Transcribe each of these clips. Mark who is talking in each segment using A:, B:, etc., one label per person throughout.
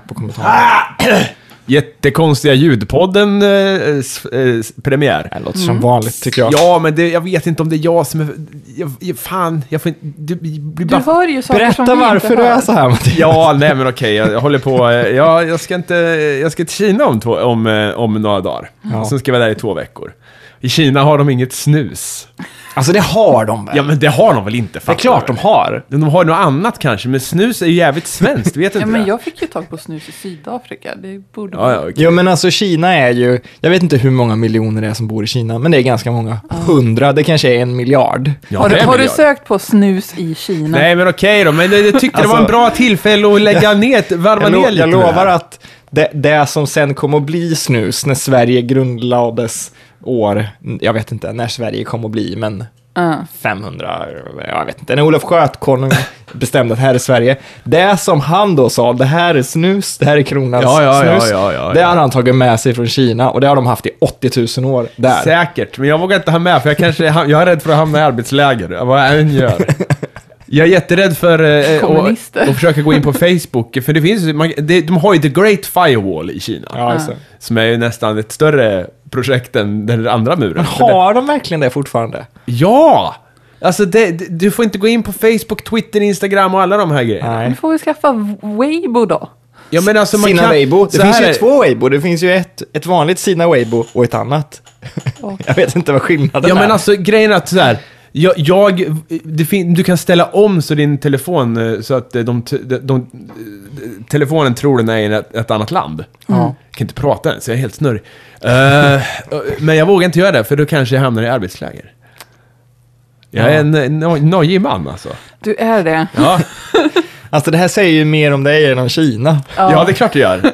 A: Säpo-kommentar.
B: Jättekonstiga ljudpodden eh, s- eh, s- premiär.
A: Det låter som vanligt tycker jag.
B: Mm. Ja, men det, jag vet inte om det är jag som är... Jag, jag, fan, jag får inte... Du blir
C: Du
B: bara...
C: hör ju saker som vi
A: Berätta
C: inte
A: varför du
C: hör.
A: är så här Mattias.
B: Ja, nej men okej, jag, jag håller på. eh, Jag, jag, ska inte, jag ska till Kina om, två, om, eh, om några dagar.
A: Ja.
B: Sen ska jag vara där i två veckor. I Kina har de inget snus.
A: Alltså det har de väl?
B: Ja, men det har de väl inte?
A: det är klart de har.
B: De har något annat kanske, men snus är ju jävligt svenskt, vet inte
C: Ja, men
B: det?
C: jag fick ju tag på snus i Sydafrika. Det borde
B: Ja, ja, okej.
A: Jo men alltså Kina är ju, jag vet inte hur många miljoner det är som bor i Kina, men det är ganska många. Hundra, det kanske är en miljard.
B: ja,
C: har,
B: det
C: du,
B: vill
C: har du
B: jag.
C: sökt på snus i Kina?
B: Nej, men okej då, men jag jag tyckte det var en
A: Alltså-
B: bra tillfälle att lägga ner, varva
A: Jag, lo-
B: ner lite
A: jag
B: med det här.
A: lovar att det, det som sen kom att bli snus när Sverige grundlades år, jag vet inte när Sverige kom att bli, men
C: Ja.
A: 500, jag vet inte, när Olof Skötkonung bestämde att här är Sverige. Det som han då sa, det här är snus, det här är kronans
B: Ja, ja, ja,
A: snus.
B: ja, ja,
A: det
B: ja.
A: har han tagit med sig från Kina och det har de haft i 80 000 år där.
B: Säkert, men jag vågar inte ha med för jag kanske, jag är rädd för att hamna i arbetsläger, vad jag än gör. Jag är jätterädd för eh, att
C: Kommunister.
B: och försöka gå in på Facebook, för det finns ju- man, det, de har ju The Great Firewall i Kina.
A: Ja, just det.
B: Som är ju nästan ett större projekt än den andra muren.
A: Har de verkligen det fortfarande?
B: Ja! Alltså det, det, du får inte gå in på Facebook, Twitter, Instagram och alla de här grejerna.
C: Nu får vi skaffa Weibo då.
B: Ja, men alltså, man
A: Sina
B: kan-
A: Weibo. Det
B: så
A: finns
B: här
A: ju
B: är-
A: två Weibo. Det finns ju ett, ett vanligt Sina Weibo och ett annat.
C: Och-
A: Jag vet inte vad skillnaden
B: Ja
A: är.
B: men alltså grejen är att så här. Jag, jag, det fin- du kan ställa om så din telefon eh, så att eh, de, t- de, de, eh, telefonen tror den är i ett, ett annat land. Jag kan inte prata än, så jag är helt snurrig. Eh, men jag vågar inte göra det, för då kanske jag hamnar i arbetsläger. Jag är en eh, no- nojig man alltså.
C: Du är det.
B: Ja,
A: Alltså det här säger ju mer om dig än om Kina.
C: Ja.
B: ja det är klart jag gör.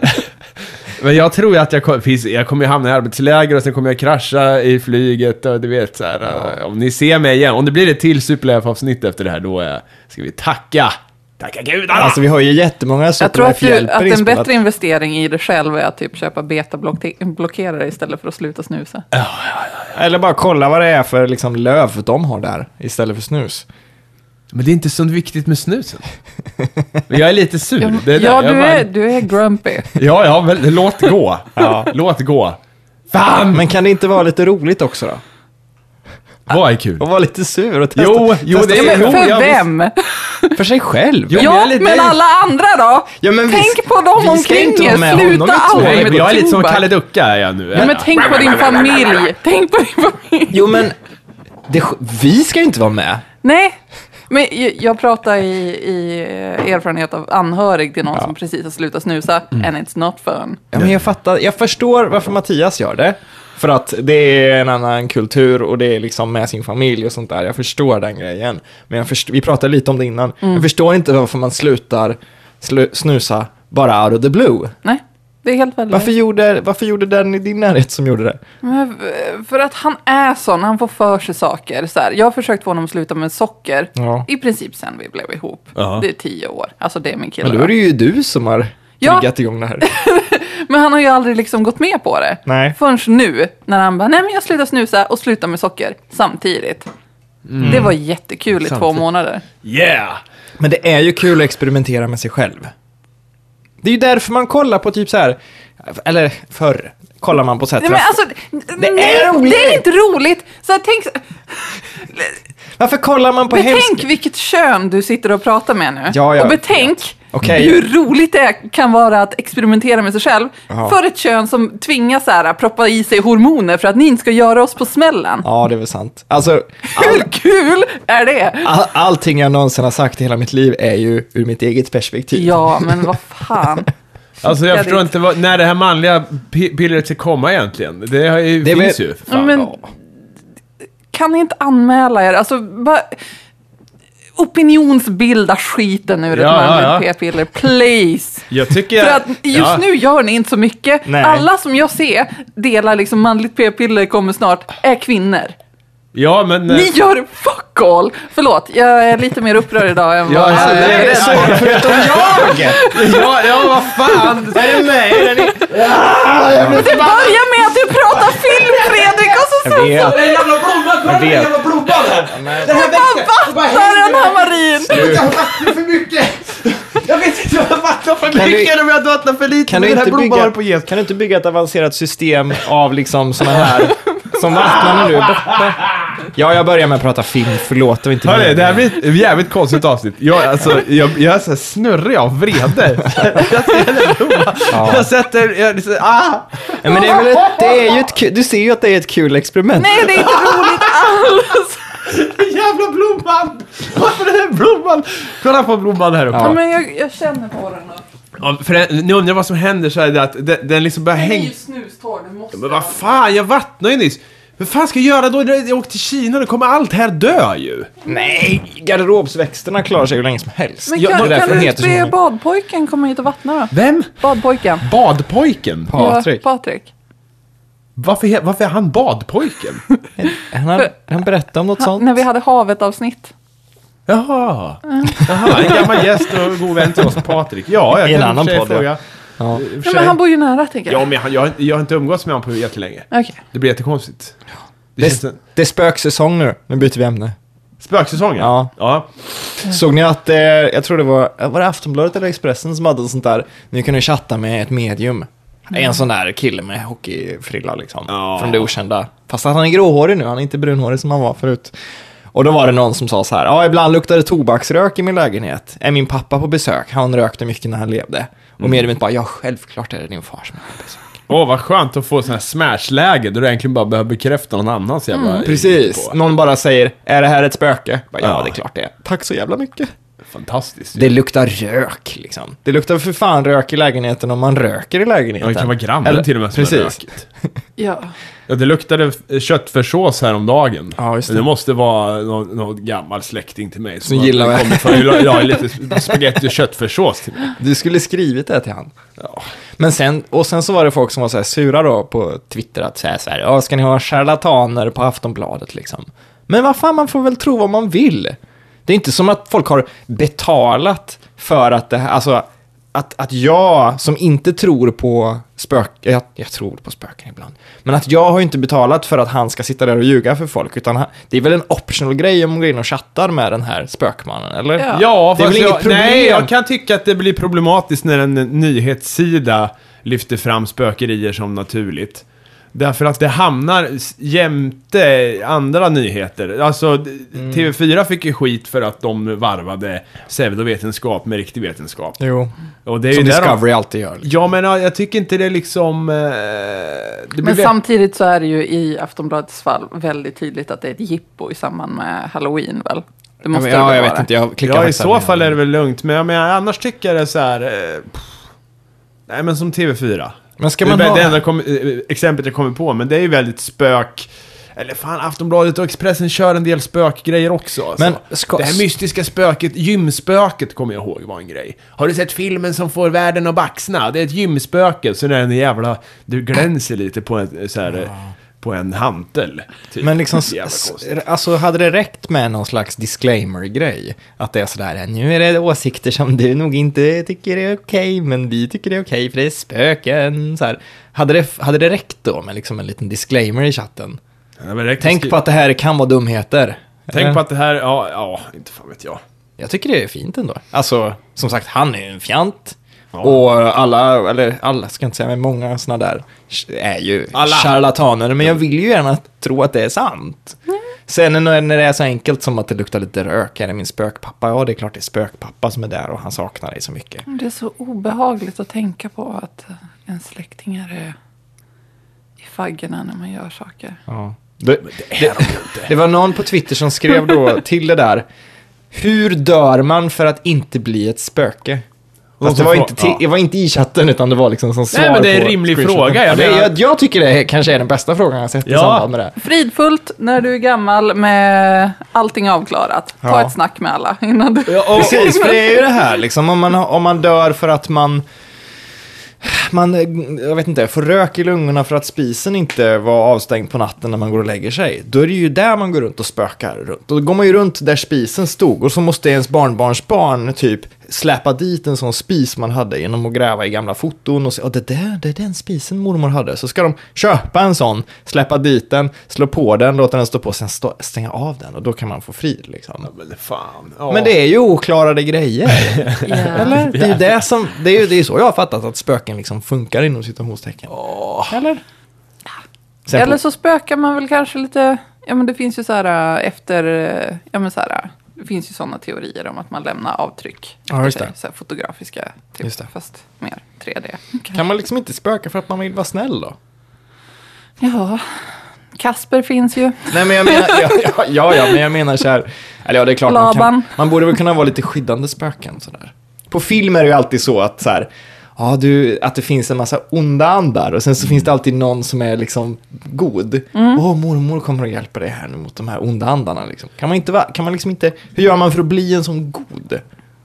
B: Men jag tror ju att jag, kom, finns- jag kommer ju hamna i arbetsläger och sen kommer jag krascha i flyget och du vet så här, eh, Om ni ser mig igen, om det blir ett till Superlife-avsnitt efter det här, då eh, ska vi tacka. Tacka gudarna!
A: Alltså vi har ju jättemånga
C: Jag tror att, du,
A: superlife-hjälper
C: att en
A: inspelat.
C: bättre investering i dig själv är att typ köpa betablockerare istället för att sluta snusa.
A: Eller bara kolla vad det är för liksom, löv de har där istället för snus.
B: Men det är inte så viktigt med snusen. Men jag är lite sur.
C: Ja,
B: det är där.
C: ja
B: jag
C: du,
B: bara-
C: är, du är grumpy.
B: ja, ja, men låt gå.
A: Ja.
B: Låt gå. Fan!
A: Men kan det inte vara lite roligt också då?
B: Vad är kul?
A: Att vara lite sur och testa,
B: Jo, jo,
A: testa
B: det är-
A: sig
C: Men
B: jo,
A: fram.
C: för
B: ja, visst.
C: vem?
A: för sig själv.
B: Jo, men jag
C: Ja,
B: är lite-
C: men alla andra då?
A: Ja, men vi-
C: tänk på dem
A: vi ska ju
C: omkring
A: inte ha med
C: er. Sluta
A: honom i två.
B: liksom. Nej,
C: aldrig med
B: men jag är lite som
C: tobak.
B: Kalle Ducka är jag nu.
C: Ja, men tänk på din familj. Tänk på din familj.
A: Jo, men det, vi ska ju inte vara med.
C: Nej, men jag, jag pratar i, i eh, erfarenhet av anhörig till någon som precis har slutat snusa.
A: Mm.
C: And it's not fun.
A: Ja, men jag, fattar, jag förstår varför Mattias gör det. För att det är en annan kultur och det är liksom med sin familj och sånt där. Jag förstår den grejen. Men jag först, vi pratade lite om det innan. Jag förstår inte varför man slutar slu, snusa bara out of the blue.
C: Nej, det är helt
A: Varför
C: värdelöst.
A: gjorde, varför gjorde den i din närhet som gjorde det?
C: Men, eh, För att han är sån, han får för sig saker. Så här, jag har försökt få honom att sluta med socker.
A: Ja.
C: I princip sen vi blev ihop.
B: Ja.
C: Det är tio år. Alltså det är min kille.
A: Men då är det ju du som har
C: Ja.
A: triggat igång det här.
C: Men han har ju aldrig liksom gått med på det.
A: Nej.
C: Förrän nu, när han bara, nej men jag slutar snusa och slutar med socker samtidigt. Det var jättekul i två
A: Mm. Samtidigt.
C: månader.
B: Yeah!
A: Men det är ju kul att experimentera med sig själv. Det är ju därför man kollar på typ så här, eller förr, kollar man på så här
C: Nej, men
A: traff-
C: alltså,
A: Det
C: det,
A: är
C: nej,
A: roligt.
C: det är inte roligt. Så här, tänk, så-
A: Varför kollar man på hemska...
C: betänk vilket kön du sitter och pratar med nu.
A: Ja, ja,
C: och betänk
A: Okej.
C: hur roligt det kan vara att experimentera med sig själv.
A: Ja.
C: För ett kön som tvingas så här, proppa i sig hormoner för att ni inte ska göra oss på smällen.
A: Ja, det är väl sant. Alltså, all,
C: Hur kul är det?
A: all, allting jag någonsin har sagt i hela mitt liv är ju ur mitt eget perspektiv.
C: Ja, men vad fan.
B: Alltså jag
C: Jag
B: förstår
C: vet.
B: inte vad, när det här manliga pi- pillret ska komma egentligen. Det har ju,
A: Det är väl-
B: finns ju. för Fan.
C: men, Kan ni inte anmäla er? Alltså, bara opinionsbilda skiten
B: Ja,
C: ur ett man med
B: ja, ja.
C: p-piller, please.
B: Jag tycker...
C: För att just
B: ja.
C: nu gör ni inte så mycket.
A: Nej.
C: Alla som jag ser delar liksom manligt p-piller kommer snart är kvinnor.
B: Ja, men... eh,
C: Ni gör fuck all! Förlåt, jag är lite mer upprörd idag än
B: Ja,
C: vad
B: alltså,
C: jag
B: det är
C: är.
B: så.
C: rädd.
A: Förutom jag!
B: ja, ja, vad fan! Är det mig? Är det
C: Men det börjar med att du pratar film Fredrik och så sen
A: Jag
C: så
A: vet.
D: Den jävla blomman! Kolla den
A: vet.
D: jävla blomman här! Den här
C: bara
D: växten!
C: vattar den här marin.
D: Jag vattnar för mycket! Jag vet
B: Jag vattnar för
A: Kan du-
B: mycket, du... jag vattnar för lite.
A: Kan
B: men
A: du,
B: den
A: inte
B: här blomman
A: bygga,
B: håller på att ges.
A: kan du inte bygga ett avancerat system av liksom sådana här som vattnar när du är borta? Ja, jag börjar med att prata film, förlåt. Och inte
B: Hörni, det här blir ett jävligt konstigt avsnitt. Jag, alltså, jag, jag är så här snurrig av vrede. Jag,
A: Ja.
B: jag sätter... Jag, liksom, ah!
A: Ja, men det är väl ett, det är ju ett kul, du ser ju att det är ett kul experiment.
C: Nej, det är inte roligt alls!
B: Den jävla blomman! Varför den här blomman? Kolla på blomman här uppe.
C: Ja. Men jag, jag känner på den. då.
B: Ja, för den, ni undrar vad som händer så är det att den, den liksom börjar
C: Den är
B: hänga...
C: ju snustorr, du måste...
B: Men vad fan, jag vattnade ju nyss! Vad fan ska jag göra då? Jag åkte till Kina, då kommer allt här dö ju!
A: Nej, garderobsväxterna klarar sig hur länge som helst.
C: Men
B: Ja, det är
C: kan,
A: därför
C: kan
A: den
C: du
A: heter
C: inte
A: så
C: be
A: många-
C: badpojken komma hit och vattna då?
B: Vem?
C: Badpojken.
B: Badpojken?
A: Patrik,
C: Ja, Patrik.
B: Varför, he- varför är han badpojken?
A: han, har, han berättade om något
C: Han,
A: sånt.
C: när vi hade havet-avsnitt.
B: Jaha. Jaha, en gammal gäst och god vän till oss, Patrik. Ja, jag
A: I
B: kan
A: en
B: i
A: annan
B: och för sig
A: podd, ja.
B: fråga.
A: Ja.
B: I och för
C: Ja,
B: sig-
C: men han bor ju nära, tänker
B: Ja,
C: jag.
B: men han- jag, har inte- jag har inte umgåtts med honom på jättelänge.
C: Okej.
B: Det blir jättekonstigt. Det
A: Det,
B: känns en...
A: det är spöksäsong nu, nu byter vi ämne.
B: Spöksäsongen?
A: Ja.
B: ja.
A: Såg ni att, eh, jag tror det var, var det Aftonbladet eller Expressen som hade en sånt där, ni kunde chatta med ett medium. En sån där kille med hockeyfrilla liksom,
B: Ja.
A: från det okända. Fast att han är gråhårig nu, han är inte brunhårig som han var förut. Och då var det någon som sa så här, ja ibland luktar det tobaksrök i min lägenhet. Är min pappa på besök? Han rökte mycket när han levde.
B: Mm.
A: Och mediumet bara, ja självklart är det din far som är på besök.
B: Åh, vad skönt att få sådana här smashläge där du egentligen bara behöver bekräfta någon annans jävla...
A: Mm. Precis,
B: på.
A: någon bara säger, är det här ett spöke? Bara, ja,
B: Ja.
A: det är klart det är. Tack så jävla mycket.
B: Fantastiskt.
A: Det luktar rök liksom. Det luktar för fan rök i lägenheten om man röker i
B: Ja,
A: lägenheten.
B: det kan vara grannen
A: Eller-
B: till och med som
A: precis.
B: har rökt.
C: Ja.
B: Ja, det luktade f- köttfärssås häromdagen.
A: Ja, just det.
B: det måste vara någon, någon gammal släkting till mig
A: Som
B: har-
A: gillar det.
B: kommer för, ja, lite spagetti och köttfärssås till mig.
A: Du skulle skrivit det till han.
B: Ja.
A: Men sen, och sen så var det folk som var så här sura då på Twitter att säga så här, ja ska ni ha charlataner på Aftonbladet liksom? Men vad fan, man får väl tro vad man vill. Det är inte som att folk har betalat för att det här, alltså att, att jag som inte tror på spöken, jag, jag tror på spöken ibland, men att jag har ju inte betalat för att han ska sitta där och ljuga för folk, utan han, det är väl en optional grej om man går in och chattar med den här spökmannen, eller?
C: Ja.
B: Ja,
A: Det är väl
B: fast
A: inget
B: jag,
A: problem?
B: Nej, jag kan tycka att det blir problematiskt när en nyhetssida lyfter fram spökerier som naturligt. Därför att det hamnar s- jämte andra nyheter. Alltså, d-
A: Mm.
B: TV4 fick ju skit för att de varvade pseudovetenskap med riktig vetenskap.
A: Jo,
B: Och det är
A: som
B: ju där de-
A: Discovery alltid gör.
B: Ja, men ja, jag tycker inte det liksom... Eh, det blir
C: Men
B: väl-
C: samtidigt så är det ju i Aftonbladets fall väldigt tydligt att det är ett jippo i samband med halloween väl? Det
A: Ja, men,
C: måste det
A: ja,
C: väl
A: jag
C: vara?
A: vet inte, jag klickar
B: ja, i
A: faktiskt
B: så
A: aldrig.
B: fall är det väl lugnt. Men jag menar, annars tycker jag det är så här... Eh, pff. nej, men som TV4.
A: Men ska
B: Det är
A: man
B: väl
A: ha...
B: det enda kom, eh, exemplet jag kommer på, men det är ju väldigt spök... Eller fan, Aftonbladet och Expressen kör en del spökgrejer också. Alltså.
A: Men ska-
B: Det här mystiska spöket, gymspöket kommer jag ihåg var en grej. Har du sett filmen som får världen att baxna? Det är ett gymspöke, så när den jävla... Du glänser lite på en eh, så här... eh, På en hantel. typ.
A: Men liksom,
B: Jävla
A: s-
B: konstigt.
A: alltså hade det räckt med någon slags disclaimer-grej? Att det är sådär, nu är det åsikter som du nog inte tycker är okej, men vi tycker det är okej för det är spöken. Så här. Hade, det, hade det räckt då med liksom en liten disclaimer i chatten?
B: Ja, men direkt-
A: Tänk på att det här kan vara dumheter. Eh.
B: Tänk
A: Eller?
B: på att det här, ja, ja, inte fan vet jag.
A: Jag tycker det är fint ändå. Alltså, som sagt, han är ju en fjant. Och alla, eller alla ska jag inte säga, men många sådana där är ju
B: Alla.
A: charlataner. Men jag vill ju gärna tro att det är sant. Sen när när det är så enkelt som att det luktar lite rök, är det min spökpappa? Ja, det är klart det är spökpappa som är där och han saknar dig så mycket.
C: Det är så obehagligt att tänka på att en släkting är i faggorna när man gör saker.
A: Ja. Det, det, det var någon på Twitter som skrev då till det där. Hur dör man för att inte bli ett spöke?
B: Någon
A: Fast det
B: som
A: var,
B: frå-
A: inte till,
B: ja.
A: det var inte i chatten utan det var liksom som svar
B: men det är en
A: på
B: rimlig
A: screenshoten.
B: fråga, jag
A: Ja, det,
B: menar-
A: jag, jag tycker det kanske är den bästa frågan jag sett i
B: Ja.
A: samband med det.
C: Fridfullt när du är gammal med allting avklarat. Ta
A: Ja.
C: ett snack med alla innan du...
A: Precis, för det är ju det här liksom. Om man, har- om man dör för att man, man, eh, jag vet inte, får rök i lungorna för att spisen inte var avstängd på natten när man går och lägger sig. Då är det ju där man går runt och spökar runt. Då går man ju runt där spisen stod och så måste ens barnbarnsbarn typ släpa dit en sån spis man hade genom att gräva i gamla foton och säga att det där, det är den spisen mormor hade. Så ska de köpa en sån, släppa dit den, slå på den, låta den stå på, sen stå, stänga av den och då kan man få frid liksom.
B: Men fan. Ja.
A: Men det är ju oklarade grejer. Eller? Det är ju det som, det är ju det är ju så jag har fattat att spöken liksom funkar inom citationstecken. Eller? Sen
C: Eller
A: på,
C: så spökar man väl kanske lite, ja men det finns ju så här äh, efter, äh, ja men så här, äh, det finns ju sådana teorier om att man lämnar avtryck.
A: Ja,
C: efter
A: just
C: sig,
A: det.
C: Så här fotografiska, typ,
A: Just det.
C: fast mer 3D.
A: kan man liksom inte spöka för att man vill vara snäll då?
C: Ja, Kasper finns ju.
A: Nej men jag menar, ja, ja, ja, ja men jag menar så här, eller ja det är klart man, kan,
C: Laban.
A: man borde väl kunna vara lite skyddande spöken sådär. På film är det ju alltid så att så här, ja du, att det finns en massa onda andar och sen så finns det alltid någon som är liksom god. Åh mormor kommer att hjälpa dig här nu mot de här onda andarna liksom. Kan man inte vara, kan man liksom inte, hur gör man för att bli en sån god?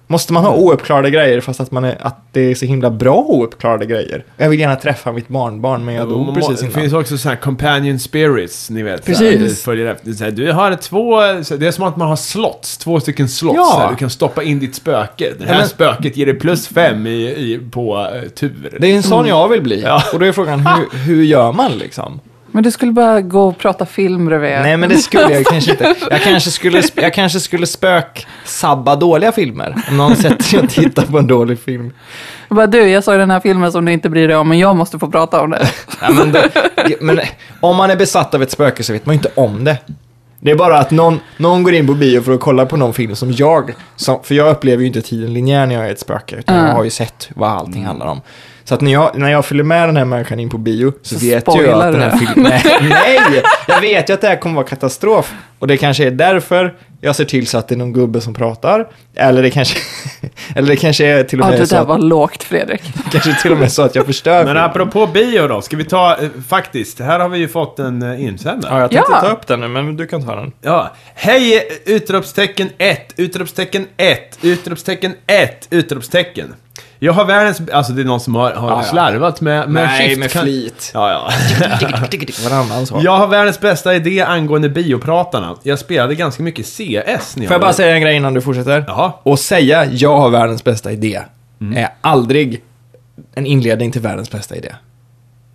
A: Måste man ha ouppklarade grejer fast att, man är, att det är så himla bra ouppklarade grejer? Jag vill gärna träffa mitt barnbarn men jag
B: Och
A: dog
B: man-
A: precis innan.
B: Det finns också sådana här companion spirits, ni vet.
A: Precis.
B: såhär, du följer efter. Det är såhär, du har två, så det är som att man har slots, två stycken slots.
A: Ja.
B: Såhär, du kan stoppa in ditt spöke. Det här
A: Ja, men-
B: spöket ger dig plus fem i, i, på eh, tur.
A: Det är en sån jag vill bli. Och då är frågan, hur, hur gör man liksom?
C: Men du skulle bara gå och prata film bredvid.
A: Nej, men det skulle jag kanske inte. Jag kanske skulle, sp- jag kanske skulle spök-sabba dåliga filmer. Om någon sätter sig och tittar på en dålig film.
C: Jag bara, du, jag såg den här filmen som du inte bryr dig om, men jag måste få prata om det.
A: Ja, men, det, men om man är besatt av ett spöke så vet man ju inte om det. Det är bara att någon, någon går in på bio för att kolla på någon film som jag, som, för jag upplever ju inte tiden linjär när jag är ett spöke, utan jag
C: Mm.
A: har ju sett vad allting handlar om. Så att när jag, när jag följer med den här människan in på bio så,
C: Så
A: vet jag ju
C: spoilar
A: att den här
C: du.
A: filmen... Nej, nej! Jag vet ju att det här kommer vara katastrof. Och det kanske är därför jag ser till så att det är någon gubbe som pratar. Eller det kanske, eller det kanske är till och
C: Ja,
A: med
C: det
A: så
C: där
A: att,
C: var lågt, Fredrik.
A: kanske till och med så att jag förstör
B: Men
A: filmen.
B: apropå bio då, ska vi ta, eh, faktiskt, här har vi ju fått en eh, insändare.
A: Ja, jag tänkte
C: Ja.
A: ta upp den nu, men du kan ta den.
B: Ja. Hej! eh, Utropstecken 1, utropstecken 1, utropstecken 1, utropstecken. Jag har världens... Alltså det är någon som har, har
A: Ja, ja.
B: slarvat med, med skift. Kan-
A: flit.
B: Ja, ja.
A: Varannan så.
B: Jag har världens bästa idé angående biopratarna. Jag spelade ganska mycket CS när
A: Får jag bara
B: var-
A: säga en grej innan du fortsätter?
B: Jaha.
A: Och säga jag har världens bästa idé
B: Mm.
A: är aldrig en inledning till världens bästa idé.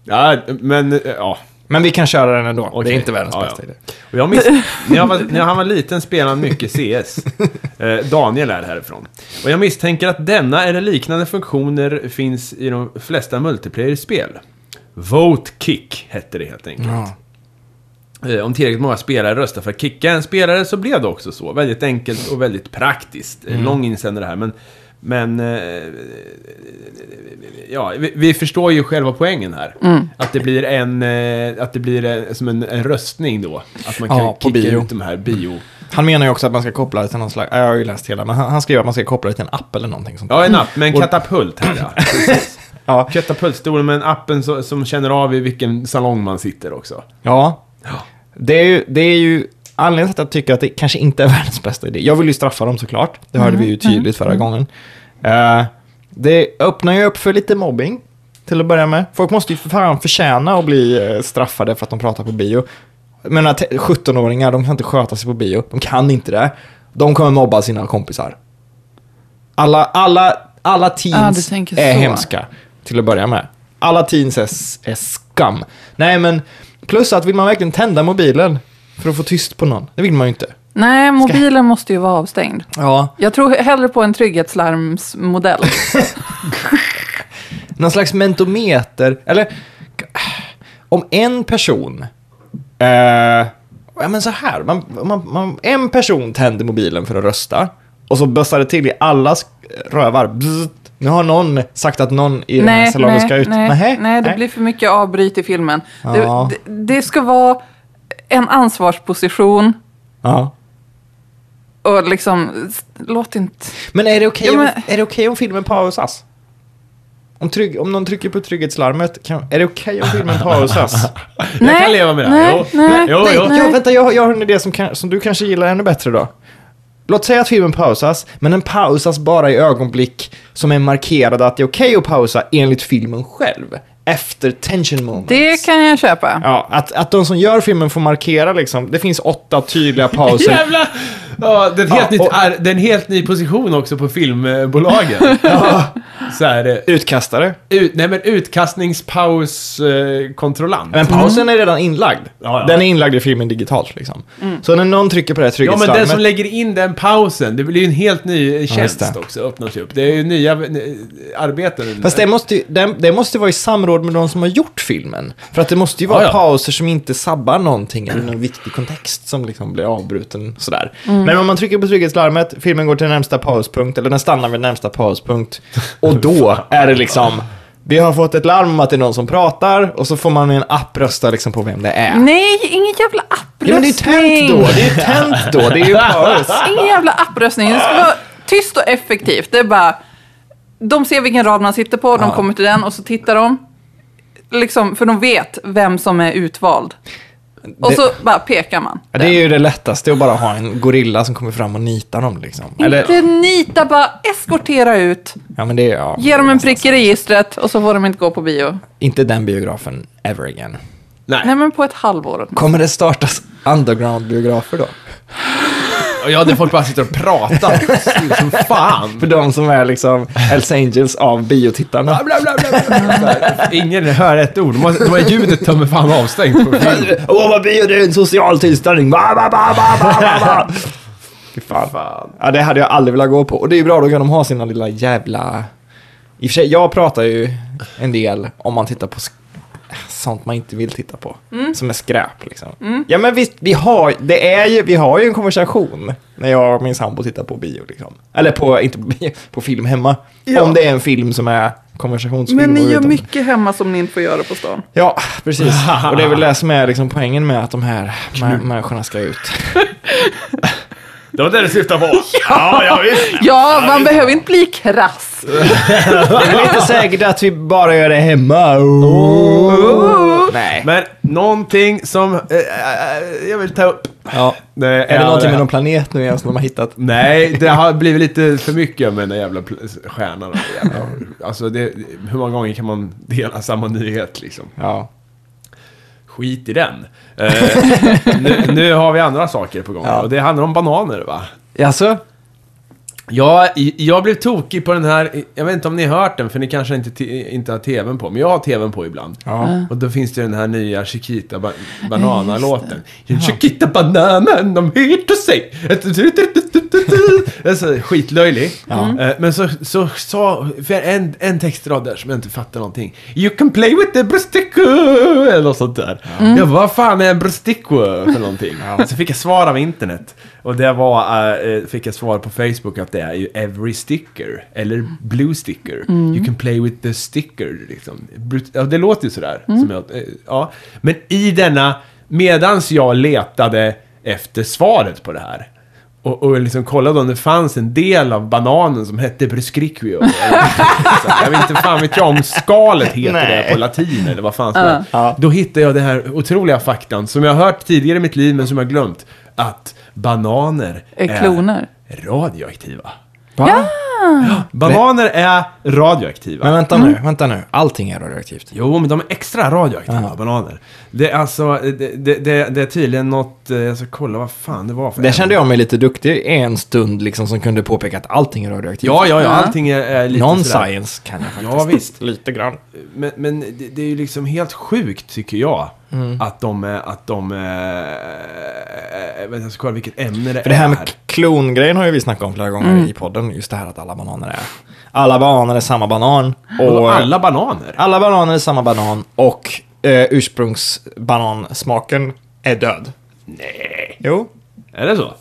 B: Ja, men eh, ja.
A: Men vi kan köra den ändå.
B: okej.
A: Det är inte världens
B: Ja,
A: bästa
B: ja.
A: idé.
B: Och jag miss... när, jag var, när han var liten spelade han mycket CS. Eh, Daniel är härifrån. Och jag misstänker att denna eller liknande funktioner finns i de flesta multiplayer-spel. Vote kick hette det helt enkelt.
A: Ja.
B: Eh, Om tillräckligt många spelare röstar för att kicka en spelare så blev det också så. Väldigt enkelt och väldigt praktiskt. Eh,
A: Mm.
B: Lång insändare här, men... Men... eh, Ja, vi, vi förstår ju själva poängen här.
A: Mm.
B: Att det blir en... eh, Att det blir eh, som en, en röstning då. Att man kan
A: Ja, på
B: kicka
A: bio.
B: ut de här bio...
A: Han menar ju också att man ska koppla det till någon slags, jag har ju läst hela, men han, han skriver att man ska koppla det till en app eller någonting sånt där.
B: Ja, en app med en katapult här ja. Precis.
A: Ja.
B: Katapultstolen med en appen så, som känner av i vilken salong man sitter också.
A: Ja. Det är ju, det är ju anledningen till att jag tycker att det kanske inte är världens bästa idé. Jag vill ju straffa dem såklart. Det hörde vi ju tydligt förra gången. Eh, det öppnar ju upp för lite mobbing till att börja med. Folk måste ju för fan förtjäna att bli eh, straffade för att de pratar på bio. Men att 17-åringar, de kan inte sköta sig på bio. De kan inte det. De kommer mobba sina kompisar. Alla, alla, alla
C: Ah,
A: teens
C: du tänker
A: är
C: så.
A: hemska till att börja med. Alla teens är, s- är skam. Nej, men plus att vill man verkligen tända mobilen för att få tyst på någon? Det vill man ju inte.
C: Nej, mobilen måste ju vara avstängd.
A: Ja.
C: Jag tror hellre på en trygghetslarmsmodell.
A: Någon slags mentometer, eller om en person, eh, ja men så här, man, man, man, en person tänder mobilen för att rösta och så bössar det till i allas rövar. Bzzzt. Nu har någon sagt att någon i den här
C: nej,
A: salongen ska
C: nej,
A: ut. Nähä,
C: nej, nej, det blir för mycket avbryt i filmen.
A: Ja.
C: Det, det, det ska vara en ansvarsposition
A: Ja.
C: och liksom, s- låt inte...
A: Men är det okej
C: Ja,
A: om,
C: men-
A: är det okej om filmen pausas? Om, trygg, om någon trycker på trygghetslarmet, kan, är det okej om filmen pausas?
C: Nej,
B: jag kan leva med det här.
C: nej,
B: jo.
C: nej,
B: jo, jo.
A: Jag, vänta, jag, har- jag har en idé som, kan, som du kanske gillar ännu bättre då. Låt säga att filmen pausas, men den pausas bara i ögonblick som är markerade att det är okej att pausa enligt filmen själv. Efter tension moments.
C: Det kan jag köpa.
A: Ja, att, att de som gör filmen får markera liksom. Det finns åtta tydliga pauser.
B: Jävla Ja, det är, ett helt
A: Ja,
B: nytt,
A: och-
B: är, det är en helt ny position också på filmbolagen. Så här, eh,
A: Utkastare.
B: ut, nej men eh, utkastningspauskontrollant.
A: Men pausen är redan inlagd.
B: Mm. Ja, ja.
A: Den är inlagd i filmen digitalt liksom. Så när någon trycker på det här
B: Ja, men den
A: trygghetslarmet.
B: som lägger in den pausen, det blir ju en helt ny eh, tjänst
A: just det.
B: också, öppnas ju upp. Det är ju nya eh, arbeten.
A: Fast det måste, ju, det, det måste vara i samråd med de som har gjort filmen. För att det måste ju vara
B: Ja, ja.
A: pauser som inte sabbar någonting eller någon viktig kontext som liksom blir avbruten sådär.
B: Mm.
A: Men om man trycker på trygghetslarmet, filmen går till närmsta pauspunkt, eller den stannar vid närmsta pauspunkt. Och då är det liksom, vi har fått ett larm om att det är någon som pratar och så får man i en app rösta liksom på vem det
B: Mm.
A: är.
C: Nej, ingen jävla
A: Ja, men det är ju tänt
C: appröstning!
A: då, det är ju tänt då, det är ju paus.
C: Ingen jävla appröstning. Det ska vara tyst och effektivt. Det är bara... De ser vilken rad man sitter på, de
A: Ja.
C: kommer till den och så tittar de. Liksom, för de vet vem som är utvald. Och
A: Det-
C: så bara pekar man.
A: Ja, det är ju det lättaste att bara ha en gorilla som kommer fram och nitar dem liksom. Eller,
C: Inte nita, bara eskortera ut.
A: ja men det är ja.
C: Ge dem en prick i registret och så får de inte gå på bio.
A: Inte den biografen ever again.
B: Nej.
C: Nej, men på ett halvår.
A: Kommer det startas underground-biografer då?
B: Och Ja, det folk bara sitter och pratar. som fan.
A: För de som är liksom Hells Angels av biotittarna.
B: Bla, bla, bla, bla, bla. Ingen hör ett ord. De har- De har ljudet ta mig fan avstängt. på film.
A: Åh, vad bio, det är en social tillställning! Ba, ba, ba, ba, ba, ba, ba. Fy fan. Ja, det hade jag aldrig velat gå på. Och det är ju bra, då kan de ha sina lilla jävla... I och för sig, jag pratar ju en del om man tittar på sk- sånt man inte vill titta på.
C: Mm.
A: Som är skräp liksom. Ja men visst, vi har, det är ju, vi har ju en konversation när jag och min sambo tittar på bio liksom. Eller på, inte på bio, på film hemma.
C: Ja.
A: Om det är en film som är konversationsfilm.
C: Men
A: och
C: ni gör
A: utom-
C: mycket hemma som ni inte får göra på stan.
A: Ja, precis. Och det är väl det som är liksom poängen med att de här mä- människorna ska ut.
B: Det var det det syftade på. Ja, ja visst.
C: Ja, man behöver inte bli krass.
A: Det är väl inte säkert att vi bara gör det hemma. Oh. Nej.
B: Men någonting som eh, eh, jag vill ta upp.
A: Ja.
B: Det
A: Är det någonting med någon planet nu igen som de har hittat?
B: Nej, det har blivit lite för mycket med den där jävla pl- stjärnan. och det Jävla. Alltså, det, hur många gånger kan man dela samma nyhet liksom?
A: Ja.
B: Skit i den. Eh, nu, nu har vi andra saker på gång.
A: Ja.
B: Och det handlar om bananer, va?
A: Jaså?
B: Ja, jag blev tokig på den här, jag vet inte om ni har hört den för ni kanske inte, t- inte har tvn på, men jag har tvn på ibland.
A: Ja.
B: Och då finns det den här nya Chiquita ba- Banana-låten. Chiquita Bananan, de heter sig! Den är så skitlöjlig. Eh, Men så så sa, för en, en textrad där som jag inte fattar någonting. You can play with the brustico! Eller något sånt där. Mm. Jag bara, vad fan är en brustico för någonting? Så fick jag svar av internet. Och det var, eh, eh, fick jag svar på Facebook att det är ju every sticker. Eller blue sticker. You can play with the sticker. Liksom. Brut- Ja, det låter ju sådär. Som jag, eh, ja. Men i denna, medans jag letade efter svaret på det här. Och, och liksom kollade om det fanns en del av bananen som hette bruscriquio. jag vet inte fan vet jag om skalet heter det
A: Nej.
B: på latin eller vad fan som är.
A: Ja.
B: Då hittade jag den här otroliga faktan som jag har hört tidigare i mitt liv men som jag glömt. Att bananer
C: Är
A: Eh,
C: kloner.
B: är radioaktiva.
A: Va?
B: Bananer är radioaktiva.
A: Men vänta nu, vänta nu. Allting är radioaktivt.
B: Jo, men de är extra radioaktiva bananer. Det är alltså, det, det, det, det är tydligen något, eh, jag ska kolla vad fan det var för
A: Där
B: ämne.
A: kände jag mig lite duktig en stund liksom som kunde påpeka att allting är radioaktivt.
B: Ja, ja, ja, allting är, är lite sådär.
A: Non-science kan jag faktiskt.
B: Ja, visst.
A: Lite grann.
B: Men, men det, det är ju liksom helt sjukt, tycker jag,
A: Mm.
B: att de, eh, att de, eh, vänta, jag ska kolla vilket ämne det,
A: För det här
B: är.
A: med klongrejen har ju vi snackat om flera gånger i podden. Just det här att alla bananer är... Alla bananer är samma banan.
B: Och
A: Och
B: alla bananer.
A: alla bananer är samma banan och eh, ursprungsbanansmaken är död. Nej. Jo.
B: Är det så?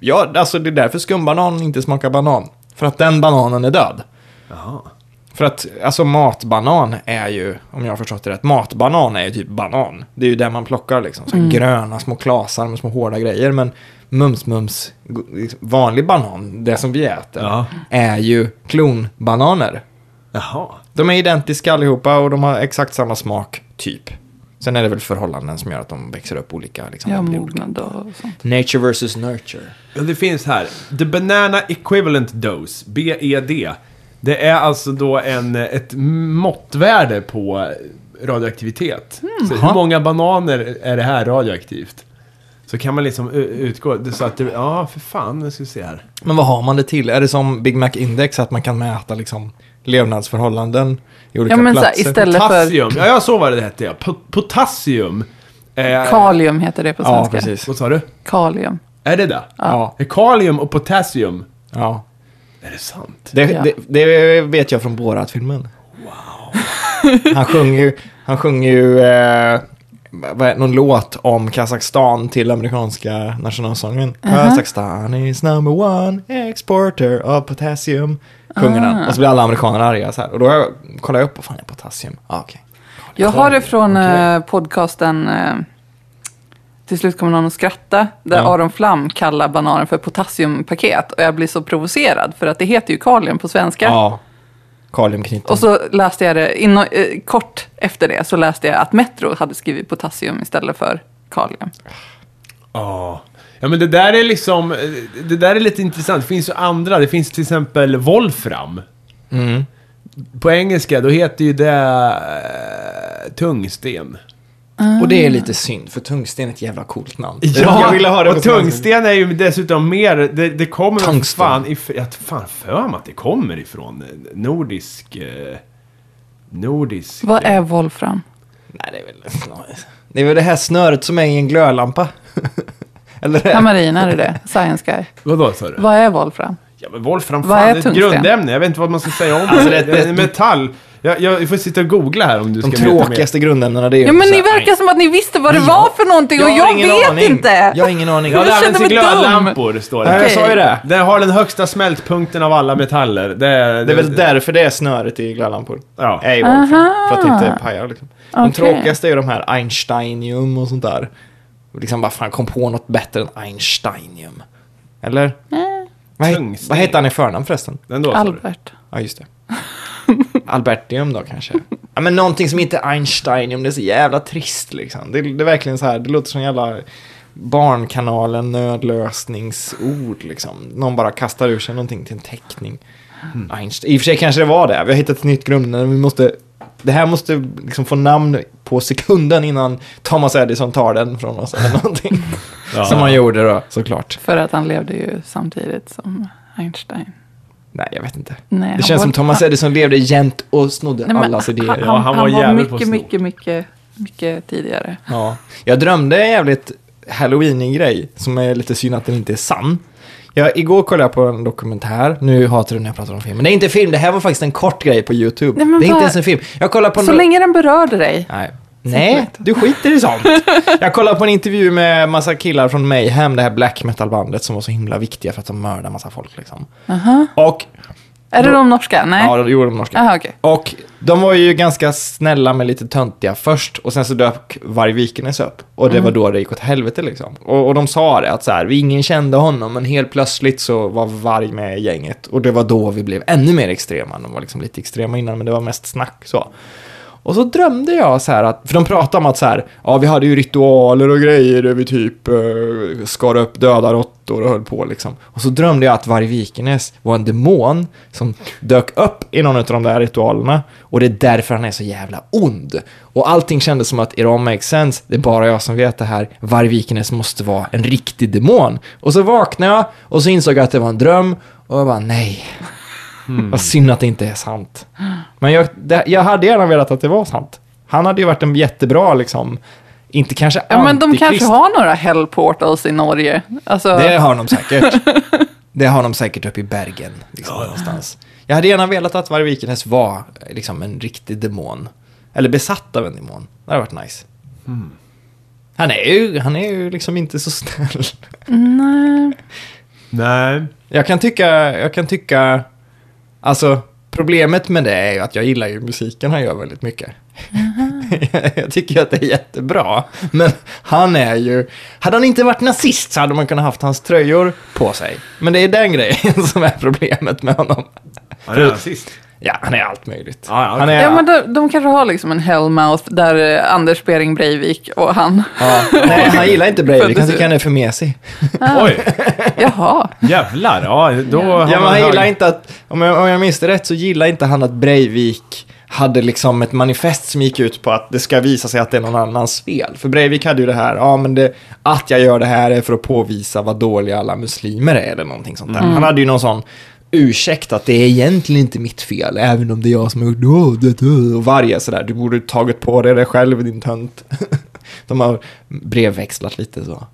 A: Ja, alltså det är därför skumbanan inte smakar banan. För att den bananen är död.
B: Jaha.
A: För att, alltså matbanan är ju, om jag har förstått det rätt, matbanan är ju typ banan. Det är ju där man plockar liksom, så här gröna små klasar med små hårda grejer. Men mums-mums, go- liksom, vanlig banan, det som vi äter,
B: Ja.
A: är ju klonbananer.
B: Jaha.
A: De är identiska allihopa och de har exakt samma smak, typ. Sen är det väl förhållanden som gör att de växer upp olika. Liksom,
C: Ja,
A: de blir olika.
C: mognad och sånt.
A: Nature versus nurture.
B: Ja, det finns här. The Banana Equivalent Dose, BED. Det är alltså då en, ett måttvärde
C: Hmm.
B: på radioaktivitet. Så hur många bananer är det här radioaktivt? Så kan man liksom u- utgå, det- så att det, ja för fan, nu ska vi se här.
A: Men vad har man det till? Är det som Big Mac Index, att man kan mäta liksom levnadsförhållanden i olika
C: Ja, men så här,
A: platser?
C: istället för
B: Potassium, ja jag såg vad det hette ja. Po- potassium. Eh,
C: kalium heter det på svenska.
A: Ja, precis.
B: vad sa du?
C: Kalium.
B: Är det det?
A: Ja,
B: Är Kalium och potassium.
A: ja.
B: Är det sant?
A: Det,
C: Ja.
A: det, det vet jag från Borat-filmen. Wow. Han sjunger ju, han sjunger ju eh, vad är, någon låt om Kazakstan till amerikanska nationalsången. Kazakstan is number one exporter of potassium. Sjunger han.
C: Ah.
A: Och så blir alla amerikaner arga så här. Och då har jag, kollar jag upp, vad fan är potassium? Ah, okej.
C: Jag har det från
A: Okej.
C: eh, podcasten eh, Till slut kommer någon att skratta, där
A: Ja.
C: Aron Flam kallar bananen för potassiumpaket. Och jag blir så provocerad, för att det heter ju kalium på svenska.
A: Ja. Kaliumknuten.
C: Och så läste jag det, inno, eh, kort efter det, så läste jag att Metro hade skrivit potassium istället för kalium.
B: Ja. Ja men det där är liksom, eh, det där är lite intressant. Det finns ju andra, det finns till exempel volfram.
A: Mm.
B: På engelska, då heter ju det eh, tungsten.
A: Och
C: Ah.
A: det är lite synd, för tungsten är ett jävla coolt namn.
B: jag
A: jag ville ha det på
B: och
A: svenska.
B: tungsten är ju dessutom mer, det, det kommer nog
A: Tungsten.
B: fan if, jag har fan för mig att det kommer ifrån eh, nordisk, eh, nordisk.
C: Vad är volfram?
A: Nej, det är väl Det är väl det här snöret som är i en glödlampa. Eller det?
C: Tamarin, är det det? Science guy.
B: Vadå sa du?
C: Vad är volfram?
B: Ja men Wolfram,
C: Vad
B: fan,
C: är
B: det är ett
C: tungsten?
B: grundämne. Jag vet inte vad man ska säga om
A: Alltså,
B: det.
A: det-
B: det. är Metall. Jag, jag, jag får sitta och googla här om du
A: De
B: ska veta mer.
A: tråkigaste grundämnena det är ju
C: Ja, men
A: så
C: ni
A: här,
C: verkar som att ni visste vad det
A: Ja.
C: var för någonting och
A: har
C: jag
A: ingen
C: vet
A: aning.
C: inte.
A: Jag har ingen aning.
B: Ja,
A: Ja,
B: det
C: Jag
B: används i
C: känner mig dum.
B: glödlampor, står det.
A: jag
C: Okej.
A: sa ju det.
B: Den har den högsta smältpunkten av alla metaller. Det är,
A: Det är väl därför det är snöret i glödlampor.
B: Ja.
A: Är i
C: Aha.
A: Wolfram, för att det inte pajar liksom. De
C: Okej.
A: tråkigaste är ju de här Einsteinium och sånt där. Och Liksom bara fan kom på något bättre än Einsteinium. Eller?
C: Eh.
A: Vad, he-
B: Tungsten.
A: vad heter han i förnamn förresten?
B: Den då, sa du.
C: Albert.
A: Ja, just det. Albertium då kanske. Ja, men någonting som inte är Einsteinium, det är så jävla trist liksom. Det, det är verkligen så här, det låter som jävla Barnkanalen nödlösningsord liksom. Någon bara kastar ur sig någonting till en teckning. Einstein. I och för sig kanske det var det. Vi har hittat ett nytt grundämne. Vi måste... Det här måste liksom få namn på sekunden innan Thomas Edison tar den från oss eller någonting.
B: Ja.
A: Som han gjorde då, såklart.
C: För att han levde ju samtidigt som Einstein.
A: Nej, jag vet inte.
C: Nej,
A: Det
C: han
A: känns
C: var-
A: som Thomas Edison levde jämt och snodde
C: Nej, men
A: allas idéer.
B: Ja, han
C: han
B: var
C: var,
B: jävligt på att
C: mycket,
B: sno.
C: mycket, mycket, mycket tidigare.
A: Ja. Jag drömde en jävligt halloweenig grej som är lite synd att den inte är sann. Jag, igår kollade jag på en dokumentär, nu hatar du när jag pratar om film, men det är inte film, det här var faktiskt en kort grej på YouTube.
C: Nej, men
A: det är inte
C: vad-
A: ens en film. Jag kollade på en
C: Så länge den berörde dig.
A: Nej. Nej, du skiter i sånt. Jag kollade på en intervju med massa killar från Mayhem, det här black metal-bandet som var så himla viktiga för att de mördade massa folk liksom. Och,
C: Är det de norska? Nej?
A: ja, det gjorde de norska.
C: Aha, okej.
A: Och de var ju ganska snälla men lite töntiga först och sen så dök Vargvikernes upp. Och det
C: Mm.
A: var då det gick åt helvete liksom. Och, och de sa det att så här, vi ingen kände honom men helt plötsligt så var Varg med i gänget. Och det var då vi blev ännu mer extrema. De var liksom lite extrema innan men det var mest snack så. Och så drömde jag så här att, för de pratade om att så här, ja vi hade ju ritualer och grejer där vi typ eh, skar upp döda råttor och höll på liksom. Och så drömde jag att Vargvikernes var en demon som dök upp i någon av de där ritualerna och det är därför han är så jävla ond. Och allting kändes som att it all makes sense, det är bara jag som vet det här, Vargvikernes måste vara en riktig demon. Och så vaknade jag och så insåg jag att det var en dröm och jag bara nej, vad synd att det inte är sant. Men jag, det, jag hade gärna velat att det var sant. Han hade ju varit en jättebra, liksom, inte kanske
C: Ja, men de
A: antikrist.
C: kanske har några hell portals i Norge. Alltså,
A: Det har de säkert. det har de säkert uppe i Bergen, liksom, någonstans. Jag hade gärna velat att Varg Vikernes var eh, liksom, en riktig demon. Eller besatt av en demon. Det hade varit nice. Han är ju, han är ju liksom inte så snäll.
C: Nej.
B: Nej.
A: Jag kan tycka, jag kan tycka, alltså problemet med det är ju att jag gillar ju musiken han gör väldigt mycket. jag tycker ju att det är jättebra, men han är ju, hade han inte varit nazist så hade man kunnat haft hans tröjor på sig. Men det är den grejen som är problemet med honom.
B: Han är rasist.
A: Ja, han är allt möjligt.
B: Ja, ja, okej.
A: Han är,
C: Ja, men de, de kanske har liksom en hellmouth där eh, Anders Bering Breivik och han...
A: ja. nej, han gillar inte Breivik, han tycker han är för mesig.
B: Oj,
C: Jaha.
B: jävlar. Ja, då har
A: Ah. Ja, men
B: man
A: han
B: hög-
A: gillar inte att, om jag, om jag minns det rätt så gillar inte han att Breivik hade liksom ett manifest som gick ut på att det ska visa sig att det är någon annans fel. För Breivik hade ju det här, ja men det, att jag gör det här är för att påvisa vad dåliga alla muslimer är eller någonting sånt där. Han hade ju någon sån ursäkt att det är egentligen inte mitt fel, även om det är jag som har gjort "Åh, det, det", och varje sådär, du borde tagit på dig det själv din tönt. De har brevväxlat lite så.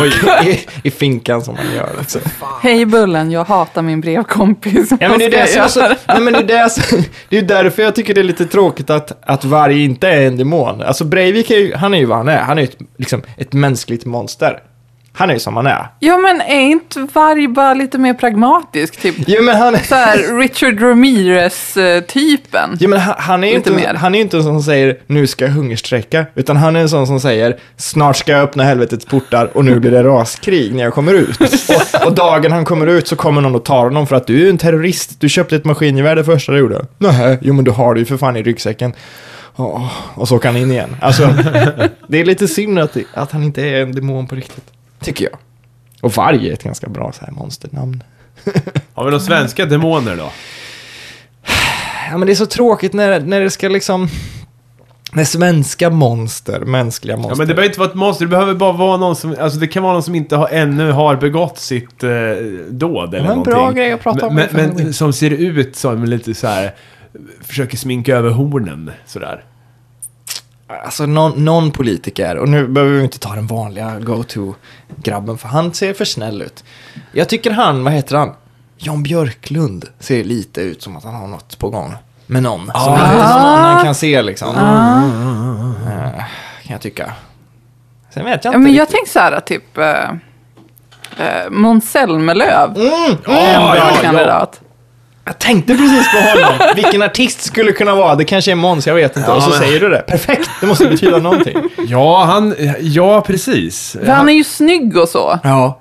B: Oj.
A: I, I finkan som man gör. Liksom.
C: Hej Bullen, jag hatar min brevkompis.
A: Ja, men det, är
C: Vad
A: det,
C: ska
A: som är
C: jag
A: så, nej,
C: göra?
A: men det, är det, som- det är därför jag tycker det är lite tråkigt att, att varg inte är en demon. Alltså Breivik är ju, han är ju vad han är. Han är ju ett, liksom, ett mänskligt monster. Han är ju som han är.
C: Ja, men är inte varg bara lite mer pragmatisk? Typ
A: Jo men han,
C: så här Richard Ramirez-typen.
A: jo, men han, han är ju
C: Lite
A: inte,
C: mer.
A: han är ju inte en sån som säger nu ska jag hungerstrejka. Utan han är en sån som säger snart ska jag öppna helvetets portar och nu blir det raskrig när jag kommer ut. Och, och dagen han kommer ut så kommer någon och tar honom för att du är ju en terrorist. Du köpte ett maskingevär det första du gjorde. Nej, jo men du har det ju för fan i ryggsäcken. Åh, och så åker han in igen. Alltså, det är lite synd att, att han inte är en demon på riktigt. Tycker jag. Och varg är ett ganska bra så här monsternamn.
B: Har vi några svenska demoner då?
A: Ja, men det är så tråkigt när, när det ska liksom... När svenska monster, mänskliga
B: Ja,
A: monster.
B: men det behöver inte vara ett monster, det behöver bara vara någon som... Alltså det kan vara någon som inte har, ännu har begått sitt eh, dåd eller
A: Ja, men
B: någonting.
A: bra grej att prata om
B: Men,
A: inför
B: men,
A: Halloween.
B: men som ser ut som lite så här försöker sminka över hornen sådär.
A: Alltså någon, någon politiker, och nu behöver vi inte ta den vanliga go-to-grabben, för han ser för snäll ut. Jag tycker han, vad heter han? Jan Björklund ser lite ut som att han har något på gång. Med någon.
B: Ah.
A: Som, inte, som annan kan se liksom.
C: Ah.
A: Eh, kan jag tycka. Sen vet jag
C: Ja,
A: inte
C: men jag
A: riktigt.
C: tänkte så här, typ eh, eh, Måns Zelmerlöw.
A: Mm,
C: En
A: bra.
C: bra kandidat.
A: Jag tänkte precis på honom. Vilken artist skulle kunna vara? Det kanske är Måns, jag vet inte. och så
B: men-
A: säger du det. Perfekt, det måste betyda någonting.
B: Ja, han... Ja, precis.
C: För han är ju snygg och så.
A: Ja.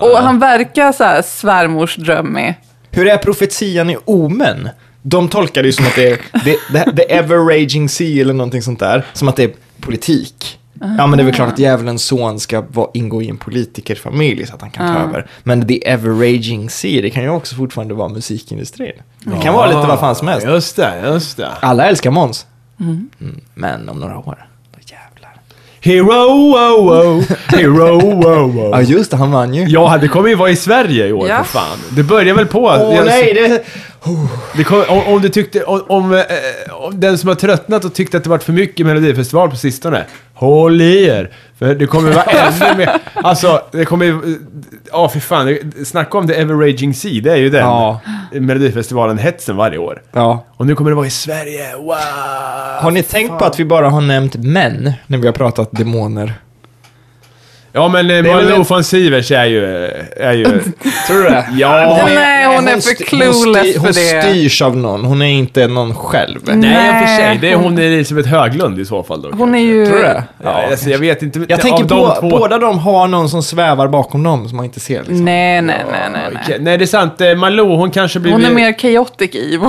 C: Och han verkar så här svärmorsdrömmig.
A: Hur är profetian i Omen? De tolkar det ju som att det är the, the, the ever raging sea eller någonting sånt där. Som att det är politik. Ja men det är väl klart att djävulens son ska vara, ingå i en politikerfamilj så att han kan ta över. Men the ever raging sea, det kan ju också fortfarande vara musikindustrin. Det kan vara lite vad fan som helst.
B: Just det, just det.
A: Alla älskar Måns. Mm. Men om några år, då jävlar.
B: Hero, oh, oh. Hero, oh, oh.
A: Ja just det, han vann ju.
B: Ja, det kommer ju vara i Sverige i år
C: Ja.
B: för fan. Det börjar väl på...
A: Åh
B: Jag-
A: nej, det...
B: Det kom, om, om du tyckte... Om, om, eh, om den som har tröttnat och tyckte att det varit för mycket Melodifestival på sistone. Håll i er! För det kommer vara ännu mer... Alltså, det kommer ju... Ja, för fan. det- Snacka om The Ever Raging Sea. Det är ju den
A: Ja.
B: Melodifestivalen-hetsen varje år.
A: Ja.
B: Och nu kommer det vara i Sverige. Wow!
A: Har
C: Alltså,
A: ni tänkt på att vi bara har nämnt män när vi har pratat demoner?
B: Ja, men eh,
A: väl en-
B: Malou von Sivers är ju... eh, Är ju
A: Tror du det?
B: Ja.
C: Nej, hon är för
A: styr-
C: clueless
A: hon styr-
C: för
A: Hon
C: det.
A: styrs av någon, hon är inte någon själv.
B: Nej, i och
C: Nej,
B: för sig. Det är hon Elisabeth Höglund i så fall då.
C: Hon
B: kanske.
C: är ju...
A: Tror du det?
B: Ja, alltså, jag vet inte.
A: Jag
B: av
A: tänker
B: de
A: på,
B: två-
A: båda de har någon som svävar bakom dem som man inte ser. Liksom.
C: Nej, nej, nej, nej.
B: Ja,
C: nej.
B: okej. Nej, det är sant. Eh, Malou, hon kanske blir...
C: Hon är mer chaotic evil.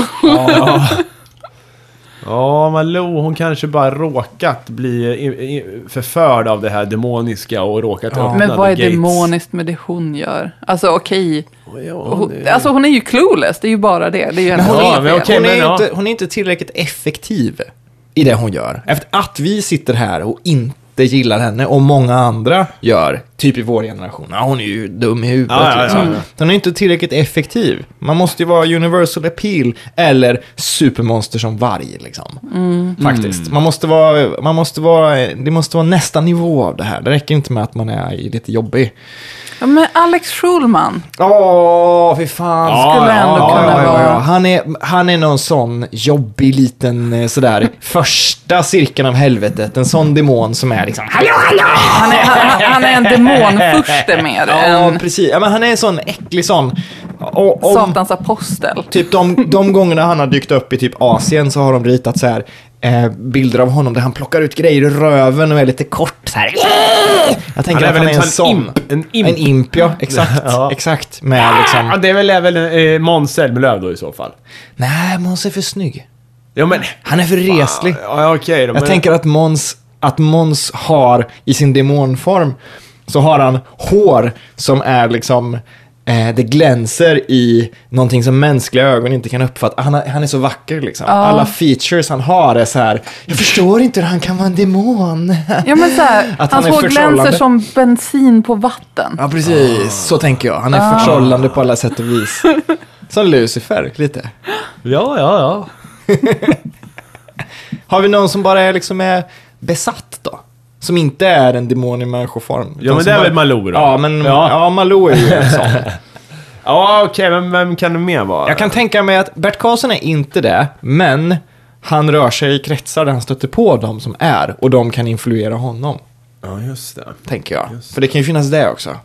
B: Ja, Malou, hon kanske bara råkat bli eh, i- i- förförd av det här demoniska och råkat öppna
C: Men vad är
B: the gates.
C: demoniskt med det hon gör? Alltså okej.
B: Ja, hon
C: Hon,
B: är-
C: alltså hon är ju clueless, det är ju bara det. Det är ju hennes
B: hon-
C: eget
B: Ja, men
C: fel.
B: okej.
A: hon, är
B: men
A: ju
B: ja.
A: inte, hon är inte tillräckligt effektiv i det hon gör. Efter att vi sitter här och inte gillar henne och många andra gör, typ i vår generation. Ja, hon är ju dum i huvudet.
B: Ja, Mm. ja, ja,
A: liksom.
B: ja.
A: Hon är inte tillräckligt effektiv. Man måste ju vara universal appeal eller supermonster som varg. Liksom.
B: Mm.
A: Faktiskt. Man måste vara, man måste vara, det måste vara nästa nivå av det här. Det räcker inte med att man är lite jobbig.
C: Ja, men Alex Schulman.
A: Åh, fy fan.
B: Ja,
C: skulle ändå kunna vara.
A: Han, är, han är någon sån jobbig liten eh, sådär första cirkeln av helvetet. En sån demon som är liksom hallå, hallå!
C: Han är, han, han är en demonfurste mer
A: Ja,
C: än
A: precis. Ja, men han är en sån äcklig sån. Och, om,
C: satans apostel.
A: Typ de, de gångerna han har dykt upp i typ Asien så har de ritat så här eh, bilder av honom där han plockar ut grejer ur röven och är lite kort så här. Jag tänker att han är en sån.
B: imp. En imp.
A: En imp, ja. Exakt.
B: Ja.
A: Exakt. Med
B: Ja,
A: liksom...
B: det är väl, är väl eh, Måns Zelmerlöw då i så fall.
A: Nej, Måns är för snygg.
B: Ja, men...
A: Han är för reslig.
B: Ja, ja, okej
A: Jag
B: då. men-
A: tänker att Måns att Måns har i sin demonform så har han hår som är liksom eh, det glänser i någonting som mänskliga ögon inte kan uppfatta. Han, har- han är så vacker liksom. Alla features han har är så här, jag förstår inte hur han kan vara en demon.
C: Ja, men så här,
A: Att han
C: hans
A: är
C: hår glänser
A: förtrollande.
C: som bensin på vatten.
A: Ja, precis. Så tänker jag. Han är förtrollande på alla sätt och vis. Som Lucifer, lite.
B: Ja, ja, ja.
A: Har vi någon som bara är, liksom är besatt då? Som inte är en demon i människoform.
B: Ja,
A: utan
B: men
A: som
B: det är
A: bara-
B: väl Malou då?
A: Ja, men ja.
B: Ja.
A: Malou är ju en sån.
B: Ja, okej, men vem kan det mer vara?
A: Jag kan tänka mig att Bert Karlsson är inte det, men han rör sig i kretsar där han stöter på de som är och de kan influera honom,
B: Ja, just det.
A: tänker jag. För det kan ju finnas det också.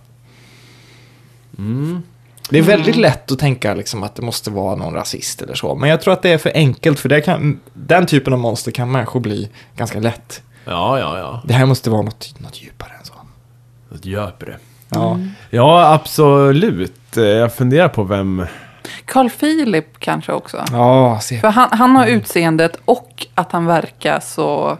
B: Mm.
A: Det är väldigt lätt att tänka liksom att det måste vara någon rasist eller så, men jag tror att det är för enkelt för det kan, den typen av monster kan människor bli ganska lätt.
B: Ja, ja, ja.
A: Det här måste vara något, något djupare än så.
B: Ett göpare.
A: Ja.
B: Ja, absolut. Eh, Jag funderar på vem...
C: Carl Philip kanske också.
A: Ja, se.
C: För han, han har utseendet och att han verkar så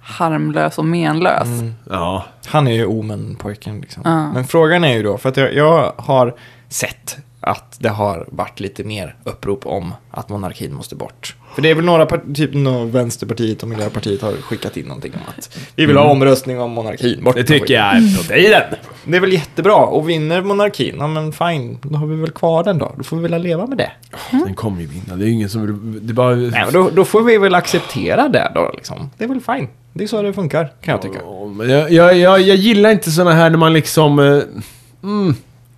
C: harmlös och menlös.
B: Mm. Ja.
A: Han är ju Omen-pojken. Liksom. Men frågan är ju då, för att jag, jag har sett att det har varit lite mer upprop om att monarkin måste bort. För det är väl några, par- typ några Vänsterpartiet och Miljöpartiet har skickat in någonting om att vi vill ha omröstning om monarkin. Bort
B: Mm. Det
A: med
B: tycker
A: skiten.
B: jag är på tiden.
A: Det är väl jättebra, och vinner monarkin, ja men fine, då har vi väl kvar den då. Då får vi väl leva med det.
B: Den kommer ju vinna. Det är ju ingen som... Det är bara...
A: Nej, men då, då får vi väl acceptera det då liksom. Det är väl fine. Det är så det funkar, kan jag tycka.
B: Ja, men Jag, jag, jag, jag gillar inte såna här när man liksom... eh, Mm,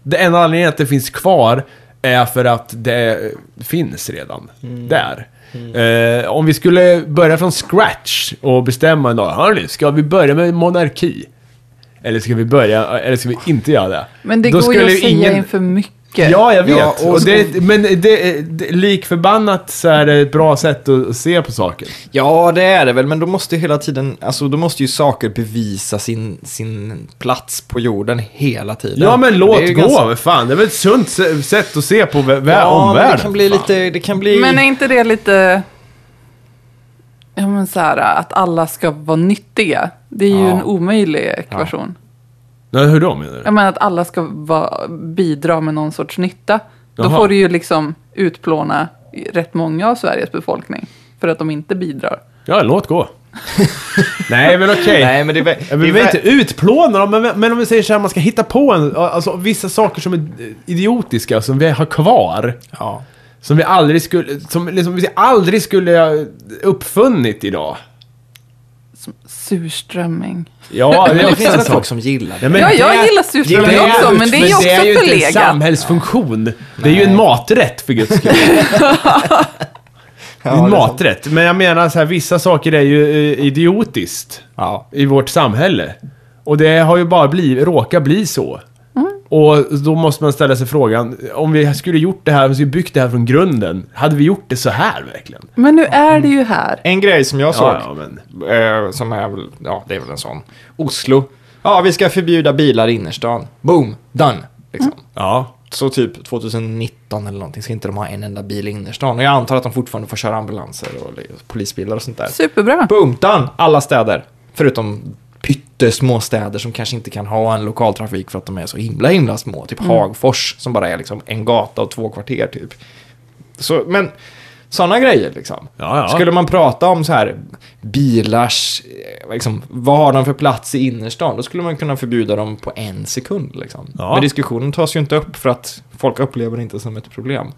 B: det enda anledningen att det finns kvar är för att det finns redan där. Eh, om vi skulle börja från scratch och bestämma en dag, hörni, ska vi börja med monarki? Eller ska vi börja, eller ska vi inte göra det?
C: Men det
B: Då
C: går ju att
B: skulle
C: säga
B: ingen-
C: inför mycket.
B: Ja, jag vet.
A: Ja, och-
B: och det, men det, det, likförbannat så är det ett bra sätt att se på saken.
A: Ja, det är det väl, men då måste ju hela tiden, alltså då måste ju saker bevisa sin, sin plats på jorden hela tiden.
B: Ja, men låt
A: Det är
B: gå.
A: ju ganska-
B: men Fan, det är väl ett sunt se- sätt att se på vä- vä-
A: Ja, men
B: omvärlden.
A: det kan bli
B: fan.
A: lite, det kan bli...
C: Men är inte det lite... Ja, men så här, att alla ska vara nyttiga. Det är ju
A: Ja.
C: en omöjlig ekvation.
B: Nej, hur då menar du?
C: Jag menar att alla ska vara, bidra med någon sorts nytta. Då
B: Jaha.
C: får du ju liksom utplåna rätt många av Sveriges befolkning. För att de inte bidrar.
B: Ja, låt gå. Nej, men okej.
A: Nej, men det är väl...
B: Ja, men
A: det
B: Vi
A: är
B: vill
A: väl-
B: inte utplåna dem, men, men om vi säger så här, man ska hitta på en, alltså, vissa saker som är idiotiska, som vi har kvar.
A: Ja.
B: Som vi aldrig skulle, som liksom, vi aldrig skulle ha uppfunnit idag.
C: Som surströmming.
B: Ja,
A: Men det
B: också
A: finns
B: en
A: väl
B: sak.
A: folk som gillar det.
B: Nej, men
C: Ja, jag
B: det-
C: gillar surströmming
B: det är-
C: också, men det är ju också
B: ju inte en
C: förlegat.
B: samhällsfunktion. Det är ju en maträtt, för guds skull. Det är
A: Ja,
B: en
A: det är sant.
B: maträtt. Men jag menar så här, vissa saker är ju eh, idiotiskt
A: Ja.
B: i vårt samhälle. Och det har ju bara blivit, råkat bli så. Och då måste man ställa sig frågan, om vi skulle gjort det här, om vi skulle byggt det här från grunden, hade vi gjort det så här verkligen?
C: Men nu är det ju här.
A: En grej som jag såg,
B: Ja, ja, men...
A: eh, som är väl, ja det är väl en sån, Oslo. Ja, vi ska förbjuda bilar i innerstan. Boom, done. Liksom.
B: Ja.
A: Så typ 2019 eller någonting ska inte de ha en enda bil i innerstan. Och jag antar att de fortfarande får köra ambulanser och li- polisbilar och sånt där.
C: Superbra.
A: Boom, done! Alla städer. Förutom pyttesmå städer som kanske inte kan ha en lokaltrafik för att de är så himla himla små. Typ Hagfors som bara är liksom en gata och två kvarter typ. Så, men sådana grejer liksom.
B: Ja, ja.
A: Skulle man prata om så här bilars, eh, liksom, vad har de för plats i innerstan? Då skulle man kunna förbjuda dem på en sekund liksom.
B: Ja.
A: Men diskussionen tas ju inte upp för att folk upplever det inte som ett problem.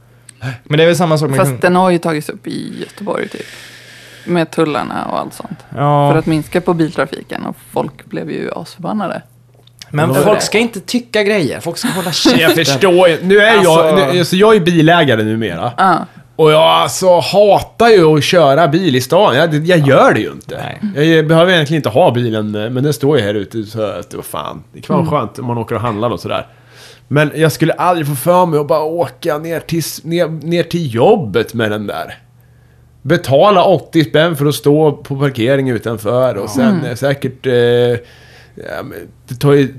A: Men det är väl samma sak med...
C: Fast den har ju tagits upp i Göteborg typ. Med tullarna och allt sånt.
A: ja.
C: För att minska på biltrafiken och folk blev ju asförbannade.
A: Men
B: Vad var
A: folk
B: det?
A: ska inte tycka grejer, folk ska hålla käften.
B: Jag förstår ju. Nu är
A: Alltså-
B: jag, nu, alltså jag är bilägare numera.
C: Ja.
B: Och jag alltså hatar ju att köra bil i stan. Jag, jag gör det ju inte. Jag behöver egentligen inte ha bilen, eh, men den står ju här ute. Så att, vad fan, det kan vara skönt om man åker och handlar och sådär. Men jag skulle aldrig få för mig att bara åka ner till, ner, ner till jobbet med den där. Betala 80 spänn för att stå på parkering utanför och sen
A: Mm.
B: eh, säkert... Eh, ja, men det tar ju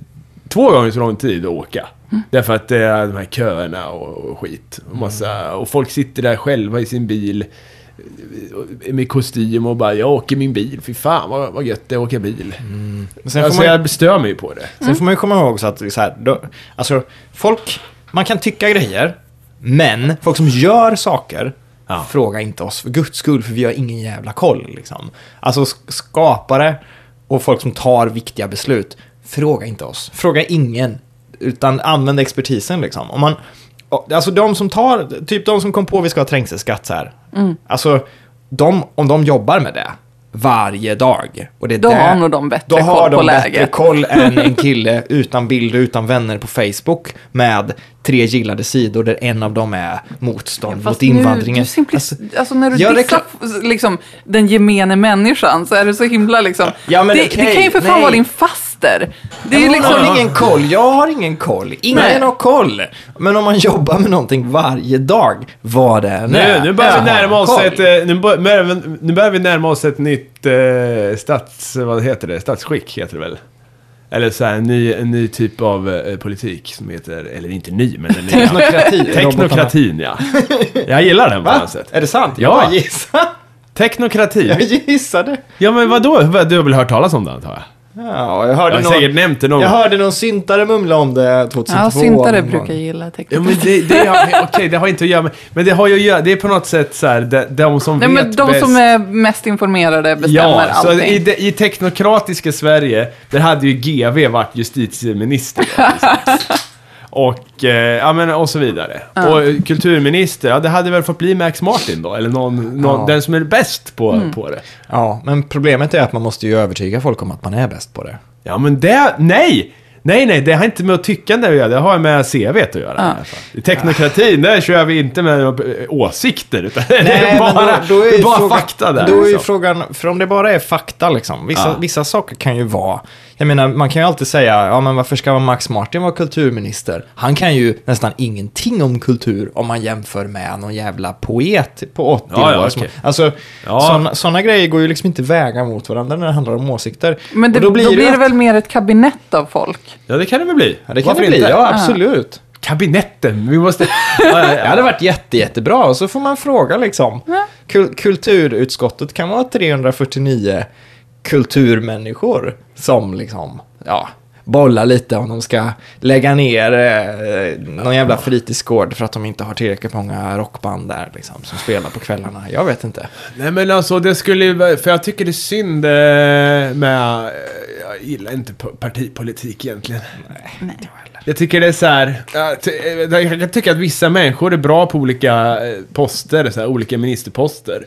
B: två gånger så lång tid att åka.
A: Mm.
B: Därför att det är de här köerna och, och skit. Och, massa,
A: Mm.
B: och folk sitter där själva i sin bil eh, med kostym och bara “Jag åker min bil, fy fan vad, vad gött det är att åka bil”.
A: Mm. Sen får
B: Alltså
A: man-
B: jag stör mig ju på det.
C: Mm.
A: Sen får man ju komma ihåg så att det är så här, då, alltså folk man kan tycka grejer, men folk som gör saker,
B: Ja.
A: fråga inte oss för guds skull, för vi har ingen jävla koll. Liksom. Alltså sk- skapare och folk som tar viktiga beslut, fråga inte oss. Fråga ingen, utan använd expertisen. Liksom. Om man, alltså de som tar, typ de som kom på att vi ska ha trängselskatt så här.
C: Mm.
A: Alltså, de, om de jobbar med det varje dag. Och det är
C: Då
A: det,
C: har nog de bättre
A: då har
C: koll
A: de
C: på
A: bättre
C: läget.
A: koll än en kille utan bilder, utan vänner på Facebook med tre gillade sidor där en av dem är motstånd mot
C: Fast Nu,
A: invandringen.
C: du simpli-
A: Alltså,
C: alltså, när du
A: jag
C: dissar liksom, den gemene människan så är du så himla liksom...
A: Ja, men
C: det,
A: okej,
C: det kan ju för fan
A: nej.
C: vara din faster. Det är ju
A: hon har
C: liksom...
A: ingen koll, jag har ingen koll, ingen
C: Nej.
A: har koll. Men om man jobbar med någonting varje dag, vad det än
B: Nu,
A: är.
B: nu börjar
A: så
B: vi
A: har
B: närma
A: man
B: oss
A: koll.
B: ett, eh, nu bör- börjar vi- nu börjar vi närma oss ett nytt eh, stats... Vad heter det? Statsskick heter det väl? Eller så här, en, ny, en ny typ av eh, politik som heter, eller inte ny, men en ny.
A: Teknokrati. robotarna.
B: Teknokratin, ja. Jag gillar den på
A: Va?
B: något sätt.
A: Är det sant?
B: Ja.
A: Jag bara gissade. Jag
B: Teknokrati?
A: gissade.
B: Ja, men vadå? Du har väl hört talas om den, antar
A: Ja,
B: jag?
A: jag hörde,
B: Jag har
A: någon,
B: säkert nämnt det någon
A: jag
B: gång.
A: hörde någon syntare mumla om det 2002.
C: Ja, syntare
A: någon
C: brukar
A: gång.
C: gilla tecknet.
B: Ja, men det, det har, okej, det har inte att göra med... Men det har ju att göra... Det är på något sätt så här, de, de som
C: Nej,
B: vet
C: men de
B: bäst.
C: som är mest informerade bestämmer
B: Ja, så
C: allting.
B: i, det, i teknokratiska Sverige, där hade ju GV varit justitieminister. liksom. och, eh, ja, men, och så vidare. Och eh, kulturminister, ja, det hade väl fått bli Max Martin då, eller någon, någon,
A: Ja. Mm.
B: den som är bäst på, på det.
A: Ja, men problemet är att man måste ju övertyga folk om att man är bäst på det.
B: Ja, men det... Nej! Nej, nej, det har inte med att tycka det att göra. Det har med CV att göra. i alla fall. I teknokratin, där kör vi inte med några eh, åsikter. Utan det är bara, det är
A: ju
B: bara
A: frågan-
B: fakta där.
A: Då är ju
B: liksom.
A: frågan, för om det bara är fakta liksom, vissa,
B: Ja.
A: vissa saker kan ju vara, jag menar man kan ju alltid säga, ja men varför ska Max Martin vara kulturminister? Han kan ju nästan ingenting om kultur om man jämför med någon jävla poet på 80
B: Ja, ja,
A: år. som-
B: okej.
A: Alltså,
B: Ja.
A: sådana såna grejer går ju liksom inte väga mot varandra när det handlar om åsikter.
C: men det,
A: Och
C: då blir, det,
A: att-
C: väl mer ett kabinett av folk.
B: Ja, det kan det väl bli.
A: Ja, det kan
B: Varför
A: det bli,
B: inte?
A: ja absolut.
B: Kabinetten, vi måste... Ja,
A: Det
B: ja,
A: hade varit jätte, jättebra. Och så får man fråga liksom. Kul- kulturutskottet kan vara 349 kulturmänniskor som liksom, ja, bollar lite om de ska lägga ner eh, någon jävla fritidsgård för att de inte har tillräckligt många rockband där liksom, som spelar på kvällarna. Jag vet inte.
B: Nej men alltså det skulle ju- för jag tycker det är synd eh, med, jag gillar inte p- partipolitik egentligen.
C: Nej.
B: Jag tycker det är så här, jag ty- eh, jag kan tycka att vissa människor är bra på olika eh, poster, så här, olika ministerposter.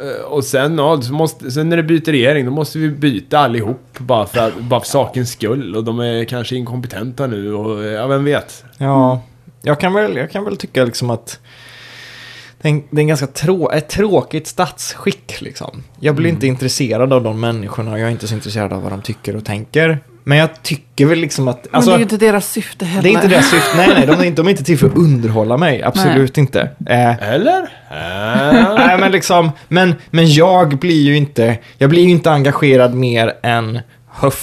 B: Eh, Och sen, ja, så måste, sen när det byter regering, då måste vi byta allihop bara för, att, bara för sakens skull. Och de är kanske inkompetenta nu och, eh, ja vem vet.
A: Ja, jag kan väl, jag kan väl tycka liksom att det är, en, det är en ganska trå, ett tråkigt statsskick liksom. Jag blir inte intresserad av de människorna och jag är inte så intresserad av vad de tycker och tänker. Men jag tycker väl liksom att...
C: Men
A: Alltså,
C: det är ju inte deras syfte heller.
A: det är inte deras syfte. Nej, nej, de är inte, de är inte till för att underhålla mig. Absolut inte. Eh,
B: Eller? Äh.
A: Nej, men liksom, men, men jag blir ju inte, jag blir ju inte engagerad mer än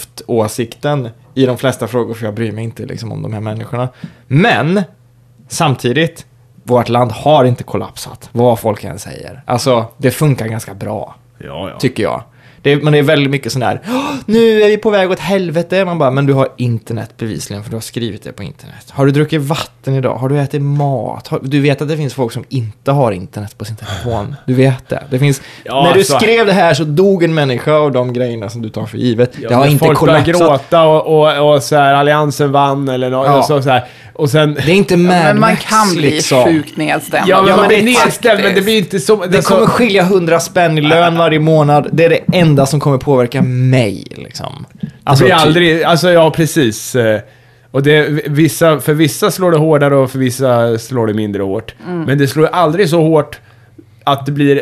A: höftåsikten i de flesta frågor, för jag bryr mig inte liksom om de här människorna. Men, samtidigt, vårt land har inte kollapsat, vad folk än säger. Alltså, det funkar ganska bra,
B: Ja, ja.
A: tycker jag. Det, är- men det är väldigt mycket sån här, "Åh, nu är vi på väg åt helvete. Man bara, men du har internet bevisligen, för du har skrivit det på internet. Har du druckit vatten idag? Har du ätit mat? Har, du vet att det finns folk som inte har internet på sin telefon. Du vet det. det finns,
B: Ja, alltså.
A: när du
B: så-
A: skrev det här så dog en människa av de grejerna som du tar för givet.
B: Ja,
A: det har
B: men
A: inte
B: folk började
A: kollapsat.
B: gråta och, och, och så här, alliansen vann eller något.
A: Ja.
B: Och, så, så här. och sen...
A: Det är inte Mad
C: Men man
A: Max,
C: kan bli
A: liksom.
C: sjukt nedstämd.
B: Ja, men
A: Ja,
B: man
A: men
B: blir
A: det-
B: nedställd, men det blir inte så...
A: Det
C: Alltså-
A: kommer skilja hundra spänn i lön varje månad. Det är det enda som kommer påverka mig. Liksom.
B: alltså, blir
A: typ-
B: aldrig... Alltså, ja, precis. eh, Och det, vissa, för vissa slår det hårdare och för vissa slår det mindre hårt.
A: Mm.
B: Men det slår aldrig så hårt att det blir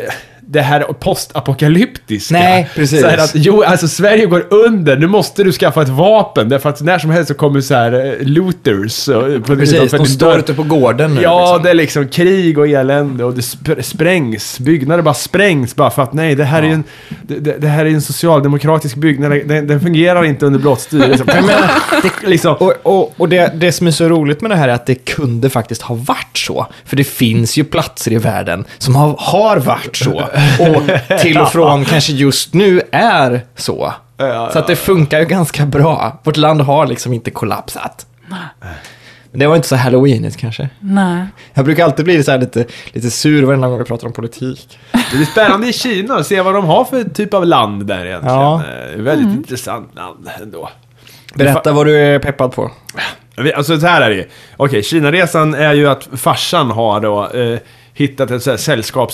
B: det här postapokalyptiska.
A: Nej, precis.
B: Så här att, jo, alltså Sverige går under, nu måste du skaffa ett vapen, därför att när som helst så kommer så här eh, looters. och- På,
A: Precis,
B: utanför
A: de
B: din dörr.
A: står ute på gården nu.
B: Ja,
A: liksom.
B: det är liksom krig och elände och det sp- sprängs. Byggnader bara sprängs bara för att nej, det här är ju en, det, det det här är en socialdemokratisk byggnad. Den, den fungerar inte under blått styre. Liksom. Jag menar, det- liksom.
A: Och, och, och det, det som är så roligt med det här är att det kunde faktiskt ha varit så. För det finns ju platser i världen som har, har varit så. Och till och från kanske just nu är så.
B: Ja, ja,
A: Så att det funkar ju ganska bra. Vårt land har liksom inte kollapsat. Men det var inte så halloweenigt kanske.
C: Nej.
A: Jag brukar alltid bli så här lite, lite sur varje gång vi pratar om politik.
B: Det är spännande i Kina att se vad de har för typ av land där egentligen.
A: Ja.
B: Eh, Väldigt intressant land ändå.
A: Berätta vad du är peppad på.
B: Vi- Alltså så här är det ju. Okej, Kinaresan är ju att farsan har då eh, hittat ett så här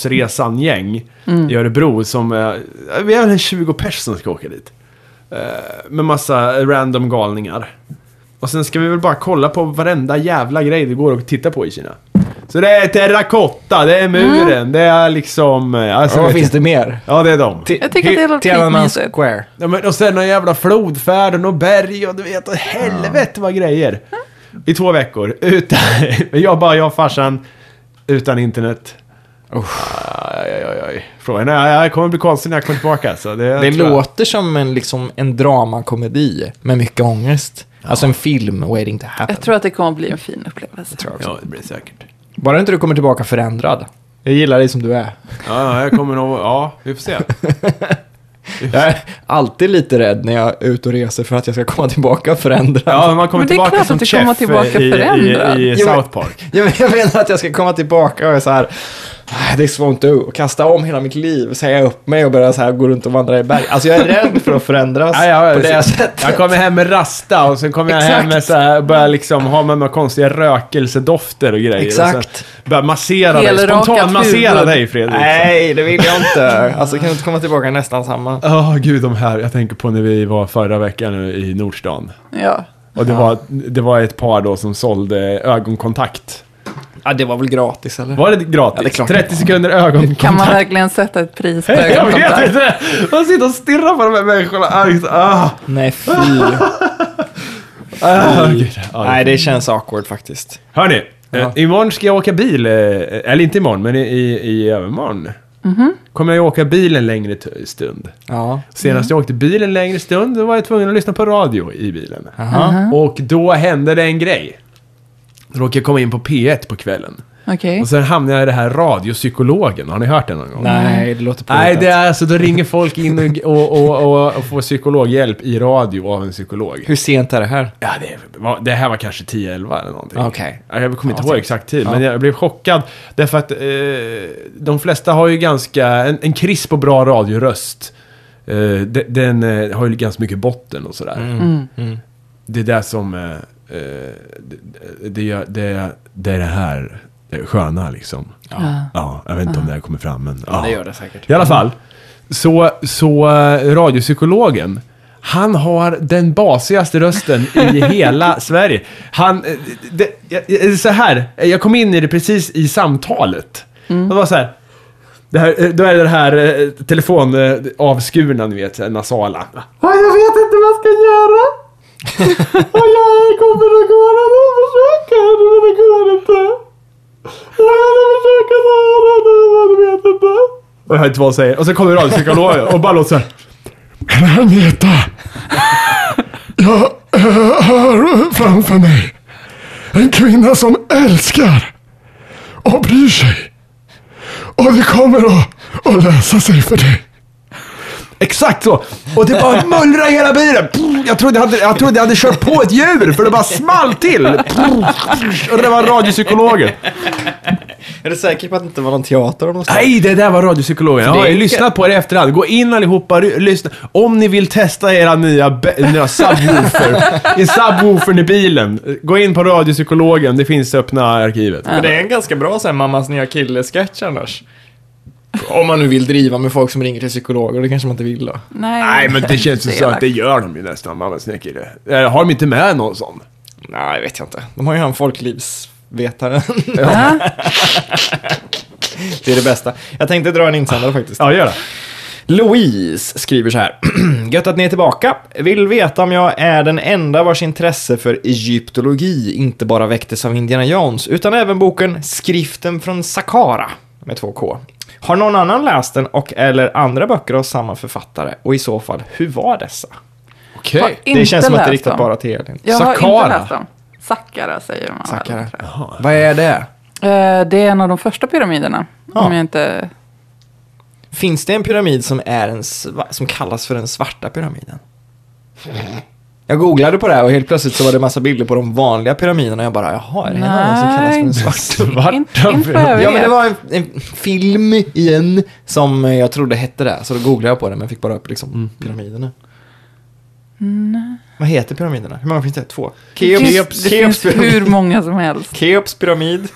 B: sällskapsresan-gäng i Örebro som är, vi är väl en 20 pers som ska åka dit. Eh, med massa random galningar. Och sen ska vi väl bara kolla på varenda jävla grej det går att titta på i Kina. Så det är terrakotta, det är muren, det är liksom... eh, Alltså,
A: Så vad
B: vet
A: finns
B: jag-
A: det mer?
B: Ja, det är de.
C: Jag tycker att det låter
A: Tiananmen
C: skitmysigt.
A: Square.
B: Ja, men, och sen någon jävla flodfärden och berg och du vet, och helvete vad grejer. I två veckor. Utan, jag bara, jag och farsan, utan internet. Aj, aj, aj, aj. Frågan är, jag kommer bli konstig när jag kommer tillbaka. Så det
A: Det
B: tror jag.
A: låter som en, liksom, en dramakomedi med mycket ångest. Alltså en film waiting to happen.
C: Jag tror att det kommer bli en fin upplevelse.
B: Ja, det blir säkert.
A: Bara inte du kommer tillbaka förändrad. Jag gillar dig som du är.
B: Ja, jag kommer nog, ja, vi får se.
A: Jag är alltid lite rädd när jag är ute och reser för att jag ska komma tillbaka förändrad.
B: Ja, man kommer
C: Men det är klart
B: tillbaka
C: att
B: som
C: du kommer
B: chef
C: tillbaka
B: i,
C: förändrad.
B: i, i
A: Jo, men-
B: South Park.
A: Jag, men- jag menar att jag ska komma tillbaka och är så här, "Ah, this won't do, och kasta om hela mitt liv, säga upp mig och börja så här gå runt och vandra i berg. Alltså jag är rädd för att förändras
B: Ja, ja,
A: på
B: precis.
A: det sättet.
B: Jag kommer hem med rasta och sen kommer jag hem
A: Exakt.
B: med så här, börjar liksom ha med mig konstiga rökelsedofter och grejer. Och
A: Exakt.
B: sen börjar massera dig,
C: Helrakat
B: spontan massera
C: huvud.
B: dig Fredrik.
A: Nej, det vill jag inte. Alltså kan du inte komma tillbaka nästan samma?
B: Åh gud, de här, jag tänker på när vi var förra veckan i Nordstan.
C: Ja.
B: Och det, var, det var ett par då som sålde ögonkontakt.
A: Ja, det var väl gratis eller?
B: Var det gratis?
A: Ja, det är klart.
B: 30 sekunder
C: Kan man
B: ögonkontakt.
C: verkligen sätta ett pris på
B: Jag
C: ögonkontakt?
B: vet inte! Man sitter och stirrar på de här människorna. Ah,
A: Nej, fy.
B: ah, gud. Ja, det-
A: Nej, det känns awkward faktiskt.
B: Hörni,
A: Ja.
B: eh, imorgon ska jag åka bil. Eh, eller inte imorgon, men i, i, i övermorgon. Kommer jag åka bil en längre t- stund.
A: Ja.
B: Senast jag åkte bil en längre stund, då var jag tvungen att lyssna på radio i bilen.
A: Aha.
B: Och då hände det en grej. Då råkade jag komma in på P1 på kvällen.
C: Okej.
B: Och sen hamnade jag i det här radiopsykologen. Har ni hört det någon gång?
A: Nej, det låter
B: Nej, det är alltså då ringer folk in och, och, och, och, och får psykologhjälp i radio av en psykolog.
A: Hur sent är det här?
B: Ja, det, var, det här var kanske 10-11 eller någonting.
A: Okej.
B: Ja, Jag kommer inte
A: Ja,
B: ihåg
A: typ.
B: exakt tid,
A: Ja.
B: men jag blev chockad. Därför att eh, de flesta har ju ganska, en, en krisp och bra radioröst. Eh, de, den eh, har ju ganska mycket botten och sådär.
A: Mm.
B: Det är det som, eh, eh, det, det, gör- det, det är det här eh, sköna liksom.
A: Ja.
B: Ja, jag vet inte om det här kommer fram, men ja.
A: det säkert.
B: I alla fall, så, så eh, radiopsykologen, han har den basigaste rösten i hela Sverige. Han, eh, det, jag- jag- så här, jag kom in i det precis i samtalet. Det var så här, det här, eh, då är det det här eh, telefonavskurna, ni vet, så här nasala. "Ja, Jag vet inte vad jag ska göra. Och jag kommer att gå och försöka, men det går inte. Jag försöker göra det, men jag vet inte. Och jag hör inte vad hon säger. Och så kommer radiopsykologen och bara låter så här.
D: Kan han veta? Jag eh, har framför mig en kvinna som älskar och bryr sig. Och det kommer att, att lösa sig för dig.
B: Exakt så! Och det bara mullrar i hela bilen. Jag trodde jag hade, jag trodde jag hade kört på ett djur för det bara small till. Och det var radiopsykologen.
A: Är du säker på att det inte var någon teater om någonstans?
B: Nej, det där var radiopsykologen. Jag har
A: Det
B: ju
A: är-
B: lyssnat på det i efterhand. Gå in allihopa, ry- lyssna. Om ni vill testa era nya, be- nya subwoofer, i subwoofern i bilen, gå in på radiopsykologen. Det finns i öppna arkivet.
A: Men det är en ganska bra sån här mammas nya kille-sketch annars. Om man nu vill driva med folk som ringer till psykologer, det kanske man inte vill då.
C: Nej.
B: Nej, men det känns ju så att
C: elakt.
B: det gör de ju nästan, Mamma Snickare. Eh, Har de inte med någon sån?
A: Nej, vet jag inte. De har ju han folklivsvetaren.
C: Ja.
A: det är det bästa. Jag tänkte dra en insändare faktiskt.
B: Ja, gör det.
A: Louise skriver så här. Gött att ni är tillbaka. Vill veta om jag är den enda vars intresse för egyptologi inte bara väcktes av Indiana Jones, utan även boken Skriften från Saqqara med två K. Har någon annan läst den och eller andra böcker av samma författare? Och i så fall, hur var dessa?
B: Okej.
C: Har
A: det
C: inte
A: känns som att
C: läst
A: det är riktat
C: dem.
A: bara till Elin.
C: Jag har
B: Sakara.
C: inte läst dem. Sakkara säger man. väl,
A: Saqqara.
C: tror jag.
A: Vad är det?
C: Eh, Det är en av de första pyramiderna.
A: Ja.
C: Om jag inte...
A: Finns det en pyramid som, är en sva- som kallas för den svarta pyramiden? Jag googlade på det här och helt plötsligt så var det massa bilder på de vanliga pyramiderna. Jag bara, jaha, är det en annan som kallas för en
C: Nej.
A: svart?
C: Inte, inte vad jag
A: Ja, men det
C: vet.
A: var en, en film igen som jag trodde hette det. Så då googlade jag på det, men fick bara upp liksom pyramiderna. Vad heter pyramiderna? Hur många finns det? Två?
C: Det
A: Keops,
C: finns, det
A: Keops
C: finns
A: pyramid.
C: hur många som helst.
A: Keops pyramid.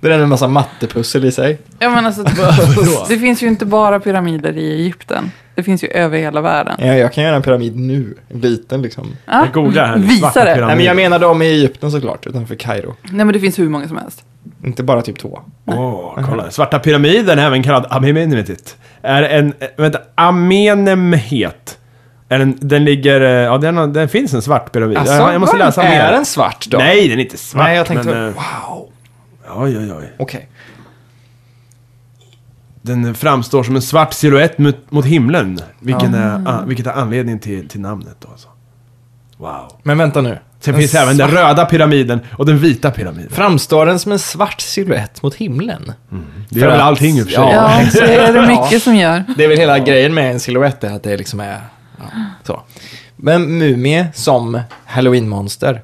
A: Det är en massa mattepussel i sig.
C: Jag menar, så, det finns ju inte bara pyramider i Egypten. Det finns ju över hela världen.
A: Jag, jag kan göra en pyramid nu. En liten liksom.
C: Ah,
B: Jag googlar här nu. Svarta
C: Visa det.
B: pyramid.
A: Nej, men jag menar dem i Egypten såklart, utanför Kairo.
C: Nej, men det finns hur många som helst.
A: Inte bara typ två.
B: Åh, kolla. Svarta pyramiden, även kallad Amenemhet, är en... eh, Vänta, Amenemhet. Är en, den ligger... eh, Ja, den, den finns en svart pyramid.
A: Alltså,
B: jag, jag måste
A: vad
B: läsa mer.
A: Är den svart då?
B: Nej, den är inte svart.
A: Nej, jag tänkte...
B: men, eh,
A: wow.
B: Oj, oj, oj.
A: Okej.
B: Den framstår som en svart silhuett mot, mot himlen. Vilken är, ah, vilket är anledningen till, till namnet då alltså. Wow.
A: Men vänta nu.
B: Sen
A: Den
B: finns även den röda pyramiden och den vita pyramiden.
A: Framstår den som en svart silhuett mot himlen?
B: Det är
A: För
B: väl
A: att-
B: allting i och för sig.
A: Ja,
C: Ja, det är det
A: Ja.
C: mycket som gör.
A: Det är väl hela grejen med en silhuett, är att det liksom är ja, så. Men mumie som halloween-monster,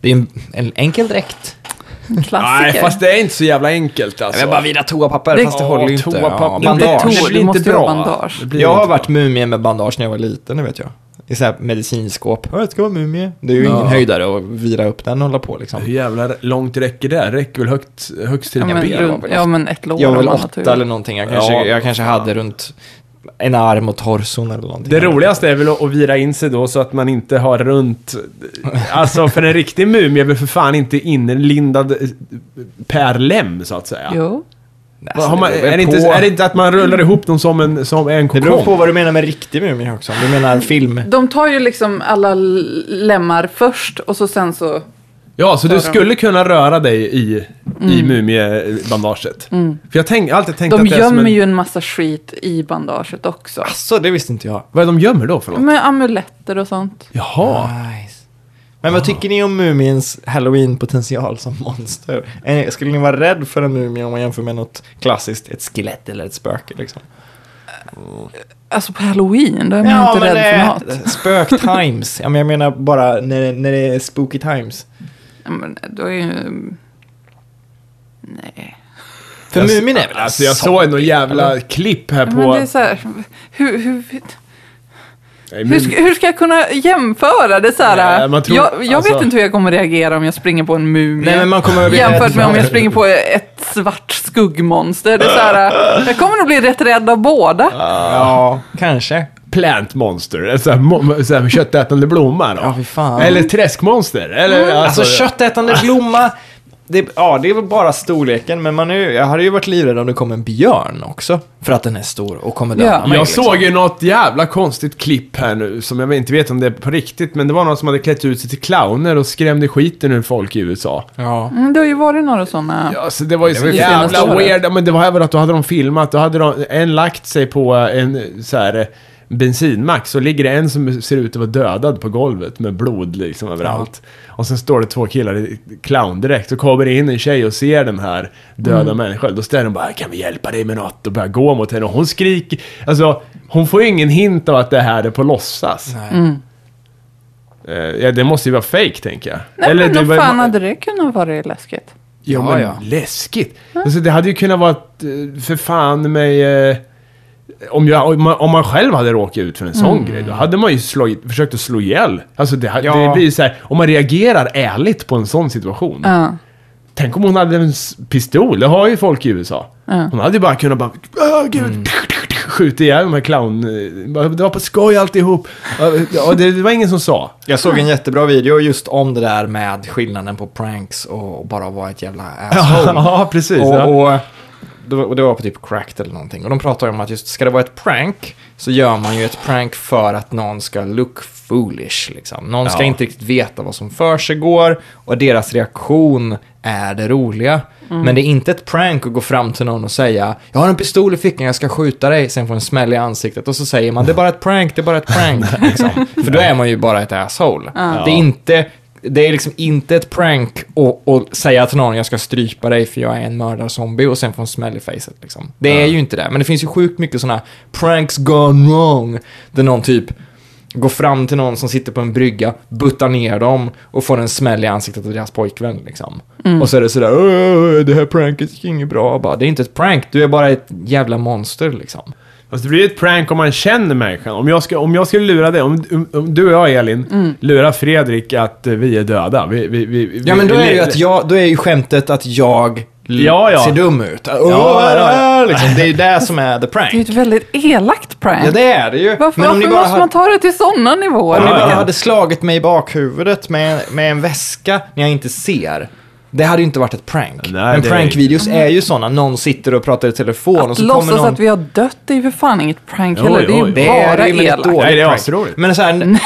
A: det är ju en, en enkel dräkt.
B: Nej,
C: Klassiker.
B: fast det är inte så jävla enkelt alltså.
A: Jag bara vira toapapper,
C: Det-
A: fast det håller ju
B: Ja,
A: inte.
B: toapapper.
A: Ja,
B: Det blir
A: bandage.
C: to-
B: Det blir
C: Du
B: inte
C: måste göra
B: bra.
C: bandage.
B: Det blir
A: Jag har
B: inte
A: varit mumie med bandage när jag var liten, det vet jag. I så här medicinskåp. Ja, det ska vara mumie. Det är ju ingen höjdare att vira upp den och hålla på liksom.
B: Hur jävla långt räcker det? Räcker väl högt, högst till
C: ja,
B: dina
C: men,
B: ben?
C: runt, ja, men ett lår.
A: Jag var väl
C: om man har tur.
A: åtta eller någonting. Jag kanske,
B: Ja.
A: jag kanske hade runt en arm och torson eller någonting.
B: Det roligaste är väl att att vira in sig då så att man inte har runt... Alltså för en riktig mumie är väl för fan inte inlindad eh, per lem så att säga.
C: Jo.
A: Alltså,
B: Har man,
A: beror väl
B: är, det inte,
A: på.
B: är det inte att man rullar ihop dem som en, som en
A: Det beror på
B: kokong?
A: vad du menar med riktig mumie också. Om du menar film.
C: De tar ju liksom alla l- lemmar först och så sen så...
B: Ja, så du skulle kunna röra dig i, i mumiebandaget. För jag tänk, alltid tänkt
C: Mm. De
B: att det är som
C: gömmer
B: en, Alltså.
C: ju en massa skit i bandaget också.
A: Asså, Alltså, det visste inte jag.
B: Vad är de gömmer då för något?
C: Med amuletter och sånt.
B: Jaha.
A: Nice. Men vad tycker ni om mumiens halloween-potential som monster? Eh, Skulle ni vara rädd för en mumie om man jämför med något klassiskt, ett skelett eller ett spöke liksom?
C: Alltså på halloween, då är man ju inte rädd för något.
A: spök times. Ja, men jag menar bara när, när det är spooky times.
C: Ja, men då är ju... Nej.
A: För
B: Jag-
A: mumin är väl en
B: Alltså jag
A: zombie,
B: såg någon jävla klipp här
C: Ja, Men det
B: på...
C: är så här, hur, hur,
B: Nej,
C: hur,
B: mum-
C: ska, hur ska jag kunna jämföra det så här?
B: Nej, man tror-
C: jag jag
B: alltså-
C: vet inte hur jag kommer reagera om jag springer på en mumie.
A: Nej, men man kommer att bli rädd
C: Jämfört med
A: för-
C: om jag springer på ett svart skuggmonster. Det är så här, jag kommer nog bli rätt rädd av båda.
A: Ja, kanske.
B: plant monster, en sån här, mo- sån här köttätande blomma då.
A: Ja, fy fan.
B: Eller träskmonster, eller
A: Alltså köttätande blomma, det, ja det är väl bara storleken, men man är, ju- jag hade ju varit livrädd om det kom en björn också. För att den är stor och kommer döda
C: Ja.
A: mig. liksom.
B: Jag såg ju något jävla konstigt klipp här nu, som jag inte vet om det är på riktigt, men det var någon som hade klätt ut sig till clowner och skrämde skiten ur folk i USA.
A: Ja.
C: Mm, det har ju varit några sådana.
B: Ja, så det var ju så
A: var ju
C: senaste
B: jävla
C: året.
B: weird. Ja, Men det var även att då hade de filmat, då hade de, en lagt sig på en så här eh, bensinmack, så ligger det en som ser ut att vara dödad på golvet med blod liksom överallt. Och sen står det två killar i clowndräkt, och kommer in en tjej och ser den här döda människan. Då ställer de bara “Kan vi hjälpa dig med något?” och börjar gå mot henne. Och hon skriker, alltså hon får ju ingen hint av att det här är på låtsas.
A: Nej.
C: Mm.
B: Eh, Ja, det måste ju vara fake tänker jag.
C: Nej, men
B: det
C: vad
B: var-
C: fan hade det kunnat vara läskigt?
B: Ja,
A: Ja,
B: men
A: ja.
B: läskigt. Alltså, det hade ju kunnat vara ett, eh, för fan mig... eh, Om, jag, om, man, om man själv hade råkat ut för en sån grej, då hade man ju slagit, försökt att slå ihjäl. Alltså det, ha-
A: Ja.
B: det blir ju så här, om man reagerar ärligt på en sån situation.
C: Ja.
B: Tänk om hon hade en s- pistol, det har ju folk i USA. Hon hade ju bara kunnat bara, "Åh, gud, skjuta ihjäl de här clown... eh, bara, Det var på skoj alltihop. Ja, Och det, det var ingen som sa.
A: Jag såg en jättebra video just om det där med skillnaden på pranks och bara vara ett jävla asshole.
B: Ja, precis. ja.
A: Och, och, det var- och det var på typ cracked eller någonting. Och de pratade om att just ska det vara ett prank så gör man ju ett prank för att någon ska look foolish. Liksom. Någon ska
B: Ja.
A: inte riktigt veta vad som för sig går och deras reaktion är det roliga. Men det är inte ett prank att gå fram till någon och säga jag har en pistol i fickan, jag ska skjuta dig, sen får en smäll i ansiktet och så säger man det är bara ett prank, det är bara ett prank. liksom. För då är man ju bara ett asshole. Det är inte det är liksom inte ett prank att att säga till någon jag ska strypa dig för jag är en mördarzombie och sen få en smäll i facet. Liksom. Det är ju inte det, men det finns ju sjukt mycket sådana pranks gone wrong. Där någon typ Går fram till någon som sitter på en brygga, buttar ner dem och får en smäll i ansiktet av deras pojkvän liksom. Och så är det sådär, "Åh, det här pranket gick inget bra. Jag Bara, det är inte ett prank, du är bara ett jävla monster liksom.
B: Fast det blir ju ett prank om man känner människan. Om jag, ska, om jag skulle lura dig, om, om- om du och jag Elin,
C: Mm.
B: lurar Fredrik att eh, vi är döda. Vi, vi, vi,
A: Ja
B: vi,
A: men då
B: vi-
A: är det ju att jag, då är ju skämtet att jag l-
B: Ja, ja.
A: ser dum ut. Åh,
B: ja,
A: vad är det
B: ja.
A: här? Liksom, det är ju det som är the
C: Det är ju
A: prank.
C: ett väldigt elakt prank.
A: Ja det är det ju.
C: Varför,
A: men om
C: varför
A: ni bara
C: måste
A: hade-
C: man ta det till sådana nivåer?
A: Om ni
B: Ja,
A: bara
B: ja.
A: hade slagit mig i bakhuvudet med, med en väska när jag inte ser. Det hade ju inte varit ett prank.
B: Nej,
A: Men
B: det är-
A: prankvideos är ju sådana, någon sitter och pratar i telefon och
C: Att
A: så
C: låtsas
A: kommer någon...
C: att vi har dött det är ju för fan inget prank
B: Oj,
C: heller. Det är ju
B: oj, oj.
C: bara
A: ju, men ett
C: elakt.
A: dåligt
B: Nej, det är
A: prank.
B: asroligt.
A: Men så här, n-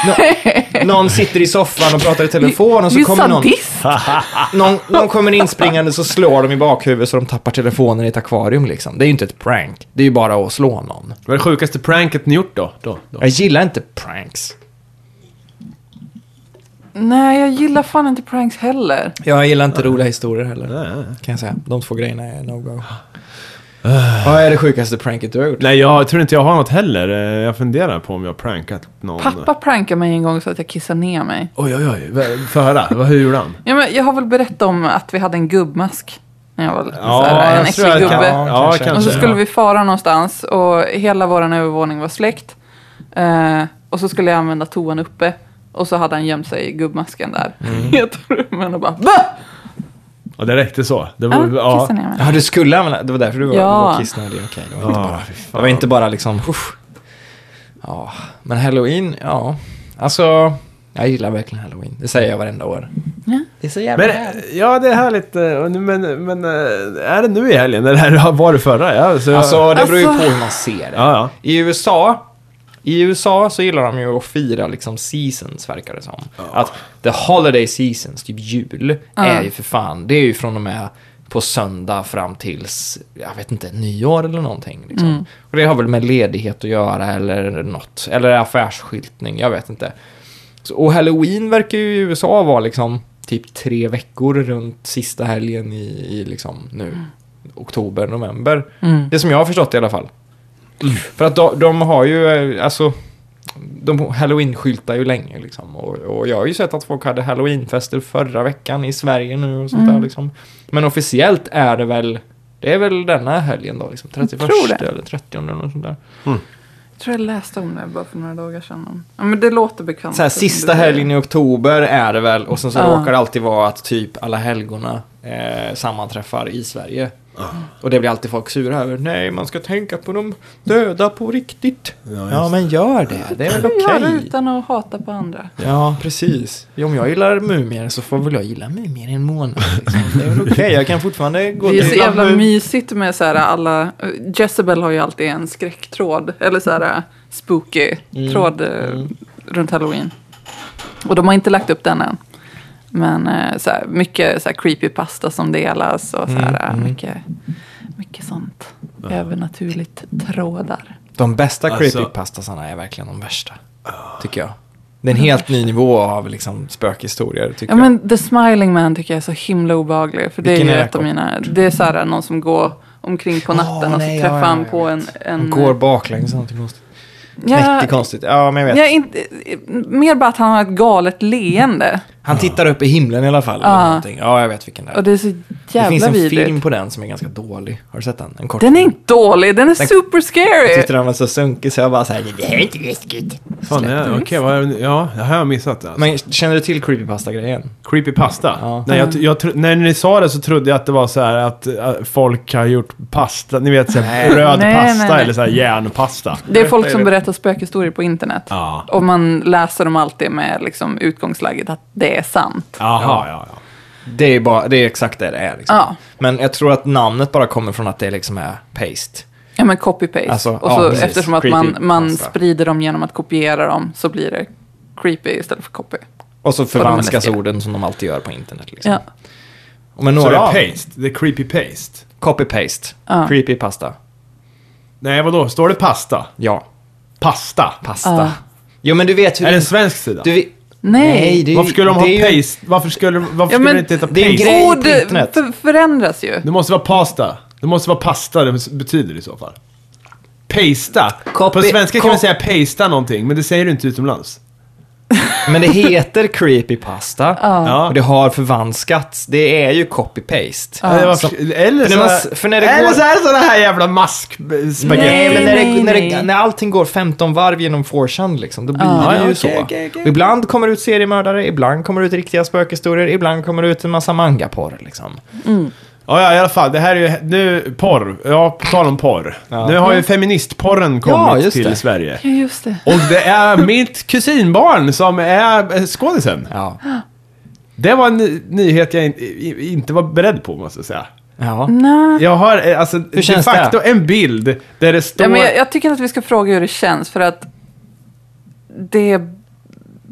A: nå- någon sitter i soffan och pratar i telefon och
C: Det är
A: så
C: ju
A: kommer någon,
C: sadist.
A: någon, någon kommer inspringande så slår de i bakhuvudet så de tappar telefonen i ett akvarium liksom. Det är ju inte ett prank. Det är ju bara att slå någon.
B: Vad är det sjukaste pranket ni gjort då? då, då.
A: Jag gillar inte pranks.
C: Nej, jag gillar fan inte pranks heller.
A: Jag gillar inte roliga historier heller. Kan jag säga. De två grejerna är no-go.
B: Ah.
A: Vad är det sjukaste pranket du har gjort?
B: Nej, jag tror inte jag har något heller. Eh, Jag funderar på om jag har prankat någon.
C: Pappa prankade mig en gång så att jag kissade ner mig.
B: Oj, oj, oj. Vad- Få höra. Vad- Hur gjorde han?
C: Ja, men jag har väl berättat om att vi hade en gubbmask. När jag var lite så
B: Ja,
C: här, en
B: jag tror
C: äcklig
B: jag-
C: gubbe.
B: Ja, kanske.
C: och så skulle
B: ja.
C: vi fara någonstans och hela vår övervåning var släckt. Eh, och så skulle jag använda toan uppe. Och så hade han gömt sig i gubbmasken där.
A: Mm.
C: Jag tog upp den och bara Va?
B: Ja, det räckte så. Det
C: Ja,
B: var, ja.
C: kissade ner mig.
A: Oh, Ja, du skulle använda... Det var därför du var,
C: Ja.
A: var kissnödig. Okej, det, var inte bara,
B: fy Ah, fan.
A: det var inte bara liksom... Usch. Ja, men halloween, ja. Alltså, jag gillar verkligen halloween. Det säger jag varenda år.
C: Ja.
A: Det är så jävla
B: Men,
A: härligt.
B: ja, det är härligt. eh, Men, men eh, är det nu i helgen? Eller var det förra? Ja, så jag-
A: Alltså, det beror ju på
C: Alltså.
A: hur man ser det.
B: Ja, ja.
A: I USA, i USA så gillar de ju att fira liksom seasons verkar det som. Att the holiday seasons, typ jul, är ju för fan, det är ju från och med på söndag fram tills, jag vet inte, nyår eller någonting. Liksom. Och det har väl med ledighet att göra eller något. Eller affärsskyltning, jag vet inte. Så, och halloween verkar ju i USA vara liksom typ tre veckor runt sista helgen i, i liksom nu. Oktober, november. Det som jag har förstått i alla fall. För att de, de har ju, eh, alltså, de halloween-skyltar ju länge liksom. Och, och jag har ju sett att folk hade halloweenfester förra veckan i Sverige nu och sånt där
C: Mm.
A: liksom. Men officiellt är det väl, det är väl denna helgen då liksom. 31
C: tror det.
A: eller 30 eller något sånt där.
C: Jag tror jag läste om det bara för några dagar sedan. Ja, men det låter bekant.
A: Så här,
C: som du
A: sista
C: säger.
A: helgen i oktober är det väl och sen så
C: Ja.
A: råkar det alltid vara att typ alla helgona eh, sammanträffar i Sverige. Och det blir alltid folk sura över. Nej, man ska tänka på de döda på riktigt. Ja, men gör det. Det är väl
C: Gör det
A: okej.
C: utan att hata på andra.
A: Ja, precis. Ja, Om jag gillar mumier så får väl jag gilla mumier i en månad. Liksom. Det är väl okej. Jag kan fortfarande gå
C: Det är så
A: till...
C: jävla mysigt med så här alla, Jezebel har ju alltid en skräcktråd, eller så
A: Mm.
C: här spooky tråd eh, runt halloween. Och de har inte lagt upp den än. Men eh, så här, mycket så här creepypasta som delas och så här,
A: Mm,
C: eh, mycket, mycket sånt. Övernaturligt trådar.
A: De bästa
B: Alltså-
A: creepypastasarna är verkligen de värsta. Tycker jag. Det är en helt ny nivå av liksom, spökhistorier, tycker
C: Ja, men The Smiling Man tycker jag är så himla obehaglig. För det är
A: Vilken
C: ju
A: är det,
C: ett av
A: Jakob?
C: mina, det är så här någon som går omkring på natten och så
A: nej, ja,
C: träffar
A: ja,
C: han
A: jag
C: på en...
A: jag. De
C: en
A: går baklänges eller någonting konstigt.
C: Ja,
A: Knäckig konstigt. Ja, men jag vet.
C: Ja, inte, mer bara att han har ett galet leende.
A: Han tittar upp i himlen i alla fall. Eller någonting. Ja, jag vet vilken det är.
C: Och det är så
A: det finns
C: jävla
A: en
C: vidrigt.
A: film på den som är ganska dålig. Har du sett den? En kort
C: Den är
A: film.
C: inte dålig, den är super
A: Jag
C: scary.
A: tyckte den var så sunkig så jag bara så här, det här är inte läskigt.
B: Fan, ja, okej. vad är det nu? ja, det här har jag missat. Alltså.
A: Men känner du till creepypasta-grejen?
B: Creepypasta?
A: Ja.
B: Nej, jag, jag, tro- när ni sa det så trodde jag att det var så här att eh, folk har gjort pasta, ni vet så här röd
C: Nej,
B: pasta
C: nej, nej.
B: eller så här järnpasta.
C: Det är folk som berättar spökhistorier på internet.
B: Ja.
C: Och man läser dem alltid med liksom utgångsläget att det är sant.
B: Jaha, ja, ja.
A: Det är, bara, det är exakt det det är. Liksom.
C: Ja.
A: Men jag tror att namnet bara kommer från att det liksom är paste.
C: Ja men copy-paste.
A: Alltså,
C: och
A: ja,
C: så
A: precis. Alltså.
C: eftersom att man, man
A: Creepypasta.
C: sprider dem genom att kopiera dem så blir det creepy istället för copy.
A: Och så förvanskas
C: läskiga.
A: orden som de alltid gör på internet. Liksom.
C: Ja.
A: Och men
B: Så det
A: några
B: är
A: av
B: paste? Det är copy-paste?
A: Copy-paste.
C: Ja.
A: Creepypasta.
B: Nej, vadå? Står det pasta?
A: Ja.
B: Pasta?
A: Pasta.
C: Ja.
A: Jo, men du vet hur...
B: Är det en svensk sida?
A: du, vet-
C: Nej.
A: det är ju-
B: varför skulle de ha
A: det är ju-
B: paste? Varför skulle, varför
C: Ja,
B: skulle
C: men
B: det inte heta
A: det är en
B: paste?
A: grej. på
C: Ord
A: internet.
C: för, förändras ju.
B: Det måste vara pasta. Det måste vara pasta det betyder i så fall. Pasta.
A: Copy-
B: På svenska kan
A: cop-
B: man säga pasta någonting, men det säger du inte utomlands.
A: Men det heter creepypasta.
B: Ja.
A: Och det har förvanskats. Det är ju copy-paste.
B: Ja, det var-
A: Så-
B: eller,
A: För
B: så,
A: när man s- för när det
B: eller
A: går-
B: så är det sådana här jävla mask spagetti.
A: Nej, men när, det,
C: nej,
A: när, det,
C: nej.
A: när allting går 15 varv genom 4chan liksom, då blir det ju
B: okej,
A: så.
B: okej, okej.
A: Och Ibland kommer det ut seriemördare, ibland kommer det ut riktiga spökhistorier, ibland kommer det ut en massa mangaporr liksom.
B: Ja, ja, i alla fall. Det här är ju nu porr. Ja, på tal om porr.
A: Ja.
B: Nu har ju feministporren
A: Ja,
B: kommit
A: just
B: till
A: det.
B: Sverige.
C: Ja, just det.
B: Och det är mitt kusinbarn som är eh, skådisen.
A: Ja.
B: Det var en ny- nyhet jag in, i- inte var beredd på, måste jag säga.
A: ja.
C: Nej.
B: Jag har eh, alltså de
A: känns
B: facto en bild där det står...
C: Ja, men jag, jag tycker att vi ska fråga hur det känns för att det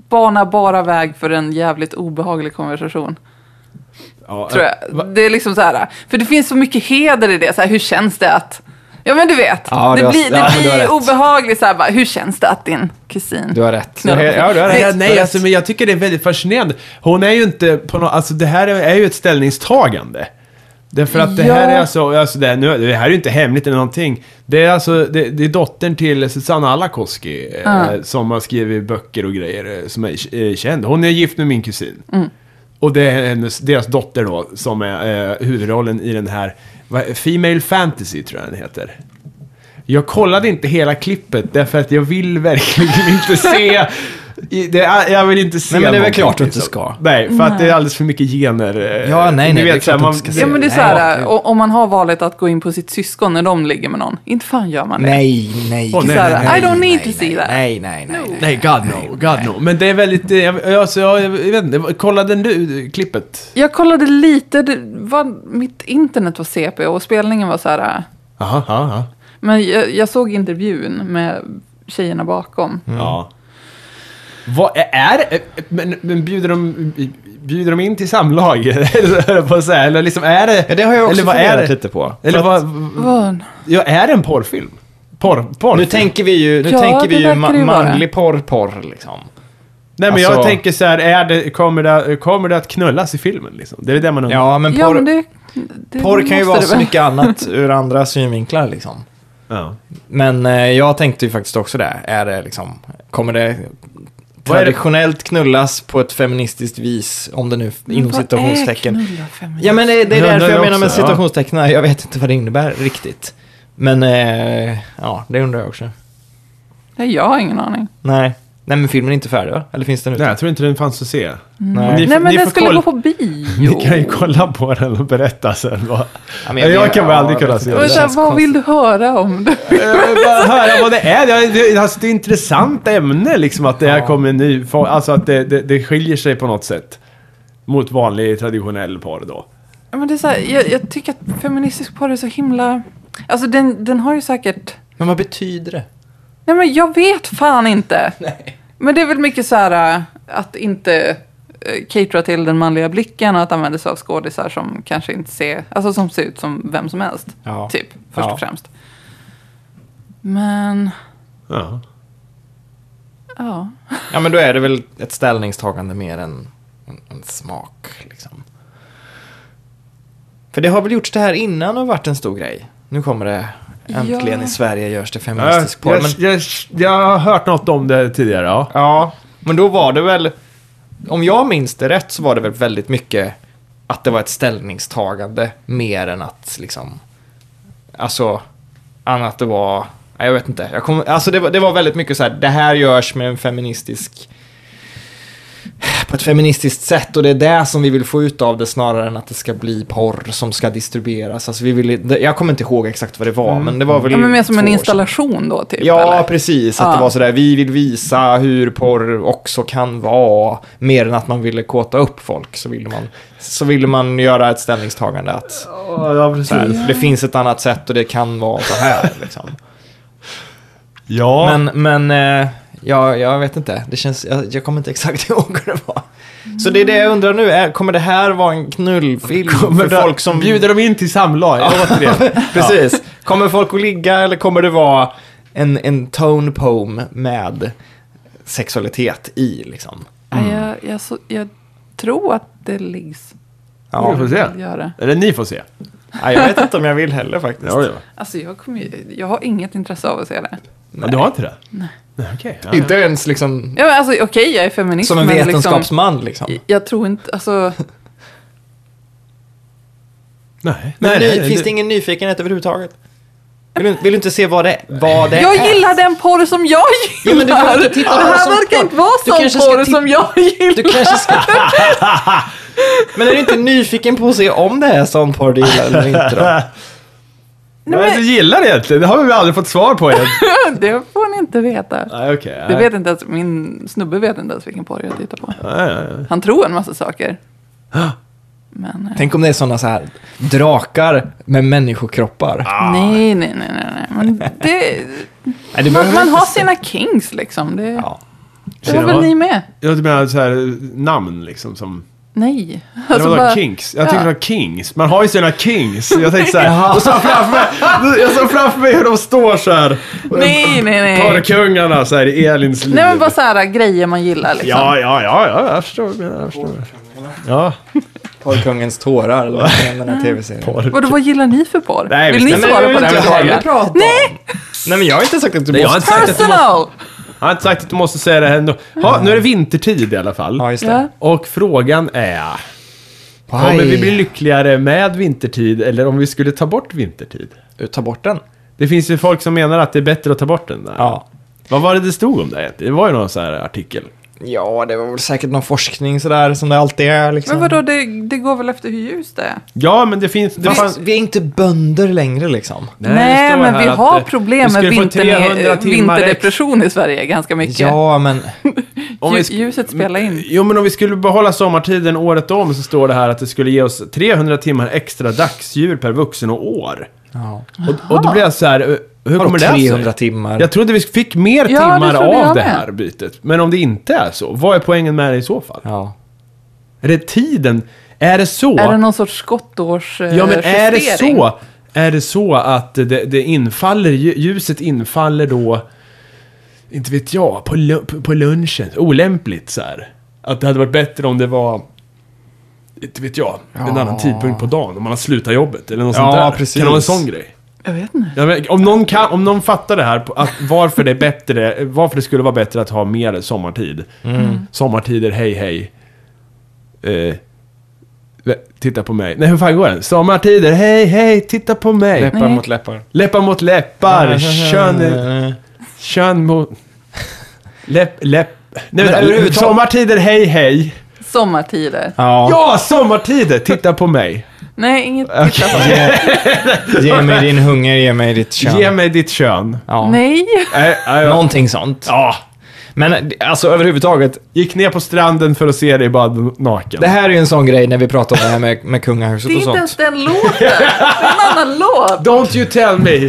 C: banar bara väg för en jävligt obehaglig konversation.
B: Ja,
C: Tror
B: eh, va-
C: jag. Det är liksom så här, för det finns så mycket heder i det. Så här, hur känns det att... Ja men du vet,
A: Ja, du
C: det
A: har-
C: blir, det
A: ja, men du har rätt.
C: blir obehagligt så här bara, hur känns det att din kusin...
A: Du har rätt.
C: Knullar på-
A: Ja, du har rätt.
B: Ja, nej, alltså, men jag tycker det är väldigt fascinerande. Hon är ju inte på något... Alltså det här är är ju ett ställningstagande. Därför att det här
C: Ja.
B: är alltså... alltså det, här, nu, det här är ju inte hemligt eller någonting. Det är alltså... Det, det är dottern till Susanna Alakoski. Eh, som har skrivit böcker och grejer. eh, Som är eh, känd. Hon är gift med min kusin. Och det är hennes, deras dotter då. Som är eh, huvudrollen i den här... vad- Female Fantasy tror jag den heter. Jag kollade inte hela klippet därför att jag vill verkligen inte se... i- Det, är- jag vill inte se
A: Nej, men det är väl
B: någonting, liksom.
A: klart du inte ska.
B: Nej, för att det är alldeles för mycket gener. eh,
A: Ja, nej,
B: ni
A: nej, det är
B: så här,
A: klart du inte ska se.
C: Ja men det är så
A: Nej.
C: här, o- om man har valet att gå in på sitt syskon när de ligger med någon, inte fan gör man det.
A: Nej, nej.
B: Åh, nej,
A: Gud,
B: nej,
A: nej,
C: I don't
A: nej,
C: need
A: nej,
C: to see
A: nej,
C: that.
A: Nej, nej, nej. nej.
B: Nej, God no, God no. Men det är väldigt... eh, Jag, jag- alltså, jag, jag vet inte, kollade du eh, klippet?
C: Jag kollade lite, det var, mitt internet var CP och spelningen var så här...
B: Aha, aha, aha.
C: Men jag, jag såg intervjun med tjejerna bakom.
A: Mm.
B: Ja. Vad är- är... eh, Men, men bjuder, de, bjuder de in till samlag? Eller höll jag på att säga, eller liksom är det...
A: Ja, det har jag också
B: eller vad är
A: funderat
B: det?
A: lite på.
B: Eller
A: För att-
B: vad...
C: Vad?
B: Ja, är det en porrfilm? Porr, porr.
A: Nu tänker vi ju, nu
C: Ja,
A: tänker vi
C: det
A: ju
C: verkar
A: ma-
C: det ju vara.
A: manlig porr-porr liksom.
B: Mm. Nej, men jag
A: Alltså-
B: tänker så här, är det, kommer, det, kommer det att knullas i filmen? Liksom? Det är det man undrar.
A: Ja, men porr,
C: Ja, men det, det
A: porr kan ju
C: måste
A: vara
C: det
A: så
C: väl.
A: mycket annat ur andra synvinklar liksom.
B: Ja.
A: Men eh, jag tänkte ju faktiskt också det. Är det liksom, kommer det
B: Vad är det-
A: traditionellt knullas på ett feministiskt vis, om det nu inom
C: Vad är
A: citationstecken.
C: knulla feminist?
A: Ja men det, det är
B: Jag undrar
A: därför jag
B: det
A: menar med
B: också, ja.
A: citationstecken. här. Jag vet inte vad det innebär riktigt. Men eh, ja, det undrar jag också.
C: Nej, jag har ingen aning.
A: Nej. Nej men filmen är inte färdig va? Eller finns den ute?
B: Nej, jag tror inte den fanns att se.
A: Nej.
B: Ni
C: Mm. Nej,
B: får-
C: men
B: ni
C: den
B: får
C: skulle
B: kolla-
C: gå på bio.
B: Ni kan ju kolla på den och berätta sen. Vad.
A: Ja,
B: jag, kan väl aldrig
A: ja,
B: kunna
A: vet
B: se
A: inte.
B: det.
C: Men så här,
A: känns
C: vad vill
A: konstigt.
C: du höra om? Det?
B: Jag vill bara höra vad det är. Det är, det, alltså, det är ett intressant ämne liksom att det här
A: Ja.
B: kommer en ny... for- Alltså att det, det, det skiljer sig på något sätt. Mot vanlig traditionell porr då.
C: Ja, Men det är så här, jag, jag tycker att feministisk porr är så himla... Alltså den, den har ju säkert...
A: Men vad betyder det?
C: Nej men jag vet fan inte. Men det är väl mycket så här äh, att inte äh, catera till den manliga blicken och att använda sig av skådisar som kanske inte ser, alltså som ser ut som vem som helst.
A: Ja.
C: Typ, först
A: Ja.
C: och främst. Men,
B: Ja.
C: ja.
A: Ja men då är det väl ett ställningstagande mer än en, en smak liksom. För det har väl gjorts det här innan och varit en stor grej. Nu kommer det äntligen
C: Ja.
A: i Sverige görs det
B: Jag,
A: feministisk porr.
B: jag,
A: Men,
B: jag, jag har hört något om det tidigare, ja.
A: ja, men då var det väl, om jag minns det rätt så var det väl väldigt mycket att det var ett ställningstagande mer än att liksom, alltså, än att det var, nej, jag vet inte. Jag kommer- alltså det var, det var väldigt mycket så här, det här görs med en feministisk på ett feministiskt sätt och det är det som vi vill få ut av det snarare än att det ska bli porr som ska distribueras. Alltså vi vill, det- jag kommer inte ihåg exakt vad det var, men det var väl
C: Mm. ja men mer som
A: två
C: en
A: år sedan.
C: installation då typ?
A: Ja,
C: eller?
A: precis. Att
C: Ja.
A: det var sådär, vi vill visa hur porr också kan vara. Mer än att man ville kåta upp folk så ville man, så ville man göra ett ställningstagande att
B: Ja, precis.
A: såhär, det finns ett annat sätt och det kan vara så här. Liksom.
B: Ja.
A: Men, men eh, ja, jag vet inte. Det känns, jag, jag kommer inte exakt ihåg hur det var. Så det är det jag undrar nu, är, kommer det här vara en knullfilm
B: Kommer
A: för
B: de-
A: folk som...
B: Bjuder de in till samlag? Återigen.
A: Precis. Kommer folk att ligga eller kommer det vara en, en tone poem med sexualitet i liksom?
C: Ja, jag, jag, så, jag tror att det liggs.
B: Vi får se.
C: Gör det.
B: Eller ni får se.
A: Nej, jag vet inte om jag vill heller faktiskt.
B: Ja, ja.
C: Alltså jag, kommer ju, jag har inget intresse av att se det.
B: Ja, Du har inte det? Nej. Okej. ja.
A: Inte ens liksom
C: Ja, men alltså okej, jag är feminist.
A: som en
C: men
A: vetenskapsman liksom.
C: Liksom, jag tror inte, alltså.
B: Nej.
A: Men
B: nej,
A: ny,
B: nej,
A: finns det ingen nyfikenhet överhuvudtaget? Vill du, vill du inte se vad det, vad det
C: Jag
A: är?
C: gillar den porr som jag
A: Ja,
C: gillar.
A: men du behöver inte titta på
C: det
A: det
C: här
A: som
C: verkar
A: porr.
C: inte vara
A: Du
C: sån
A: kanske ska
C: porr
A: titta-
C: som jag gillar.
A: Du kanske ska... Men är du inte nyfiken på att se om det är sån porr du gillar eller inte då?
B: Nej, men... Jag gillar det egentligen. Det har vi väl aldrig fått svar på än.
C: Det får ni inte veta.
B: Nej, okej.
C: Det
B: nej.
C: vet inte ens, min snubbe vet inte ens vilken porr jag tittar på.
B: Nej, nej, nej.
C: Han tror en massa saker. Men eh,
A: Tänk om det är såna så här drakar med människokroppar.
C: nej, nej, nej, nej, nej. Men det,
A: Nej, det
C: man,
A: behöver
C: man
A: inte
C: har
A: se.
C: sina kings liksom. Det,
A: Ja.
C: det har
B: Sina-
C: väl ni med?
B: Jag typ menar så här eh, namn liksom som...
C: Nej.
B: Alltså
C: Alltså,
B: vadå,
C: bara-
B: kinks? Jag tänkte
C: ja.
B: det var kings. Man har ju sina kings. Jag tänkte så här, jag såg framför mig, jag såg framför mig hur de står så här.
C: Nej, nej, nej.
B: Porrkungarna så här i Elins liv.
C: Nej, men bara så här äh, grejer man gillar liksom.
B: Ja, ja, ja, ja, jag förstår. vad du menar, Jag förstår. Ja.
A: Porrkungens tårar, eller vad heter den
C: Ah.
A: här tv-serien?
C: Vadå, vad gillar ni för porr?
B: Nej,
C: Vill
B: visst, nej,
C: ni
B: men
C: svara
B: jag
C: på
B: vill
C: den
B: inte
C: frågan?
A: prata om. Nej! Nej men jag har inte sagt att du
B: Nej, jag har
A: måste...
B: inte sagt att du måste,
C: Personal!
B: jag har inte sagt att du måste säga det här ändå. Ja, nu är det vintertid i alla fall.
A: Ja, just
C: Ja.
A: det.
B: Och frågan är...
A: Aj.
B: Kommer vi bli lyckligare med vintertid eller om vi skulle ta bort vintertid?
A: Ta bort den.
B: Det finns ju folk som menar att det är bättre att ta bort den där.
A: Ja.
B: Vad var det det stod om det egentligen? Det var ju någon sån här artikel.
A: Ja, det var väl säkert någon forskning sådär som det alltid är liksom.
C: Men vadå, det, det går väl efter hur ljus det är?
B: Ja, men det finns... Det
A: Vi,
B: fanns...
A: vi är inte bönder längre liksom.
B: Nej, det
C: Nej,
B: står
C: men
B: här
C: vi
B: att,
C: har
B: eh,
C: problem
B: vi
C: med eh,
B: skulle få
C: vintern,
B: 300
C: i-
B: timmar
C: vinterdepression i Sverige ganska mycket.
A: Ja, men...
B: Om vi
C: Lju-
B: sk-
C: Ljuset spelar in.
B: Jo, men om vi skulle behålla sommartiden året om så står det här att det skulle ge oss 300 timmar extra dagsdjur per vuxen och år.
A: Ja.
B: Och, och då blir jag så här, eh, hur
A: Vadå
B: kommer det sig?
A: 300 timmar?
B: Jag trodde vi fick mer
C: Ja, det
B: timmar
C: trodde jag
B: av det
C: med.
B: här bytet. Men om det inte är så, vad är poängen med det i så fall?
A: Ja.
B: Är det tiden? Är det så?
C: Är det någon sorts eh, skottårsjustering?
B: Ja, men är det så? Är det så att det, det infaller, lju- ljuset infaller då, inte vet jag, på, lu- på- på lunchen? Olämpligt så här. Att det hade varit bättre om det var, inte vet jag, en annan tidpunkt på dagen. Om man har slutat jobbet eller något
A: Ja,
B: sånt där.
A: precis.
B: Kan det vara en sån grej?
C: Jag vet inte.
B: Ja, men om, någon kan, om någon fattar det här, på att varför, det är bättre, varför det skulle vara bättre att ha mer sommartid.
A: Mm.
B: Sommartider, hej hej. Eh, vä- titta på mig. Nej, hur fan går den? Sommartider, hej hej, titta på mig.
A: Läppar
C: Nej.
A: mot läppar.
B: läppar mot läppar, kön, kön mot... Läpp, läpp... Nej,
A: Men
B: vänta,
A: överhuvudtaget-
B: sommartider, hej hej.
C: Sommartider.
A: Ja,
B: Ja, sommartider, titta på mig.
C: Nej, inget titta på.
A: ge mig din hunger, ge mig ditt kön.
B: Ge mig ditt kön.
A: Ja.
C: Nej.
B: Nej, nej, ja.
A: Någonting sånt.
B: Ja,
A: Men alltså överhuvudtaget,
B: gick ner på stranden för att se dig bara naken.
A: det här är ju en sån grej när vi pratar om det här med, med kungahuset
C: Det är
A: och
C: inte ens
A: sånt.
C: den låten. Det är en annan låt.
B: Don't you tell me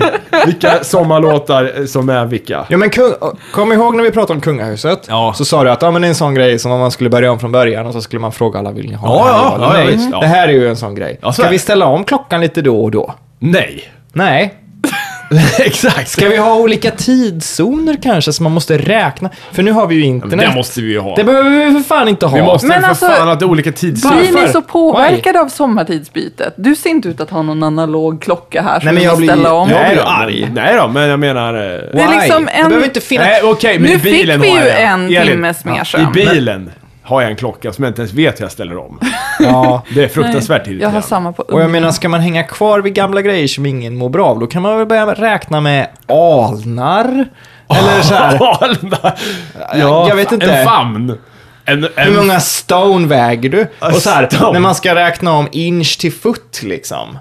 B: vilka sommarlåtar eh, som är vilka.
A: Ja men kung, kom ihåg när vi pratade om kungahuset,
B: Ja.
A: så sa du att ja, men det är en sån grej som om man skulle börja om från början och så skulle man fråga alla vill ni ha
B: Ja,
A: det här?
B: ja,
A: eller
B: ja, ja,
A: nej.
B: visst, ja.
A: Det här är ju en sån grej.
B: Ja, så
A: Ska
B: är det.
A: vi ställa om klockan lite då och då?
B: Nej.
A: Nej.
B: Exakt.
A: Ska vi ha olika tidszoner kanske som man måste räkna? För nu har vi ju internet.
B: Det måste vi ju ha.
A: Det behöver vi för fan inte ha.
B: Vi måste
C: Men
B: för
C: alltså,
B: fan ha olika tidszoner.
C: Blir ni så påverkade av sommartidsbytet? Du ser inte ut att ha någon analog klocka här som
A: Nej, men
C: du
A: jag
C: vill
A: blir-
C: ställa om.
A: Ja.
B: Nej då,
A: Jag blir
B: men, nej då, men jag menar... eh,
C: Det är
A: Why?
C: liksom
A: Det
C: en-
A: behöver inte finnas...
B: Nej, okej, men
C: Nu
B: i bilen
C: fick vi
B: har
C: ju
B: jag.
C: en
B: Elin,
C: timmes mer
B: I
C: sömn.
B: bilen har jag en klocka som jag inte ens vet hur jag ställer om.
A: Ja.
B: Det är fruktansvärt
C: Jag har
B: irriterande.
C: samma på
A: Och jag
C: ugn.
A: menar, ska man hänga kvar vid gamla grejer som ingen mår bra av, då kan man väl börja räkna med alnar? Eller så här,
B: Alna. ja,
A: jag vet inte.
B: En famn. En,
A: hur
B: en,
A: många stone väger du? Och så här,
B: Stone.
A: när man ska räkna om inch till foot liksom.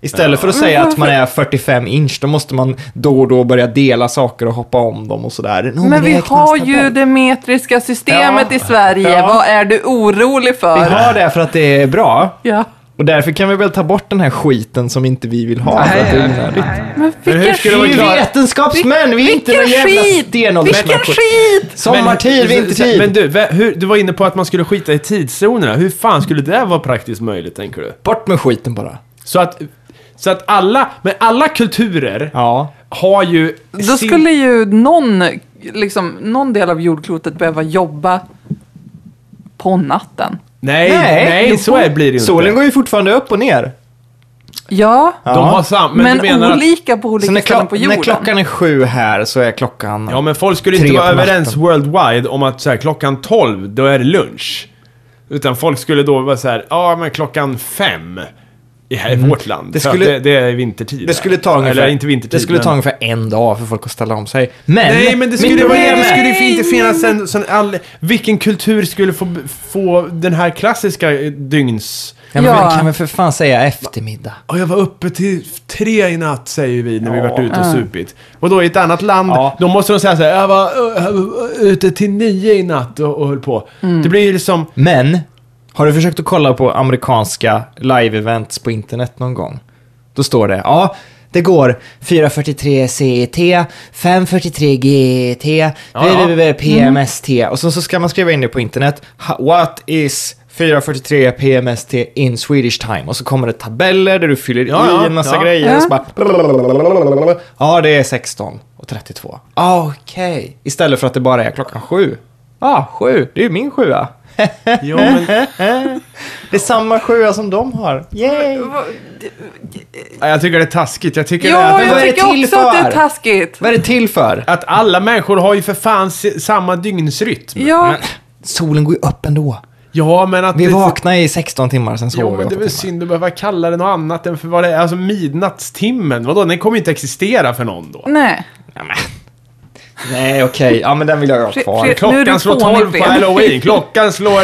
A: Istället för att säga
C: Mm,
A: att man är 45 inch, då måste man då och då börja dela saker och hoppa om dem och sådär. Nå,
C: Men
A: det
C: vi
A: räknas
C: har
A: tabell.
C: ju det metriska systemet
A: Ja.
C: i Sverige.
A: Ja.
C: Vad är du orolig
A: Vi
C: för?
A: har det för att det är bra.
C: Ja.
A: Och därför kan vi väl ta bort den här skiten som inte vi vill ha. för att det är onödigt.
C: Men
B: Men hur
C: vilken
B: skulle
A: Vi
B: man
A: är
C: skit!
A: ju
B: klara-
A: vetenskapsmän, vi är inte några
C: Vilken
A: jävla
C: skit!
A: stenålders
C: Vilken skit!
A: Sommartid, vintertid.
B: Men du, vä- hur, du var inne på att man skulle skita i tidszonerna. Hur fan skulle det vara praktiskt möjligt, tänker du?
A: Bort med skiten bara.
B: Så att, så att alla, men alla kulturer
A: Ja.
B: har ju...
C: Då skulle ju någon, liksom, någon del av jordklotet behöva jobba på natten.
B: Nej, nej,
A: Nej,
B: så är, blir det ju inte.
A: Solen går ju fortfarande upp och ner.
C: Ja,
B: De har samma, men,
C: men,
B: du menar att...
C: olika på olika
A: Så när,
C: ställen
A: klo-
C: på
A: när
C: jorden.
A: klockan är sju här så är klockan...
B: Ja, men folk skulle
A: Tre
B: inte vara
A: på natten.
B: överens worldwide om att så här, klockan 12, då är det lunch. Utan folk skulle då vara så här, ja men klockan 5 i, här i vårt land.
A: Mm. Det
B: Det, skulle,
A: skulle-
B: det, det är vintertid.
A: det skulle ta ungefär,
B: Eller inte vintertid.
A: det skulle ta
B: men-
A: ungefär en dag för folk att ställa om sig. Men,
B: Nej, men det skulle,
A: mitt problem
B: det
A: är-
B: skulle ju inte finnas en sån all... Vilken kultur skulle få, få den här klassiska eh, dygns...
A: Ja, men
C: Ja.
A: vi kan väl för fan säga eftermiddag.
B: Ja, jag var uppe till tre i natt säger vi när vi varit ute och supit. Och då i ett annat land,
A: Ja.
B: då måste de säga så här, jag var uh, ute till nio i natt och, och höll på.
A: Mm.
B: Det blir ju liksom...
A: Men, har du försökt att kolla på amerikanska live-events på internet någon gång? Då står det, ja, det går 4.43 CET, 5.43 GET,
B: ja. Mm.
A: www PMST. Och sen så ska man skriva in det på internet, ha- what is 4.43 PMST in Swedish time? Och så kommer det tabeller där du fyller
B: Ja, ja,
A: i en massa
B: ja.
A: grejer.
C: Ja.
A: Och så bara, ja, det är 16 och 32. Ah, Okej. Istället för att det bara är klockan sju. Ja, ah, sju. Det är ju min sjua.
B: Ja, men,
A: Det är samma sjua som de har. Yay!
B: Ja, jag tycker det är taskigt. Jag tycker
C: Jo,
B: det är
A: vad
C: jag
A: är det
C: tycker
A: till
C: också att det är
A: för?
C: taskigt.
A: Vad är det till för?
B: att alla människor har ju för fan se- samma dygnsrytm.
C: Ja,
A: Men, solen går ju upp ändå.
B: Ja, men att...
A: Vi
B: det-
A: vaknar i 16 timmar, sen sover
B: Jo,
A: vi
B: men det är
A: åtta
B: väl
A: timmar.
B: synd att behöva kalla det något annat än för vad det är. Alltså midnattstimmen, vadå? Den kommer ju inte existera för någon då.
C: nej.
A: Ja, men. Nej, okej. Ja, men den vill jag ha
C: Fre-
A: kvar.
C: fre- Nu är du
B: Klockan slår
C: fånig,
B: 12 på
C: Fredrik.
B: halloween, klockan slår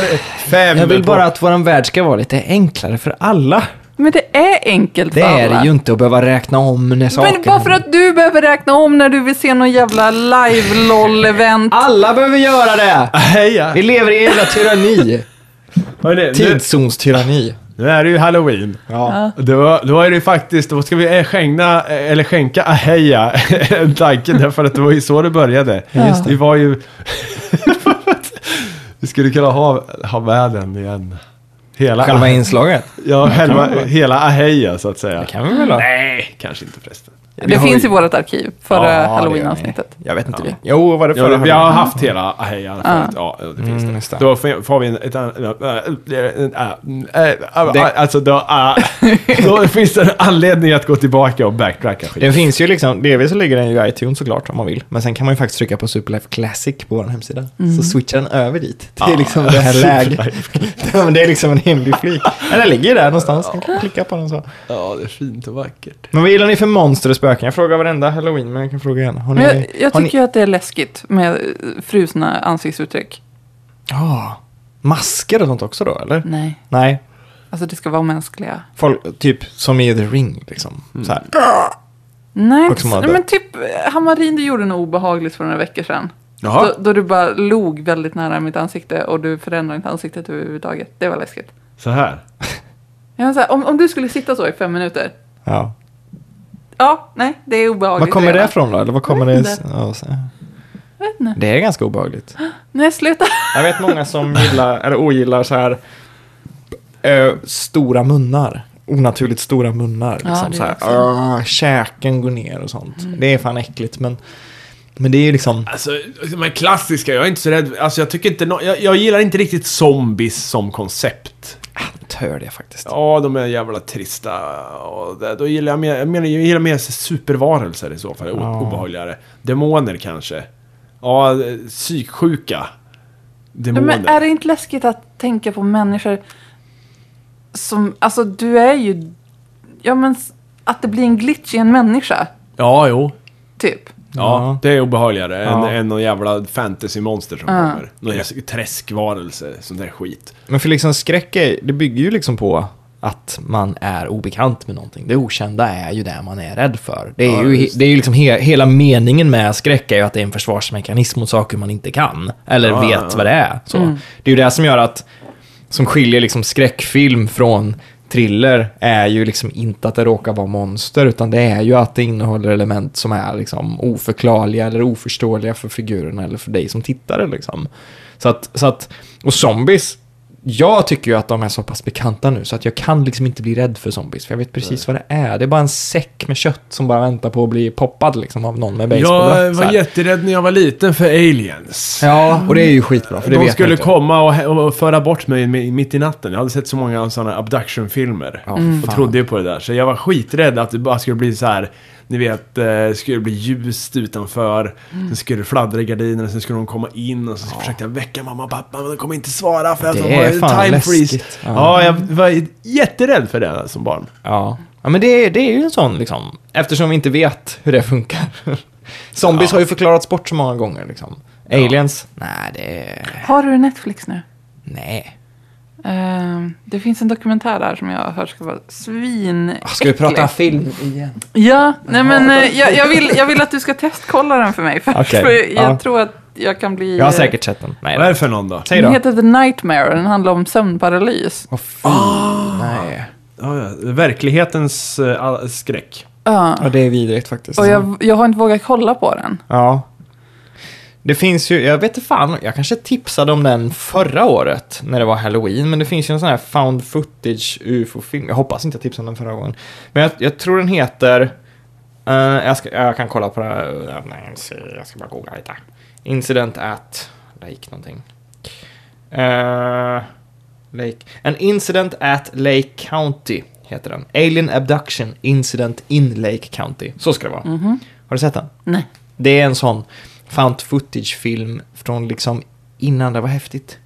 B: fem.
A: Jag vill
B: på-
A: bara att våran värld ska vara lite enklare för alla.
C: Men det är enkelt
A: Det
C: för
A: är
C: alla.
A: det ju inte att behöva räkna om när saker
C: Men bara för att du behöver räkna om när du vill se någon jävla live-LOL-event.
A: Alla behöver göra det!
B: Heja!
A: Vi lever i en jävla tyranni.
B: Hörrni, nu,
A: Tidszonstyranni.
B: nu är det ju halloween.
A: Ja.
B: Då, då är det ju faktiskt, då ska vi eh, skänka, eller skänka aheja en tanke därför att det var ju så det började.
C: just det.
B: Vi var ju... vi skulle kunna ha, ha med den igen. Hela, ah-
A: Själva inslaget.
B: ja, själva, hela aheja så att säga.
A: kan vi väl ha.
B: Nej, kanske inte förresten.
A: vi
C: det
A: har
C: finns
A: ju-
C: i vårt arkiv,
A: Ja,
C: förra
A: det gör vi.
C: halloween-avsnittet.
A: Jag vet inte. vi. Jo, var det
B: Ja,
A: förra?
B: vi har haft hela aheja förut. Ja, det finns
A: Mm,
B: det.
A: just det.
B: Då får får vi en, ett annat... äh, äh, äh, äh,
A: Det-
B: äh, Alltså, då, äh, då finns det en anledning att gå tillbaka och backtracka skit.
A: Den finns ju liksom, delvis så ligger den ju i iTunes såklart om man vill. Men sen kan man ju faktiskt trycka på Superlife Classic på vår hemsida.
C: Mm.
A: Så switchar den över dit. Det
C: Ah,
A: är liksom det här läget. Ja, men det är liksom en hemlig flik. Men den ligger ju där någonstans. Man kan klicka på den så.
B: Ja, det är fint och vackert.
A: Men vad gillar ni för monster och spöken? Jag frågar varenda halloween, men jag kan fråga igen. Har ni...
C: Men jag, jag
A: har
C: tycker ju att det är läskigt med eh, frusna ansiktsuttryck.
A: Ni... Ah, masker och sånt också då, eller?
C: Nej,
A: Nej.
C: alltså det ska vara mänskliga.
A: Folk, typ som i The Ring, liksom.
C: Mm.
A: Så här.
C: Nej,
A: Folk som
C: inte-
A: har
C: men typ eh, Hammarin, du gjorde något obehagligt för några veckor sedan.
B: Jaha.
C: Då, då du bara log väldigt nära mitt ansikte och du förändrade inte ansiktet överhuvudtaget. Det var läskigt.
B: Så här.
C: Jag menar så här, om, om du skulle sitta så i fem minuter.
A: Ja.
C: Ja, nej, det är obehagligt.
A: Var kommer det
C: redan.
A: ifrån då? Eller vad kommer
C: Jag vet
A: det...
C: inte.
A: Ja, så-
C: Jag vet inte.
A: Det är ganska obehagligt.
C: Nej, sluta.
A: Jag vet många som gillar, eller ogillar så här eh, stora munnar. Onaturligt stora munnar.
C: Ja,
A: Liksom,
C: det
A: så här,
C: är Mm.
A: "Åh, käken går ner och sånt. Det är fan äckligt, men, men det är ju liksom...
B: Alltså, de här klassiska, jag är inte så rädd. Alltså, jag tycker inte... nå- jag, jag gillar inte riktigt zombies som koncept.
A: ah, Tör det faktiskt.
B: Ja, de är jävla trista. Och det, då gillar jag mer, jag menar, jag gillar mer supervarelser i så fall.
A: Ja.
B: Ja. Obehagligare. Demoner kanske. Ja, psyksjuka. Demoner.
C: Men är det inte läskigt att tänka på människor som, alltså du är ju, ja men s- att det blir en glitch i en människa,
B: Ja, jo.
C: typ.
B: Ja,
A: Ja.
B: det är obehagligare
A: Ja.
B: än, än någon jävla fantasymonster som
C: Ja.
B: kommer. Någon jävla träskvarelse, sån där skit.
A: Men för liksom skräck är, det bygger ju liksom på att man är obekant med någonting. Det okända är ju det man är rädd för. Det är
B: Ja,
A: ju, he-
B: just.
A: det är ju liksom he, hela meningen med skräck är ju att det är en försvarsmekanism mot saker man inte kan. Eller
B: Ja,
A: vet
B: ja, ja.
A: vad det är. Så. Det är ju det som gör att, som skiljer liksom skräckfilm från thriller, är ju liksom inte att det råkar vara monster, utan det är ju att det innehåller element som är liksom oförklarliga eller oförståeliga för figurerna eller för dig som tittare. Liksom. Så att, så att, och zombies, jag tycker ju att de är så pass bekanta nu så att jag kan liksom inte bli rädd för zombies. För jag vet precis vad det är. Det är bara en säck med kött som bara väntar på att bli poppad liksom av någon med basebollrack.
B: Jag
A: så
B: var
A: här.
B: jätterädd när jag var liten för aliens.
A: Ja, och det är ju skitbra för det
B: De
A: vet man
B: skulle
A: inte.
B: komma och, he- och föra bort mig mi- mitt i natten. Jag hade sett så många sådana abduction-filmer.
A: Ja, Mm.
B: Och
A: fan.
B: trodde ju på det där. Så jag var skiträdd att det bara skulle bli så här. Ni vet, eh, det skulle bli ljust utanför.
A: Mm.
B: Sen skulle det fladdra i gardinerna. Sen skulle de komma in. Och så försökte jag väcka mamma och pappa. Men de kommer inte svara för att
A: Det
B: de
A: är
B: har
A: fan
B: time freeze.
A: läskigt.
B: Ja.
A: Ja.
B: jag var jätterädd för det som barn.
A: Ja. ja, men det, det är ju en sån liksom, eftersom vi inte vet hur det funkar. Zombies har ju förklarats bort så många gånger liksom. Aliens? Nej, det är...
C: Har du Netflix nu?
A: Nej.
C: Ehm, det finns en dokumentär där som jag har hört ska vara svin
A: Ah, Ska vi prata film igen?
C: Ja, nej men eh, jag, jag, vill, jag vill att du ska testkolla den för mig. För,
A: Okej,
C: för jag
A: ja.
C: tror att jag kan bli...
A: Jag har säkert sett den. Nej,
B: Vad är
A: då.
B: det för någon då?
A: Säg då.
C: Den heter The Nightmare och den handlar om sömnparalys.
A: Åh, fy. Ah. Nej.
B: Ja, ja. Verklighetens eh, all- skräck.
C: Ja.
A: Ja, det är vidrigt faktiskt.
C: Och jag, jag har inte vågat kolla på den.
A: Ja. Det finns ju, jag vet inte fan, jag kanske tipsade om den förra året när det var halloween, men det finns ju en sån här found footage ufo-film. Jag hoppas inte jag tipsade om den förra gången. Men jag, jag tror den heter, eh, jag, ska, jag kan kolla på den, här, nej, jag ska- jag ska bara googla lite. Incident at, Lake någonting. Eh, Lake. An incident at Lake County heter den. Alien abduction incident in Lake County. Så ska det vara. Har du sett den?
C: Nej.
A: Det är en sån found footage-film från liksom innan det var häftigt.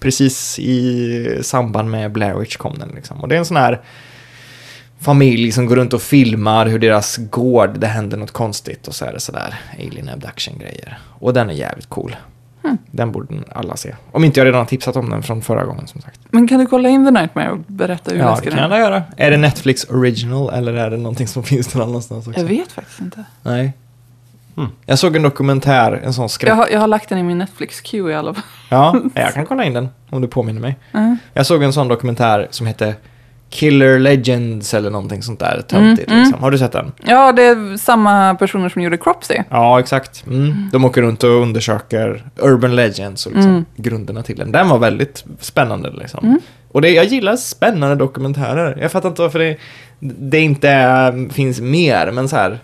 A: Precis i samband med Blair Witch kom den liksom. Och det är en sån här familj som går runt och filmar hur deras gård, det händer något konstigt och så är det sådär alien abduction-grejer. Och den är jävligt cool. Den borde alla se. Om inte jag redan har tipsat om den från förra gången som sagt.
C: Men kan du kolla in The Nightmare och berätta hur läskig den är?
A: jag göra. Är det Netflix original eller är det någonting som finns någon annanstans också?
C: Jag vet faktiskt inte.
A: Nej. Jag såg en dokumentär, en sån skräck...
C: Jag har, jag har lagt den i min Netflix-queue i alla fall.
A: Ja, jag kan kolla in den om du påminner mig.
C: Mm.
A: Jag såg en sån dokumentär som hette Killer Legends eller någonting sånt där töntigt.
C: mm.
A: Liksom. Har du sett den?
C: Ja, det är samma personer som gjorde Cropsy.
A: Ja, exakt. Mm. De åker runt och undersöker urban legends och liksom
C: Mm.
A: grunderna till den. Den var väldigt spännande. Liksom. Och det, jag gillar spännande dokumentärer. Jag fattar inte varför det, det inte eh, finns mer, men så här.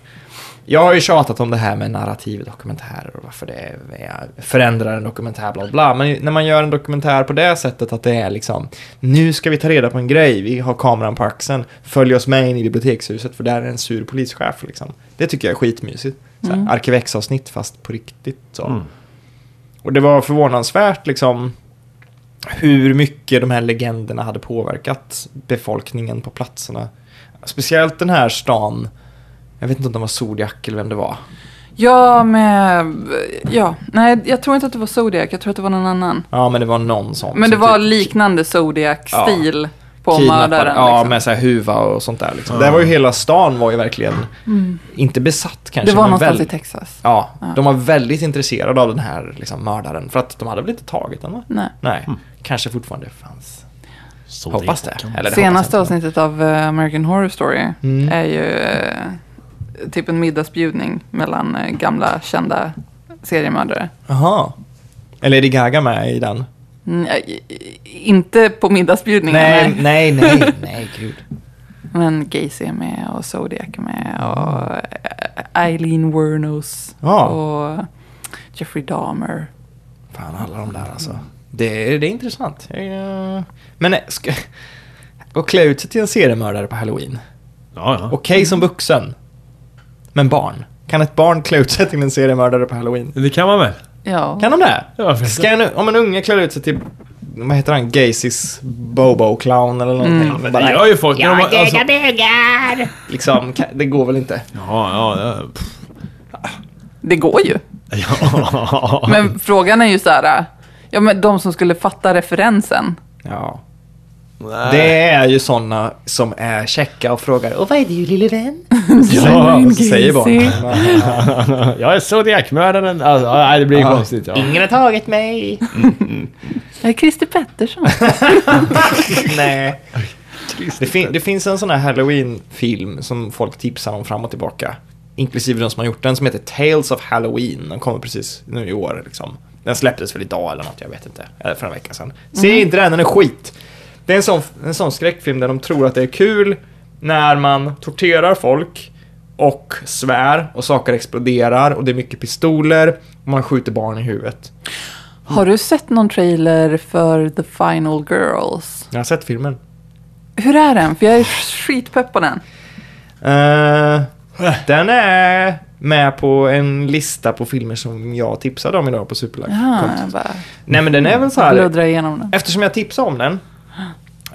A: Jag har ju tjatat om det här med narrativ dokumentärer och varför det är- förändrar en dokumentär, bla bla. Men när man gör en dokumentär på det sättet att det är liksom, nu ska vi ta reda på en grej, vi har kameran på axeln, följ oss med in i bibliotekshuset för där är en sur polischef. Liksom. Det tycker jag är skitmysigt. Såhär, Arkivex-avsnitt fast på riktigt. Så.
B: Mm.
A: Och det var förvånansvärt liksom hur mycket de här legenderna hade påverkat befolkningen på platserna. Speciellt den här stan, jag vet inte om det var Zodiac eller vem det var.
C: Ja, med... Ja, nej, jag tror inte att det var Zodiac. Jag tror att det var någon annan.
A: Ja, men det var någon sån.
C: Men det
A: som
C: var
A: typ
C: liknande Zodiac-stil på
A: kidnappade-
C: mördaren.
A: Ja,
C: liksom.
A: med så här huva och sånt där. Liksom.
B: Ja.
A: Det var ju hela stan var ju verkligen, inte besatt kanske,
C: Mm. det var
A: men
C: någonstans
A: väl-
C: i Texas.
A: Ja, de var väldigt intresserade av den här liksom, mördaren. För att de hade väl inte tagit den va?
C: Nej.
A: Nej, kanske fortfarande fanns. hoppas det. Eller det hoppas jag
C: Senaste
A: inte. Mm.
C: avsnittet av eh, American Horror Story är ju eh, typ en middagsbjudning mellan eh, gamla kända seriemördare.
A: Jaha. Är Lady Gaga med i den?
C: Mm, eh, i- i- inte på middagsbjudningen,
A: Nej,
C: nej.
A: nej, nej, nej, gud.
C: men Gacy är med och Zodiac är med och eh, Eileen Wuornos
A: Ja.
C: och Jeffrey Dahmer.
A: Fan, alla de där alltså. Det, är- det är intressant. Jag, eh, Men nej, ska... Och klä ut sig till en seriemördare på halloween.
B: Ja, ja.
A: Okej som vuxen. Men barn. Kan ett barn klä ut sig till en seriemördare på halloween?
B: Det kan man väl?
C: Ja.
A: Kan de det?
B: Ja, varför inte?
A: Ska en, om en unge klär ut sig till, vad heter han, Gacys Bobo-clown eller någonting.
B: Mm. Men det
A: Bara,
B: gör ju folk. när de- alltså-
A: liksom, kan, det går väl inte?
B: Ja, ja, ja. Pff,
C: Det går ju.
B: ja.
A: Mm.
C: Men frågan är ju så här, eh, ja, men de som skulle fatta referensen.
A: Ja. Det är ju sådana som är checka och frågar och vad är du lille vän?
B: Ja,
A: Och så säger
C: Gacy.
A: barnen.
B: Jag är zodiakmördaren. Alltså, nej, det blir konstigt. Ja.
A: Ingen har tagit mig.
C: Jag är Christer Pettersson.
A: Nej. Det, fin- det finns en sån här halloween-film som folk tipsar om fram och tillbaka. Inklusive de som har gjort den som heter Tales of Halloween. Den kommer precis nu i år. Liksom. Den släpptes väl idag eller något, jag vet inte. Eller för en vecka sedan.
B: Mhm.
A: Se inte den, den är skit. Det är en sån, en sån skräckfilm där de tror att det är kul när man torterar folk och svär och saker exploderar och det är mycket pistoler och man skjuter barn i huvudet.
C: Har du sett någon trailer för The Final Girls?
A: Jag har sett filmen.
C: Hur är den? För jag är skitpepp på den.
A: Eh, den är med på en lista på filmer som jag tipsade om idag på Superlag.
C: Ja, jag bara
A: Nej men den är väl så här.
C: bluddrar igenom den.
A: Eftersom jag tipsade om den. eh,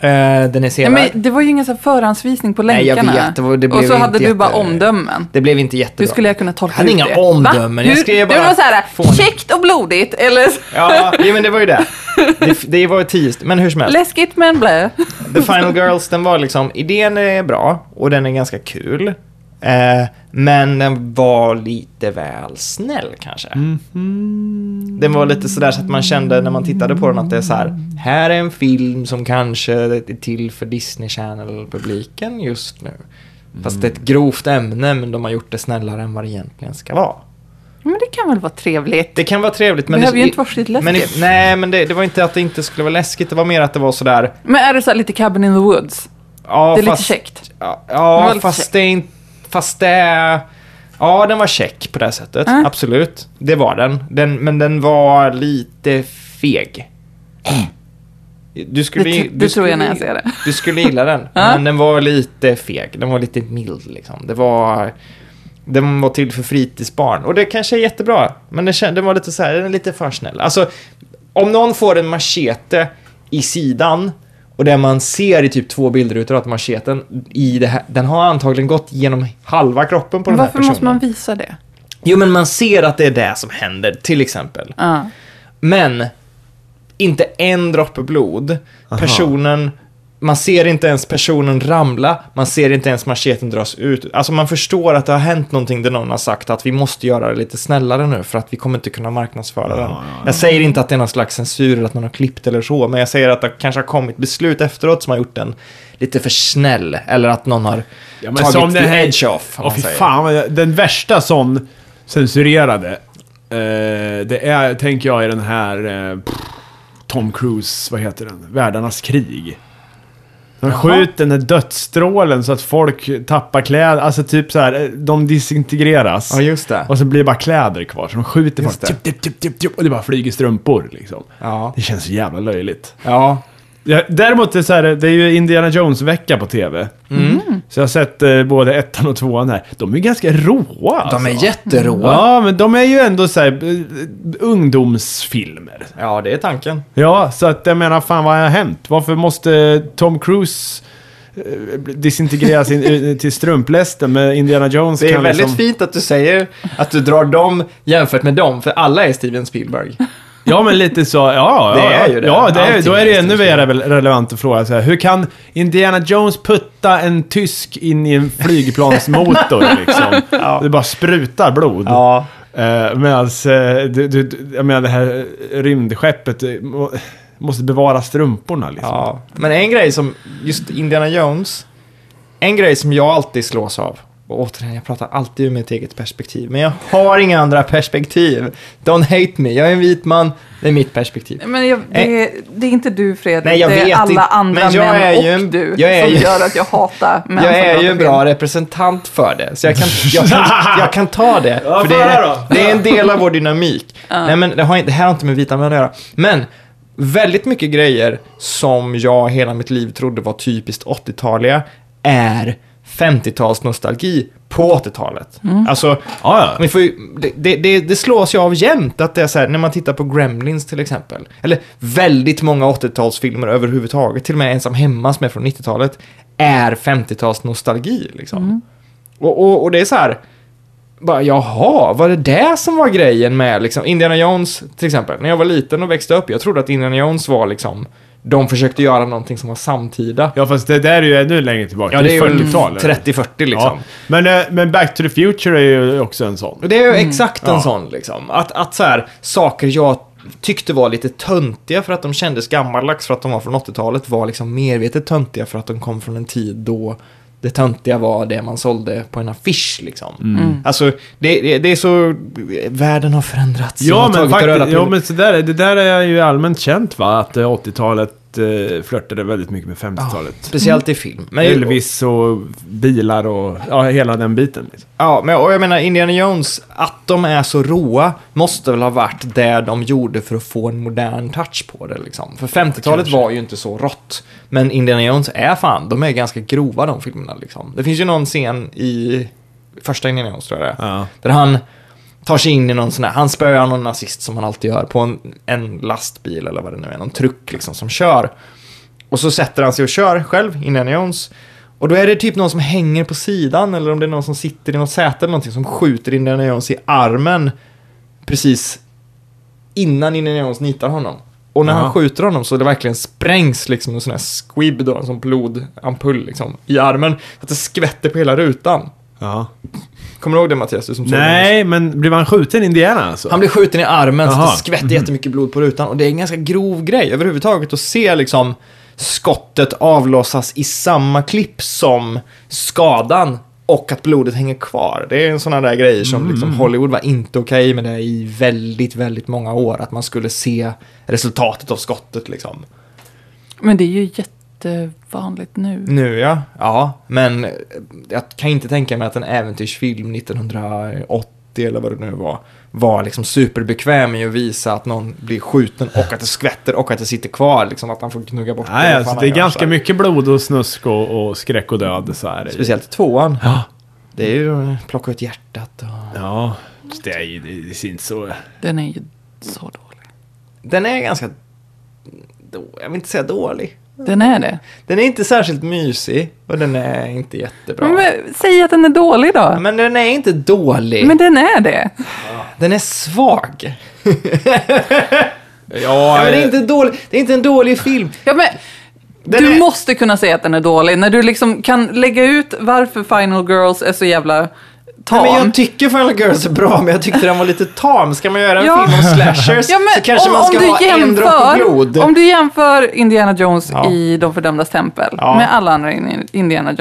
A: Äh, den är
C: Nej,
A: sevärd.
C: men det var ju ingen så här förhandsvisning på
A: Nej, jag
C: länkarna.
A: vet, det var- det
C: och
A: blev
C: så
A: inte
C: hade du
A: jätte-
C: bara omdömen.
A: Det blev inte jättebra.
C: Hur skulle jag kunna tolka
A: Jag hade
C: ut
A: inga
C: det?
A: omdömen, jag
C: Hur-
A: skrev bara
C: Det var så här,
A: fånigt.
C: käckt och blodigt eller så-
A: Ja, ja, men det var ju det. Det, det var ju tio, st- men hur som helst.
C: läskigt men blä.
A: The Final Girls, den var liksom, idén är bra och den är ganska kul. Eh, men den var lite väl snäll kanske. Den var lite sådär så att man kände när man tittade på den att det är så här. Här är en film som kanske är till för Disney Channel-publiken just nu. Fast det är ett grovt ämne men de har gjort det snällare än vad det egentligen ska vara.
C: Men det kan väl vara trevligt?
A: Det kan vara trevligt men...
C: Behöver ju inte vara skitläskigt.
A: Men, nej, men det, det var inte att det inte skulle vara läskigt, det var mer att det var sådär...
C: Men är det så här lite Cabin in the Woods?
A: Ja,
C: det är
A: fast-
C: lite käckt.
A: Ja,
C: Den var
A: ja
C: lite
A: fast
C: käck.
A: det är inte... Fast det... är- Ja, den var check på det här sättet.
C: Mm.
A: Absolut. Det var den. den. Men den var lite feg. Du skulle,
C: Eh. Det- det
A: du
C: tror jag
A: skulle-
C: när jag ser det.
A: Du skulle gilla den. Men den var lite feg. Den var lite mild liksom. Det var... Den var till för fritidsbarn. Och det kanske är jättebra. Men den, kän- den var lite så här, den är lite för snäll. Alltså, om någon får en machete i sidan och där man ser i typ två bilder att macheten i det här, den har antagligen gått genom halva kroppen på den här
C: Varför
A: personen.
C: måste man visa det?
A: Jo, men man ser att det är det som händer, till exempel.
C: Ja.
A: Men inte en droppe blod. Personen, man ser inte ens personen ramla, man ser inte ens macheten dras ut. Alltså man förstår att det har hänt någonting där någon har sagt att vi måste göra det lite snällare nu för att vi kommer inte kunna marknadsföra den. Jag säger inte att det är någon slags censur eller att man har klippt eller så, men jag säger att det kanske har kommit beslut efteråt som har gjort den lite för snäll eller att någon har
B: Ja, men
A: tagit
B: som
A: the
B: den här-
A: edge off. om
B: Åh
A: man
B: fy
A: säger.
B: fan, vad jag- den värsta sån censurerade, eh, det är, tänker jag, i den här eh, pff, Tom Cruise, vad heter den? Världarnas krig. De skjuter den här dödsstrålen så att folk tappar kläder, alltså typ så här, eh, de disintegreras.
A: Ja, just det.
B: Och så blir det bara kläder kvar, så de skjuter
A: Just
B: folk. Typ,
A: det.
B: Tjup, tjup, tjup, tjup, tjup, och det bara flyger strumpor liksom.
A: Ja.
B: Det känns så jävla löjligt.
A: Ja.
B: Ja, däremot, är det, så här, det är ju Indiana Jones-vecka på TV.
A: Mm.
B: Så jag har sett eh, både ettan och tvåan här. De är ju ganska råa alltså.
A: De är jätteråa.
B: Ja, men de är ju ändå så här, eh, ungdomsfilmer.
A: ja, det är tanken.
B: Ja, så att jag menar, fan vad har hänt? Varför måste Tom Cruise eh, disintegrera sin, eh, till strumplästen med Indiana Jones?
A: Det är
B: kan
A: väldigt
B: liksom...
A: fint att du säger att du drar dem jämfört med dem, för alla är Steven Spielberg.
B: Ja, men lite så. Ja, ja,
A: Det
B: ja,
A: är ju det.
B: Ja, det är,
A: Allting
B: då är det
A: är
B: ännu
A: historiskt.
B: mer re- relevant att fråga så här. Hur kan Indiana Jones putta en tysk in i en flygplansmotor liksom? Det bara sprutar blod.
A: Ja.
B: Eh, Medan, eh, du, du, du- jag menar det här rymdskeppet eh, må, måste bevara strumporna liksom.
A: ja. Men en grej som, just Indiana Jones, en grej som jag alltid slås av, och återigen, jag pratar alltid ur mitt eget perspektiv, men jag har inga andra perspektiv. Don't hate me, jag är en vit man, det är mitt perspektiv.
C: Men jag, det, är- det är inte du Fredrik,
A: Nej, jag
C: det är
A: vet
C: alla
A: inte.
C: andra
A: Men jag
C: män
A: är ju
C: och
A: en-
C: du
A: jag är
C: som
A: ju-
C: gör att jag hatar män
A: Jag
C: som
A: är
C: pratar
A: ju en
C: film.
A: bra representant för det, så jag kan, jag kan, jag kan ta det.
B: Ja,
A: för det,
B: fan
A: är,
B: då.
A: det är en del av vår dynamik. Nej, men det, har, inte- det här har inte med vita män att göra. Men väldigt mycket grejer som jag hela mitt liv trodde var typiskt 80-taliga är 50-tals nostalgi på 80-talet. Alltså,
B: Ja, ja.
A: vi får ju, det- det, det, det slås ju av jämt att det är så här, när man tittar på Gremlins till exempel, eller väldigt många 80-talsfilmer överhuvudtaget, till och med Ensam Hemma som är från 90-talet, är 50-tals nostalgi liksom. Och, och, och det är så här, bara jaha, var det det som var grejen med liksom Indiana Jones till exempel? När jag var liten och växte upp, jag trodde att Indiana Jones var liksom, de försökte göra någonting som var samtida.
B: Ja, fast det där är ju ännu längre tillbaka.
A: Ja, det är ju
B: 40-tal, eller?
A: 30-40 liksom.
B: Ja. Men, eh, men Back to the Future är ju också en sån.
A: Och Det är ju exakt en
B: Mm. Ja.
A: sån liksom. Att, att så här, saker jag tyckte var lite töntiga för att de kändes gammaldags för att de var från 80-talet var liksom medvetet töntiga för att de kom från en tid då det töntiga var det man sålde på en affisch liksom.
B: Mm.
A: Alltså, det, det, det är så... Världen har förändrats. Man
B: Ja
A: har
B: men,
A: tagit röda
B: faktiskt, ja,
A: piller.
B: men så där, är- det där är ju allmänt känt va, att eh, 80-talet eh, flörtade väldigt mycket med 50-talet.
A: Speciellt i film. Men,
B: Elvis och bilar och ja, hela den biten. Liksom.
A: Ja, men och jag menar Indiana Jones, att de är så råa måste väl ha varit det de gjorde för att få en modern touch på det liksom. För 50-talet
B: Kanske.
A: var ju inte så rått. Men Indiana Jones är fan, de är ganska grova de filmerna liksom. Det finns ju någon scen i första Indiana Jones tror jag det är.
B: Ja.
A: Där han tar sig in i någon sån här, han spöar någon nazist som han alltid gör på en, en lastbil eller vad det nu är, någon truck liksom som kör. Och så sätter han sig och kör själv, Indiana Jones. Och då är det typ någon som hänger på sidan eller om det är någon som sitter i något säte eller någonting som skjuter Indiana Jones i armen precis innan Indiana Jones nitar honom. Och när han
B: Jaha.
A: skjuter honom så det verkligen sprängs liksom en sån här squib då, en sån blodampull liksom i armen. Så att det skvätter på hela rutan.
B: Ja.
A: Kommer du ihåg det Mattias? Du som såg den?
B: Nej, men blev han skjuten i Indiana alltså?
A: Han blir skjuten i armen så
B: Jaha.
A: det skvätter jättemycket blod på rutan. Och det är en ganska grov grej överhuvudtaget att se liksom skottet avlossas i samma klipp som skadan och att blodet hänger kvar. Det är en sån här där grejer som liksom Hollywood var inte okej med det i väldigt, väldigt många år. Att man skulle se resultatet av skottet liksom.
C: Men det är ju jättevanligt nu.
A: Nu ja, ja, men jag kan inte tänka mig att en äventyrsfilm 1980 eller vad det nu var, var liksom superbekväm i att visa att någon blir skjuten och att det skvätter och att det sitter kvar, liksom att han får gnugga bort
B: Nej,
A: vad
B: alltså,
A: fan
B: det är
A: han gör, så
B: ganska
A: här.
B: mycket blod och snusk och, och skräck och död. Så här.
A: Speciellt i tvåan.
B: Ja.
A: Det är ju eh, plocka ut hjärtat och...
B: Ja, det är ju det- det är inte så...
C: Den är ju så dålig.
A: Den är ganska... då- Jag vill inte säga dålig.
C: Den är det.
A: Den är inte särskilt mysig och den är inte jättebra.
C: Men, men, säg att den är dålig då.
A: Men den är inte dålig.
C: Men den är det.
A: Den är svag. Ja,
B: Ja,
A: men det, är inte dålig, det är inte en dålig film.
C: Ja, men,
A: Den
C: du
A: är-
C: måste kunna säga att den är dålig. När du liksom kan lägga ut varför Final Girls är så jävla tam.
A: Nej, men jag tycker Final Girls är bra, men jag tyckte den var lite tam. Ska man göra en
C: Ja.
A: film om slashers
C: Ja, men
A: så kanske
C: om,
A: man ska
C: om du
A: ha en droppe blod.
C: jämför, Om du jämför Indiana Jones
A: Ja.
C: i De fördömdas tempel
A: Ja. Mm.
C: med alla andra in- Indiana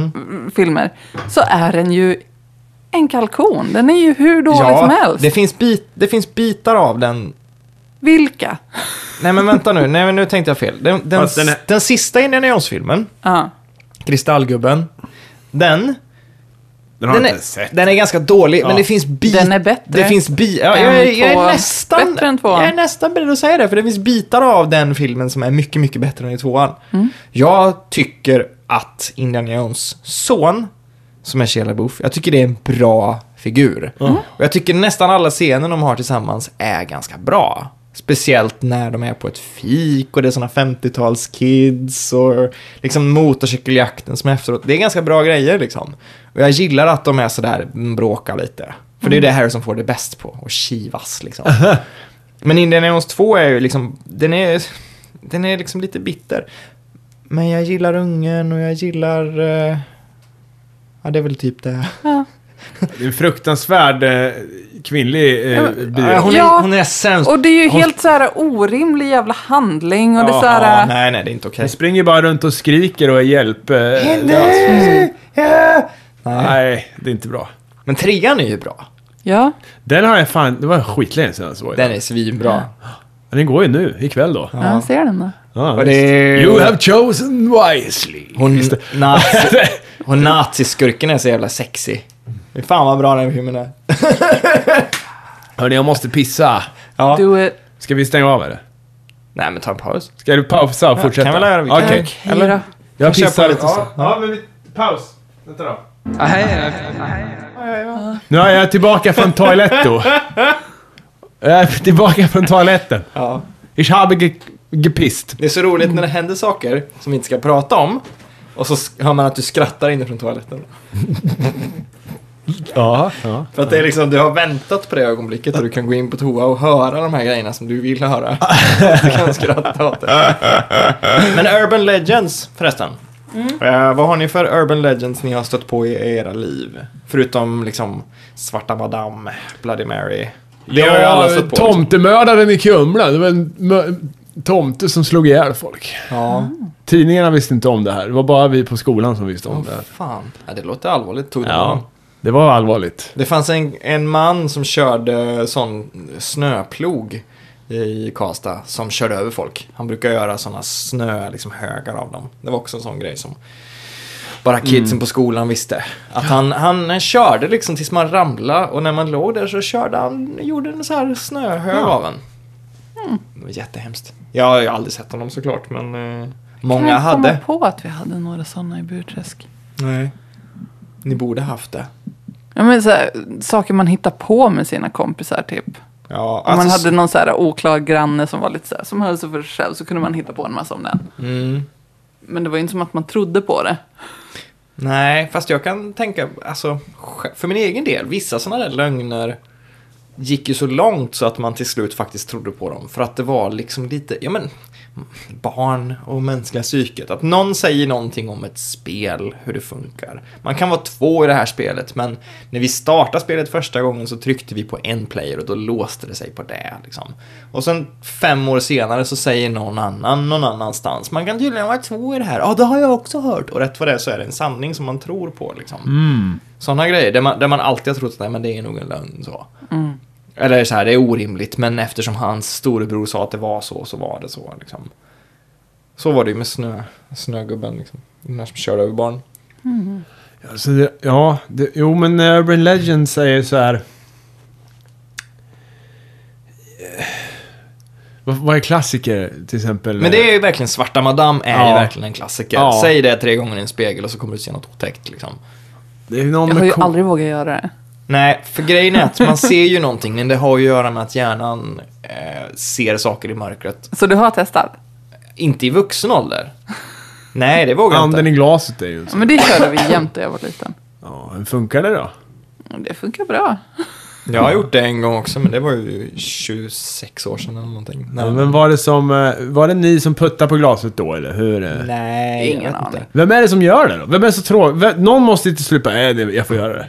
C: Jones-filmer så är den ju en kalkon. Den är ju hur dålig som helst.
A: det finns, bit, det finns bitar av den.
C: Vilka?
A: Nej, men vänta nu. Nej, men nu tänkte jag fel. Den, den,
B: Fast den är-
A: den sista Indiana Jones-filmen,
C: Ja.
A: Kristallgubben, den,
B: den har
A: den,
B: jag
A: är,
B: inte sett.
A: den är ganska dålig, men
B: Ja.
A: det finns bitar.
C: Den är bättre.
A: Det finns bi- ja,
C: Än
A: jag, är- jag,
C: tvåan.
A: är nästan,
C: Bättre än tvåan.
A: jag är nästan beredd att säga det, för det finns bitar av den filmen som är mycket, mycket bättre än i tvåan. Jag tycker att Indiana Jones son, som är Shia Buff, jag tycker det är en bra figur. Mm. Och jag tycker nästan alla scener de har tillsammans är ganska bra. Speciellt när de är på ett fik och det är såna 50-talskids och liksom motorcykeljakten som är efteråt. Det är ganska bra grejer liksom. Och jag gillar att de är sådär, mm, bråkar lite. För det är det här som får det bäst på, och kivas liksom. Men Indiana Jones 2 är ju liksom, den är, den är liksom lite bitter. Men jag gillar ungen och jag gillar, eh, ja det är väl typ det.
B: Det är en fruktansvärd eh, kvinnlig eh, byrå.
A: Ja, hon,
C: Ja.
A: är, hon är sämst.
C: Och det är ju
A: Hon-
C: helt så här orimlig jävla handling och det är så
A: Ja,
C: här...
A: nej, nej, det är inte okej.
B: Hon springer bara runt och skriker och är hjälp. eh, lös.
A: Nej! Mm. Ja. Nej.
B: Nej, det är inte bra.
A: Men trean är ju bra.
C: Ja.
B: Den har jag fan... Det var skitlänge sedan jag såg
A: Den
B: den.
A: är svinbra.
B: Den går ju nu, ikväll då.
C: Ja, jag ser den då.
B: Ja,
A: Och
B: visst.
A: det-
B: You have chosen wisely.
A: Hon, nazi, hon naziskurken är så jävla sexy. Fy Fan vad bra den filmen är.
B: Hörni, jag måste pissa.
A: Ja.
C: Do it.
B: Ska vi stänga av eller?
A: Nej men ta en paus.
B: Ska du pausa och
A: Ja,
B: fortsätta?
A: kan vi lära- vi kan-
B: Okej.
A: Okej.
C: Okej då.
B: Jag
A: Kanske jag
B: pissar
A: får lite så.
B: Ja, ja, men vi... Paus. Vänta då. Nu är jag tillbaka från toaletto. Jag är tillbaka från toaletten.
A: Ja.
B: Ich habe ge gepisst.
A: Det är så roligt när det händer saker som vi inte ska prata om. Och så sk- hör man att du skrattar inifrån toaletten.
B: Ja, ja.
A: För att det är liksom, du har väntat på det ögonblicket och du kan gå in på toa och höra de här grejerna som du vill höra. Du kan skratta åt det. Men Urban Legends förresten. Eh, vad har ni för Urban Legends ni har stött på i era liv? Förutom liksom Svarta Madame, Bloody Mary. Det har ju alla stött på. liksom.
B: Tomtemördaren i Kumla. Det var en mö- tomte som slog ihjäl folk.
A: Ja.
B: Tidningarna visste inte om det här. Det var bara vi på skolan som visste om det. Här.
A: Fan. Ja, det låter allvarligt. Tog det
B: Ja,
A: honom?
B: det var allvarligt.
A: Det fanns en, en man som körde sån snöplog i Karlstad som körde över folk. Han brukar göra såna snö, liksom högar av dem. Det var också en sån grej som bara kidsen
C: Mm.
A: på skolan visste. Att han, han körde liksom tills man ramlade och när man låg där så körde han, gjorde en så här snöhög av en.
C: Mm.
A: Det var jättehemskt. Jag har ju aldrig sett honom såklart men eh,
C: Kan
A: många
C: jag komma
A: hade.
C: på att vi hade några sådana i Burträsk.
A: Nej. Ni borde haft det.
C: Ja, men så här, saker man hittar på med sina kompisar typ.
A: Ja,
C: Om man
A: alltså-
C: hade någon så här oklar granne som var lite så här, som höll sig för sig själv så kunde man hitta på en massa om den.
A: Mm.
C: Men det var ju inte som att man trodde på det.
A: Nej, fast jag kan tänka, alltså, sj- för min egen del, vissa sådana där lögner gick ju så långt så att man till slut faktiskt trodde på dem. För att det var liksom lite, ja men, barn och mänskliga psyket. Att någon säger någonting om ett spel, hur det funkar. Man kan vara två i det här spelet, men när vi startade spelet första gången så tryckte vi på en player och då låste det sig på det. Liksom. Och sen fem år senare så säger någon annan någon annanstans, man kan tydligen vara två i det här. Ja, det har jag också hört. Och rätt vad det är så är det en sanning som man tror på. Liksom. Sådana grejer, där man, där man alltid har trott att nej, men det är nog en lögn. Så. Eller så här, det är orimligt, men eftersom hans storebror sa att det var så, så var det så. Liksom. Så var det ju med snö, snögubben, liksom. den här som körde över barn.
B: Alltså det, ja, det, jo men Urban Legend säger så här. Eh, Vad, vad är klassiker till exempel?
A: Men det är ju verkligen, Svarta Madame är ju
B: Ja.
A: verkligen en klassiker.
B: Ja.
A: Säg det tre gånger i en spegel och så kommer du se något otäckt liksom.
B: Det är någon
C: Jag har
B: med
C: ju
B: ko-
C: aldrig vågat göra det.
A: Nej, för grejen är att man ser ju någonting, men det har ju att göra med att hjärnan eh, ser saker i mörkret.
C: Så du har testat?
A: Inte i vuxen ålder. Nej, det vågar jag inte.
B: Anden i glaset är ju en
C: Ja,
B: sån.
C: men det körde vi jämt när jag var liten.
B: Ja, hur funkar det då?
C: Och Det funkar bra.
A: Jag har gjort det en gång också, men det var ju 26 år sedan eller någonting. Nej,
B: Ja, men var det som, eh, var det ni som puttade på glaset då eller hur? eh?
A: nej jag
C: Ingen
A: vet inte.
C: aning.
B: Vem är det som gör det då? Vem är det så tråkig? Någon måste inte sluta. Nej, det- jag får göra det.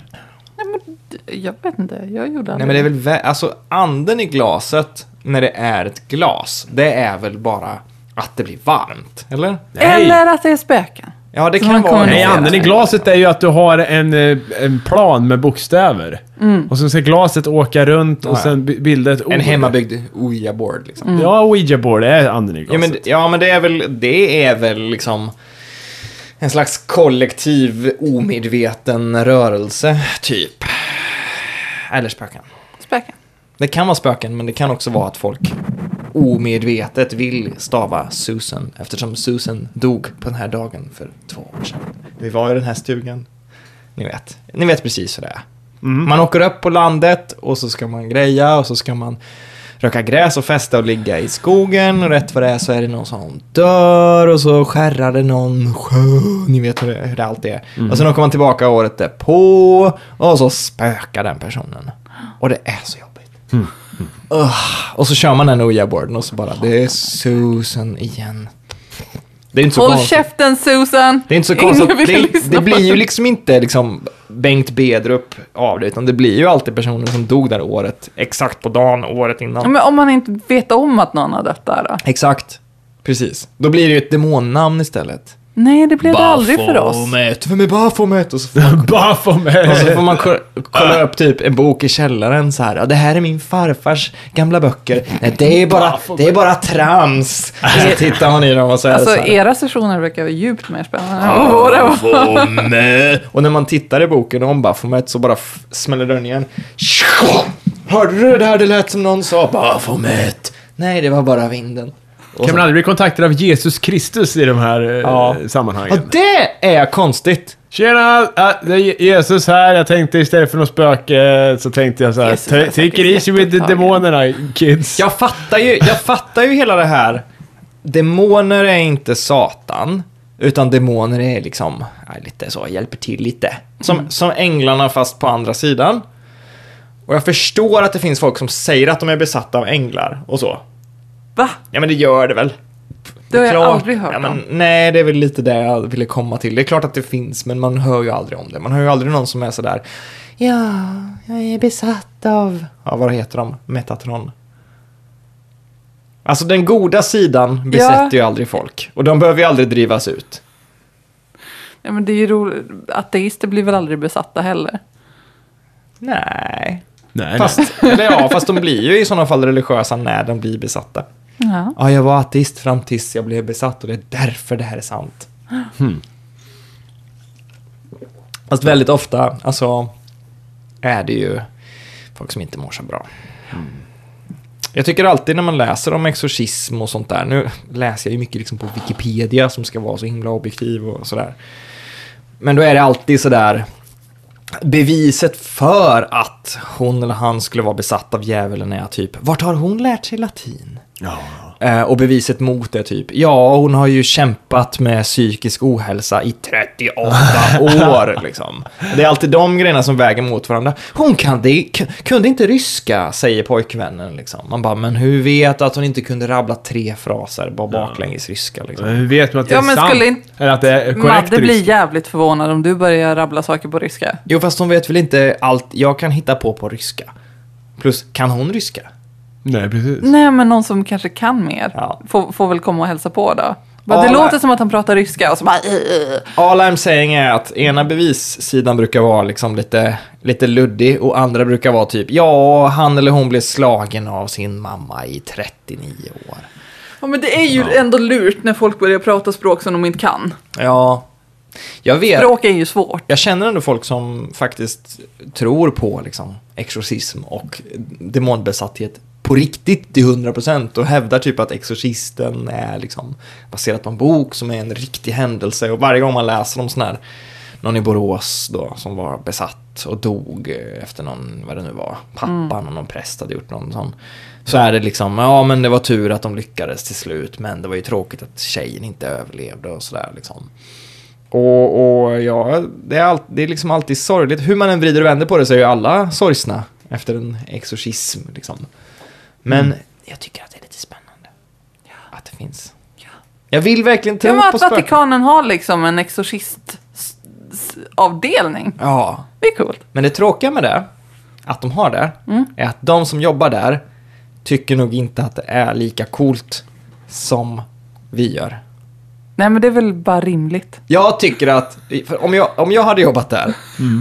C: Jag vet inte, jag gjorde
A: Nej men
C: aldrig
A: det är väl, vä- alltså anden i glaset när det är ett glas, det är väl bara att det blir varmt, eller?
B: Nej.
C: Eller att det är spöken.
A: Ja, det
C: Så
A: kan
C: man
A: vara
C: kommer
B: Nej,
C: Ja,
B: anden i
C: ja.
B: glaset är ju att du har en, eh, en plan med bokstäver. Och sen ska glaset åka runt och
A: Ja, ja.
B: sen bi- bilda ett ord. Mm.
A: En hemmabyggd ouija-board liksom.
B: Ja, ouija board är anden i glaset.
A: Ja men, ja men det är väl, det är väl liksom en slags kollektiv omedveten rörelse, typ. Eller spöken.
C: Spöken.
A: Det kan vara spöken, men det kan också vara att folk omedvetet vill stava Susan eftersom Susan dog på den här dagen för två år sedan. Vi var i den här stugan. Ni vet, ni vet precis hur det är. Man åker upp på landet och så ska man greja och så ska man röka gräs och festa och ligga i skogen och rätt vad det är så är det någon som dör och så skärrar det någon sjö. Ni vet hur det, hur det alltid är. Och sen åker man tillbaka året därpå och så spökar den personen. Och det är så jobbigt. Ugh. och så kör man den ouija-boarden och så bara, det är Susan igen. Det är inte så
C: Håll
A: konstigt.
C: käften Susan!
A: Det är inte så konstigt.
C: Ingen
A: att-
C: vill
A: Det,
C: lyssna
A: det
C: på
A: blir ju
C: dig.
A: liksom inte liksom Bengt Bedrup av det, utan det blir ju alltid personer som dog där året, exakt på dagen, året innan.
C: Ja, Men om man inte vet om att någon har dött där då?
A: Exakt. Precis. Då blir det ju ett demonnamn istället.
C: Nej, det blev det aldrig för oss.
A: Baphomet. Vem är Baphomet? Och så får, och så får
B: Baphomet!
A: man ko- kolla upp typ en bok i källaren så här. Ja, det här är min farfars gamla böcker. Nej, det är bara, det är bara trams. Och så tittar man i dem och så är det
C: Alltså
A: så här.
C: era sessioner verkar vara djupt mer spännande än vad våra var.
A: Och när man tittar i boken om Baphomet så bara f- smäller dörren igen. Hörde du det här? Det lät som någon sa Baphomet. Nej, det var bara vinden. Och
B: Kan
A: så-
B: man aldrig bli kontaktad av Jesus Kristus i de här eh,
A: Ja. ja,
B: sammanhangen?
A: det är konstigt.
B: Tjena! ah, Det är Je- Jesus här. Jag tänkte istället för något spöke så tänkte jag så här.
C: Jesus är
B: "Ta- Take
C: säkert
B: it easy with the
C: jättetagen."
B: demonerna kids.
A: Jag fattar ju, jag fattar ju hela det här. Demoner är inte Satan, utan demoner är liksom, ja, lite så, hjälper till lite. Som,
B: Mm.
A: som änglarna fast på andra sidan. Och jag förstår att det finns folk som säger att de är besatta av änglar och så.
C: Va?
A: Ja men det gör det väl.
C: Det har jag
A: klart-
C: aldrig hört
A: ja,
C: om.
A: men, Nej, det är väl lite det jag ville komma till. Det är klart att det finns, men man hör ju aldrig om det. Man hör ju aldrig någon som är sådär, ja, jag är besatt av, ja vad heter de? Metatron. Alltså den goda sidan besätter ju aldrig folk. Och de behöver ju aldrig drivas ut.
C: Ja, men det är ju roligt. Ateister blir väl aldrig besatta heller.
A: Nej.
B: Nej, nej.
A: Fast, eller ja, fast de blir ju i sådana fall religiösa när de blir besatta.
C: Ja.
A: Ja, jag var ateist fram tills jag blev besatt och det är därför det här är sant. Fast väldigt ofta, alltså, är det ju folk som inte mår så bra. Jag tycker alltid när man läser om exorcism och sånt där, nu läser jag ju mycket liksom på Wikipedia som ska vara så himla objektiv och sådär. Men då är det alltid sådär, beviset för att hon eller han skulle vara besatt av djävulen är typ, vart har hon lärt sig latin?
B: Ja.
A: Eh, Och beviset mot det typ, ja hon har ju kämpat med psykisk ohälsa i 38 år liksom. Det är alltid de grejerna som väger mot varandra. Hon kan det, k- kunde inte ryska, säger pojkvännen liksom. Man bara, men hur vet du att hon inte kunde rabbla tre fraser bara baklänges ryska liksom?
B: Men Alltså, Hur vet man att det
C: Ja,
B: är
C: men
B: sant?
C: skulle inte-
B: Eller att det är korrekt
C: Madde blir
B: ryska?
C: jävligt förvånad om du börjar rabbla saker på ryska.
A: Jo fast hon vet väl inte allt jag kan hitta på på ryska. Plus, kan hon ryska?
B: Nej, precis.
C: Nej, men någon som kanske kan mer
A: Ja.
C: får, får väl komma och hälsa på då. Bara, det
A: Ja,
C: låter
A: nej.
C: som att han pratar ryska och så bara... "Eh, eh, eh."
A: All I'm saying är att ena bevissidan brukar vara liksom lite, lite luddig och andra brukar vara typ ja, han eller hon blev slagen av sin mamma i 39 år.
C: Ja, men det är ju ändå lurt när folk börjar prata språk som de inte kan.
A: Ja, jag vet.
C: Språk är ju svårt.
A: Jag känner ändå folk som faktiskt tror på liksom, exorcism och demonbesatthet på riktigt till 100% och hävdar typ att exorcisten är liksom, baserat på en bok som är en riktig händelse och varje gång man läser om sån här, någon i Borås då som var besatt och dog eh, efter någon, vad det nu var, pappan och någon präst hade gjort någon sån. Så är det liksom, ja men det var tur att de lyckades till slut men det var ju tråkigt att tjejen inte överlevde och sådär liksom. Och, och ja, det är, all, det är liksom alltid sorgligt. Hur man än vrider och vänder på det så är ju alla sorgsna efter en exorcism. Liksom. Men jag tycker att det är lite spännande. Att det finns. Jag vill verkligen
C: Ja,
A: tro
C: men
A: på
C: att
A: spöken.
C: Vatikanen har liksom en exorcistavdelning.
A: Ja,
C: Det är coolt.
A: men det tråkiga med det, att de har det, är att de som jobbar där tycker nog inte att det är lika coolt som vi gör.
C: Nej, men det är väl bara rimligt.
A: Jag tycker att, för om jag, om jag hade jobbat där,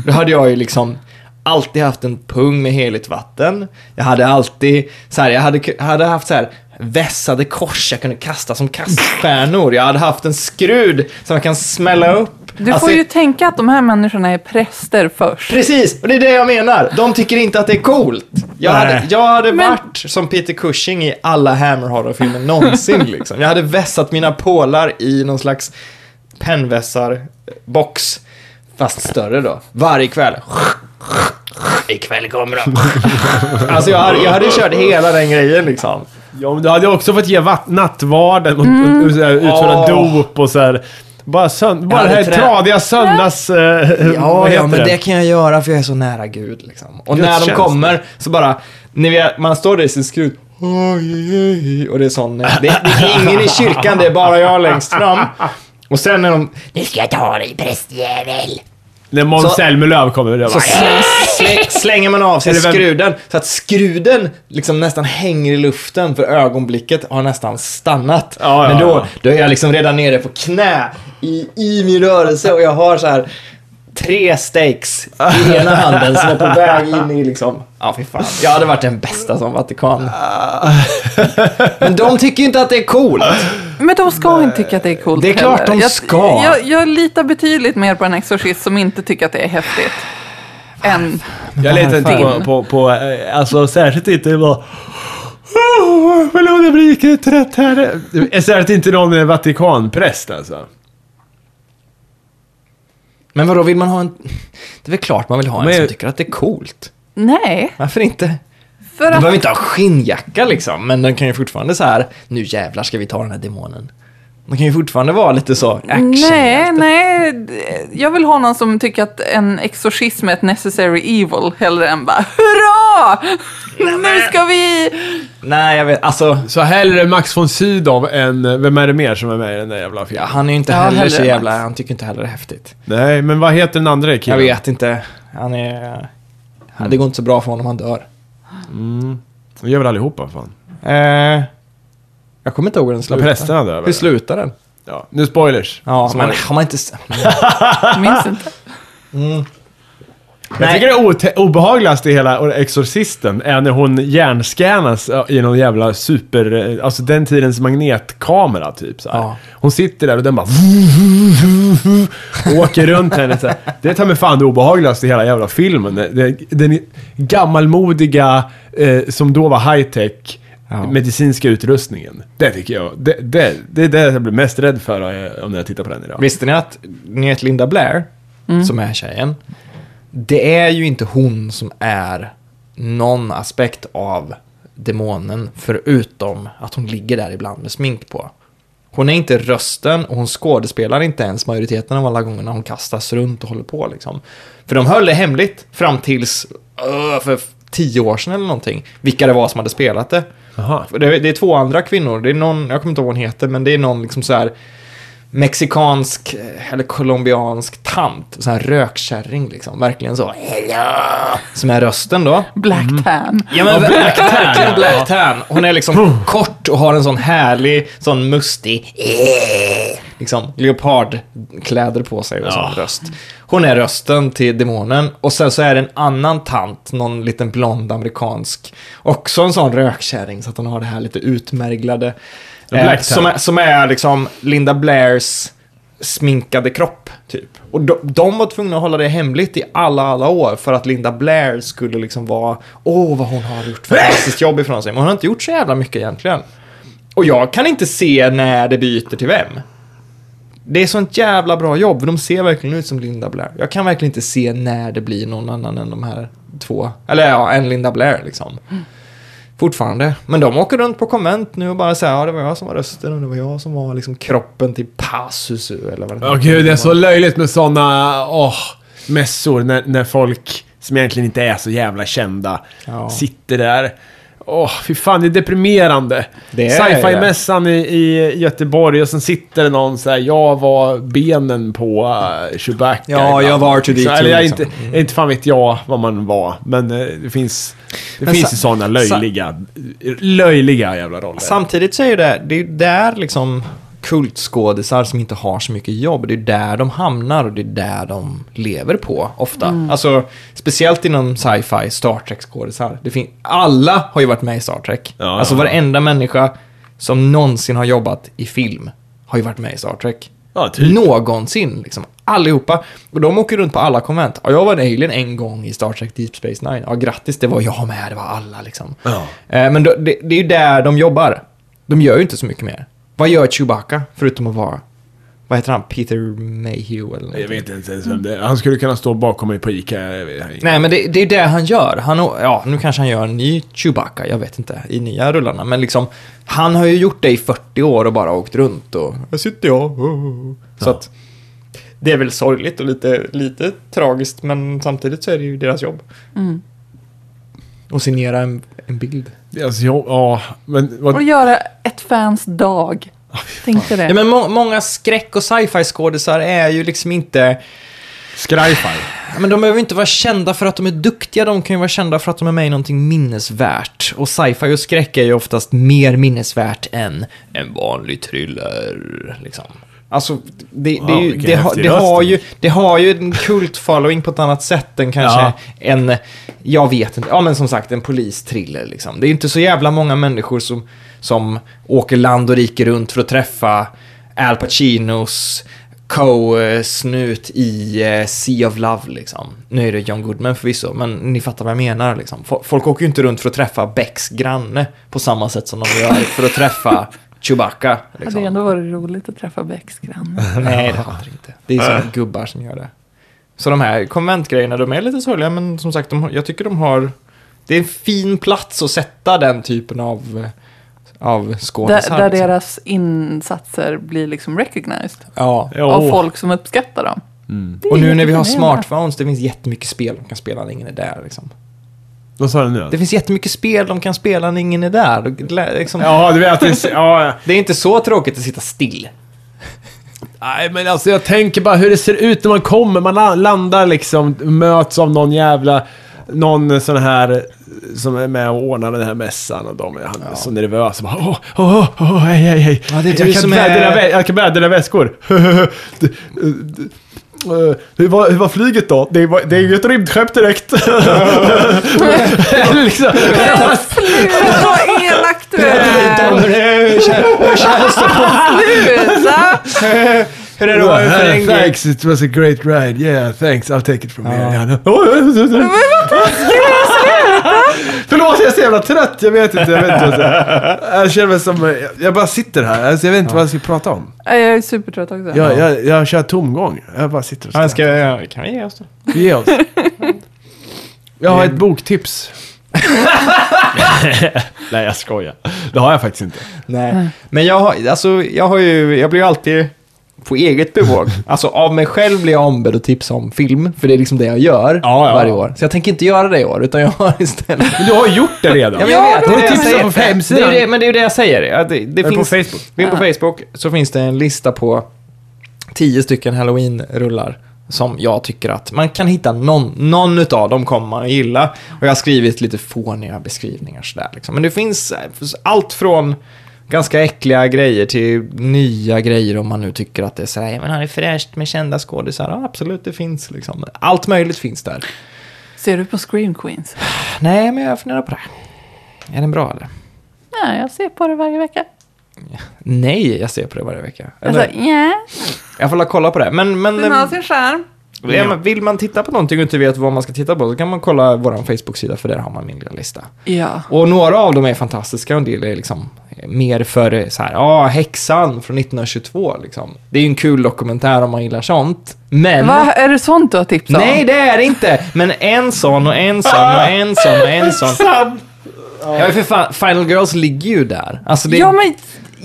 A: då hade jag ju liksom alltid haft en pung med heligt vatten. Jag hade alltid, så här, jag hade, ku- hade haft så här vässade kors jag kunde kasta som kaststjärnor. Jag hade haft en skrud som jag kan smälla upp.
C: Du
A: Alltså,
C: får ju tänka att de här människorna är präster först.
A: Precis, och det är det jag menar. De tycker inte att det är coolt. Jag hade,
B: Nej.
A: jag hade
C: Men-
A: varit som Peter Cushing i alla Hammer Horror-filmer någonsin. liksom. Jag hade vässat mina pålar i någon slags pennvässarbox, fast större då, varje kväll. Ikväll kommer de. alltså jag hade, jag hade kört hela den grejen liksom.
B: Ja, men du hade också fått ge vatt- nattvarden och,
C: Mm.
B: och, och så här, utföra
A: Åh.
B: dop och så här. Bara, sönd- bara det
A: hade
B: här
A: trä-
B: tradiga söndags... eh,
A: Ja, ja,
B: vad heter
A: men det kan jag göra för jag är så nära Gud. Liksom. Och när de
B: Gudstjänst.
A: kommer så bara, ni vet, man står där i sin skrut. "Oj, oj, oj", Och det är sån, det, det är ingen i kyrkan, det är bara jag längst fram. Och sen när de, nu ska jag ta dig prästjävel.
B: När Måns
A: Så-
B: Zelmerlöw kommer. Det
A: Så
B: bara,
A: sl- sl- slänger man av sig
B: Eller vem-
A: skruden så att skruden liksom nästan hänger i luften för ögonblicket har nästan stannat.
B: Ja, ja,
A: Men då,
B: ja.
A: då är jag liksom redan nere på knä i, i min rörelse och jag har så här tre stakes i ena handen som är på väg in i liksom... Ja, fy fan. Jag hade varit den bästa som Vatikan.
B: Ah.
A: Men de tycker ju inte att det är coolt.
C: Men de ska inte tycka att det är coolt
A: Det är klart
C: heller.
A: de
C: jag,
A: ska.
C: Jag, jag litar betydligt mer på en exorcist som inte tycker att det är häftigt. Än,
B: Jag litar inte
C: Varför?
B: på, på, på... eh, Alltså särskilt inte bara... Oh, förlåt, jag blir riktigt trött här. Eh, Särskilt inte någon eh, Vatikanpräst alltså.
A: Men vadå, vill man ha en... Det är väl klart man vill ha en
B: Men-
A: som tycker att det är coolt.
C: nej,
A: Varför inte?
C: för
A: Du
C: att
A: behöver inte ha skinnjacka liksom, men den kan ju fortfarande så här, nu jävlar ska vi ta den här demonen. Den kan ju fortfarande vara lite så action.
C: Nej, nej. d- Jag vill ha någon som tycker att en exorcism är ett necessary evil hellre än bara hurra! Nu ska vi...
A: Nej, jag vet, alltså.
B: Så hellre Max von Sydow än... eh, Vem är det mer som är med i den där jävla
A: Ja,
B: filmen?
A: han är ju inte
C: Ja,
A: heller
C: hellre
A: så
C: Max.
A: jävla, han tycker inte heller det är häftigt.
B: Nej, men vad heter den andra
A: Jag
B: killen?
A: vet inte, han är... han- Det går inte så bra för honom, han dör.
B: De gör väl allihopa fan.
A: Eh, Jag kommer inte ihåg hur den slutar.
B: Prästerna dör
A: Hur
B: väl?
A: slutar den?
B: Ja. Nu spoilers.
A: Ja,
B: Som
A: men
B: vanligt.
A: har man inte... s-
C: Jag minns inte.
B: Jag tycker det ote- obehagligaste i hela Exorcisten är när hon hjärnscannas i någon jävla super... Alltså den tidens magnetkamera typ så här.
A: Ja.
B: Hon sitter där och den bara... Och åker runt henne så här. Det är ta mig fan det obehagligaste i hela jävla filmen. Det- det- Den gammalmodiga, eh, som då var high-tech,
A: Ja.
B: medicinska utrustningen. Det tycker jag. Det, det, det är det jag blir mest rädd för eh, om när jag tittar på den idag.
A: Visste ni att ni vet Linda Blair, som är tjejen, det är ju inte hon som är någon aspekt av demonen förutom att hon ligger där ibland med smink på. Hon är inte rösten och hon skådespelar inte ens majoriteten av alla gångerna hon kastas runt och håller på liksom. För de höll det hemligt fram tills öh, för tio år sedan eller någonting, vilka det var som hade spelat det.
B: Jaha.
A: För Det, det är två andra kvinnor, det är någon, jag kommer inte ihåg vad hon heter, men det är någon liksom så här mexikansk eh, eller colombiansk tant, sån här rökkärring liksom, verkligen så. Hello! Som är rösten då. Mm.
C: Black Pan.
A: Ja men Black Tan, Black Tan. Hon är liksom kort och har en sån härlig, sån mustig, eh, liksom leopardkläder på sig och sån röst. Hon är rösten till demonen och sen så är det en annan tant, någon liten blond amerikansk, också en sån rökkärring så att hon har det här lite utmärglade. Eh,
B: Black Tan.
A: som, är, som är liksom Linda Blairs sminkade kropp, typ. Och de, de var tvungna att hålla det hemligt i alla, alla år för att Linda Blair skulle liksom vara, åh vad hon har gjort fantastiskt jobb ifrån sig. Men hon har inte gjort så jävla mycket egentligen. Och jag kan inte se när det byter till vem. Det är sånt jävla bra jobb, för de ser verkligen ut som Linda Blair. Jag kan verkligen inte se när det blir någon annan än de här två. Eller ja, en Linda Blair liksom. Fortfarande. Men de åker runt på konvent nu och bara säger ja det var jag som var rösten och det var jag som var liksom kroppen till Passusu eller vad det
B: Ja gud, det är så löjligt med sådana åh, mässor när, när folk som egentligen inte är så jävla kända
A: Ja.
B: sitter där. Åh, fy fan, det är deprimerande.
A: Det är
B: Sci-fi-mässan i, i Göteborg och sen sitter det någon så här, jag var benen på uh, Chewbacca.
A: Ja,
B: ibland."
A: jag var R2D2,
B: Så, Eller jag är
A: liksom.
B: inte, jag är inte fan vet jag vad man var, men eh, det finns, det
A: Men
B: finns
A: sa-
B: ju sådana löjliga, löjliga jävla roller.
A: Samtidigt så är ju det, det är ju där liksom kultskådisar som inte har så mycket jobb, det är där de hamnar och det är där de lever på ofta. Alltså, speciellt inom sci-fi, Star Trek-skådisar. Det fin- Alla har ju varit med i Star Trek.
B: Ja,
A: alltså
B: ja, ja.
A: varenda människa som någonsin har jobbat i film har ju varit med i Star Trek.
B: Ja, typ.
A: Någonsin, liksom. Allihopa. Och de åker runt på alla konvent. Ja, jag var en alien en gång i Star Trek Deep Space Nine. Ja, grattis, det var jag med, det var alla liksom.
B: Ja.
A: Eh, Men då, det, det är ju där de jobbar. De gör ju inte så mycket mer. Vad gör Chewbacca, förutom att vara... Vad heter han? Peter Mayhew eller något?
B: Jag vet inte ens vem det är. Han skulle kunna stå bakom mig på Ica. Jag vet- jag-
A: Nej, men det, det är det han gör. Han, å- ja, nu kanske han gör en ny Chewbacca, jag vet inte, i nya rullarna. Men liksom, han har ju gjort det i 40 år och bara åkt runt och... Här sitter jag. oh, oh, oh." Så att... Det är väl sorgligt och lite, lite tragiskt, men samtidigt så är det ju deras jobb. Och signera en, en bild.
B: Alltså, ja, ja, men vad,
C: Och göra ett fans dag. Tänkte det.
A: Ja, men må- många skräck och sci-fi skådisar är ju liksom inte...
B: Scryfy.
A: Ja, Men de behöver inte vara kända för att de är duktiga, de kan ju vara kända för att de är med i någonting minnesvärt. Och sci-fi och skräck är ju oftast mer minnesvärt än en vanlig thriller, liksom. Alltså, det, det, är
B: Wow,
A: ju,
B: vilken
A: det, har,
B: häftig
A: det, har
B: röst.
A: ju, det har ju en kult-following på ett annat sätt än kanske
B: Ja.
A: Eh, en, jag vet inte, ja men som sagt en polisthriller liksom. Det är ju inte så jävla många människor som, som åker land och rike runt för att träffa Al Pacinos co-snut i eh, Sea of Love liksom. Nu är det John Goodman förvisso, men ni fattar vad jag menar liksom. Fo- Folk åker ju inte runt för att träffa Becks granne på samma sätt som de gör för att träffa Chewbacca.
C: Det hade ju
A: Liksom.
C: ändå varit roligt att träffa Becks granne.
A: Nej, det hade det inte. Det är sådana gubbar som gör det. Så de här konventgrejerna, de är lite sorgliga, men som sagt, de, har- jag tycker de har... Det är en fin plats att sätta den typen av, eh, av
C: Där,
A: skådisar.
C: där
A: liksom.
C: deras insatser blir liksom recognized.
A: Ja.
C: Av folk som uppskattar dem. Det är
A: Mm. Och nu när vi har
C: jätteförnedrande.
A: smartphones, det finns jättemycket spel de kan spela när ingen är där. Liksom.
B: Vad sa du nu?
A: Det finns jättemycket spel de kan spela när ingen är där. Och glä- Liksom,
B: Ja, du vet att det är... Ja,
A: Det är inte så tråkigt att sitta still.
B: nej, men alltså jag tänker bara hur det ser ut när man kommer. Man la- landar liksom, möts av någon jävla någon sån här som är med och ordnar den här mässan och de han är så nervös. Bara, åh, åh, åh, åh, hej, hej, hej.
A: Ja, det är du
B: jag, kan
A: som
B: bära
A: är-
B: dina vä- jag kan bära dina väskor. Du- du- eh, hur, var, hur var flyget då? Det, var, det är ju ett rymdskepp direkt. liksom.
C: Men Sluta, vad elak du är!
A: Hur känns
C: Sluta!
A: det? Hur är det att vara förlängd?
B: thanks, it was a great ride. Yeah, thanks. I'll take it from here. Janne. Förlåt, jag är så jävla trött. Jag vet inte. Jag, vet inte. jag känner mig som... Jag bara sitter här. Alltså, jag vet inte vad jag ska prata om.
C: Nej, Jag är supertrött också.
B: Jag, jag, jag kör tomgång. Jag bara sitter och
A: Ja,
B: skrattar.
A: ska, ja, kan vi ge oss då?
B: Ge oss. Jag har ett boktips. Nej, jag skojar. Det har jag faktiskt inte.
A: Nej. Men jag har, alltså, jag har ju, jag blir ju alltid på eget bevåg. Alltså av mig själv blir jag ombedd att tipsa om film, för det är liksom det jag gör
B: Ja, ja.
A: varje år. Så jag tänker inte göra det i år, utan jag har istället...
B: Men du har gjort det redan.
A: Ja, men
C: Ja,
A: jag vet, det
C: du
A: är det jag
B: tipsar
A: säger.
B: på
A: det
B: hemsidan.
A: är det, men det är ju det jag säger. Att det, det
B: Men
A: finns,
B: på Facebook.
A: Vi är på Facebook, så finns det en lista på tio stycken halloween-rullar som jag tycker att man kan hitta någon, någon utav dem kommer man att gilla. Och jag har skrivit lite fåniga beskrivningar sådär liksom. Men det finns eh, allt från ganska äckliga grejer till nya grejer om man nu tycker att det är sådär, ja men har det fräscht med kända skådisar? Ja absolut, det finns liksom. Allt möjligt finns där.
C: Ser du på Scream Queens?
A: Nej, men jag funderar på det. Är den bra eller?
C: Nej, jag ser på det varje vecka.
A: Nej, jag ser på det varje vecka.
C: Alltså,
A: Eller,
C: yeah.
A: jag får la kolla på det. Men, ehm, men,
C: Den har sin charm.
A: Ja, men vill man titta på någonting och inte vet vad man ska titta på så kan man kolla vår Facebook-sida för där har man min lilla lista.
C: Ja.
A: Och några av dem är fantastiska och en del är liksom eh, mer för eh, så här, ja, Häxan från 1922 liksom. Det är ju en kul dokumentär om man gillar sånt. Men...
C: Va, är det sånt du har tips om?
A: Nej, det är det inte! Men en sån och en sån och en sån och en sån. Ja, men för fan, Final Girls ligger ju där. Alltså det är
C: Ja, men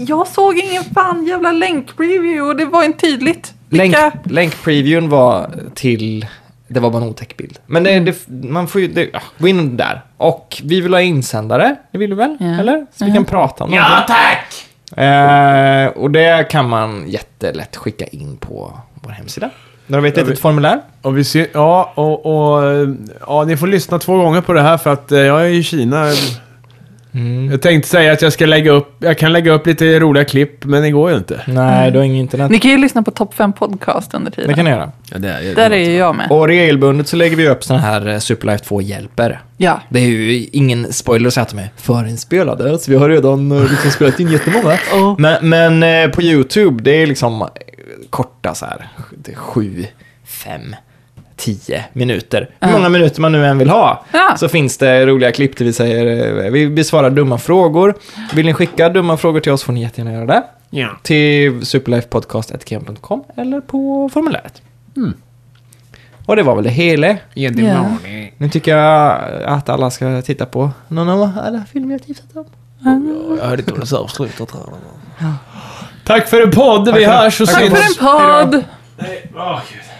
C: jag såg ingen fan jävla länk-review och det var inte tydligt.
A: Länk,
C: Vilka?
A: länk-previewn var till... Det var bara en otäck bild. Men
C: Mm.
A: det, det, man får ju... Det, ja, gå in där. Och vi vill ha insändare. Det vill du väl?
C: Ja. Mm.
A: Eller? Så vi kan prata om Ja, tack! Eh, och det kan man jättelätt skicka in på vår hemsida. Där har vi ett litet formulär.
B: Och vi ser, ja, och, och, eh, ja, ni får lyssna två gånger på det här för att eh, jag är i Kina. Jag tänkte säga att jag ska lägga upp, jag kan lägga upp lite roliga klipp, men det går ju inte.
A: Nej, du har ingen internet.
C: Mm. Ni kan ju lyssna på Topp 5 Podcast under
A: Det
C: tiden.
A: kan ni göra.
C: Där är ju jag med.
A: Och regelbundet så lägger vi upp såna här eh, Superlife 2-hjälper.
C: Ja.
A: Det är ju ingen spoiler att säga att de är förinspelade, så vi har redan eh, liksom spelat in jättemånga.
C: Ja.
A: Men, men eh, på YouTube, det är liksom eh, korta så här, det är sju, fem, tio minuter. Hur
C: Ja.
A: många minuter man nu än vill ha,
C: Ja.
A: så finns det roliga klipp där vi säger, eh, vi besvarar dumma frågor. Vill ni skicka dumma frågor till oss får ni jättegärna göra det. Till superlifepodcast.gm.com eller på formuläret. Och det var väl det hela.
C: Mm. Ja.
A: Nu tycker jag att alla ska titta på någon av alla filmer jag tipsat om.
B: Tack för en podd, vi hörs och
C: Tack för en podd!
B: Hej. Åh, Gud.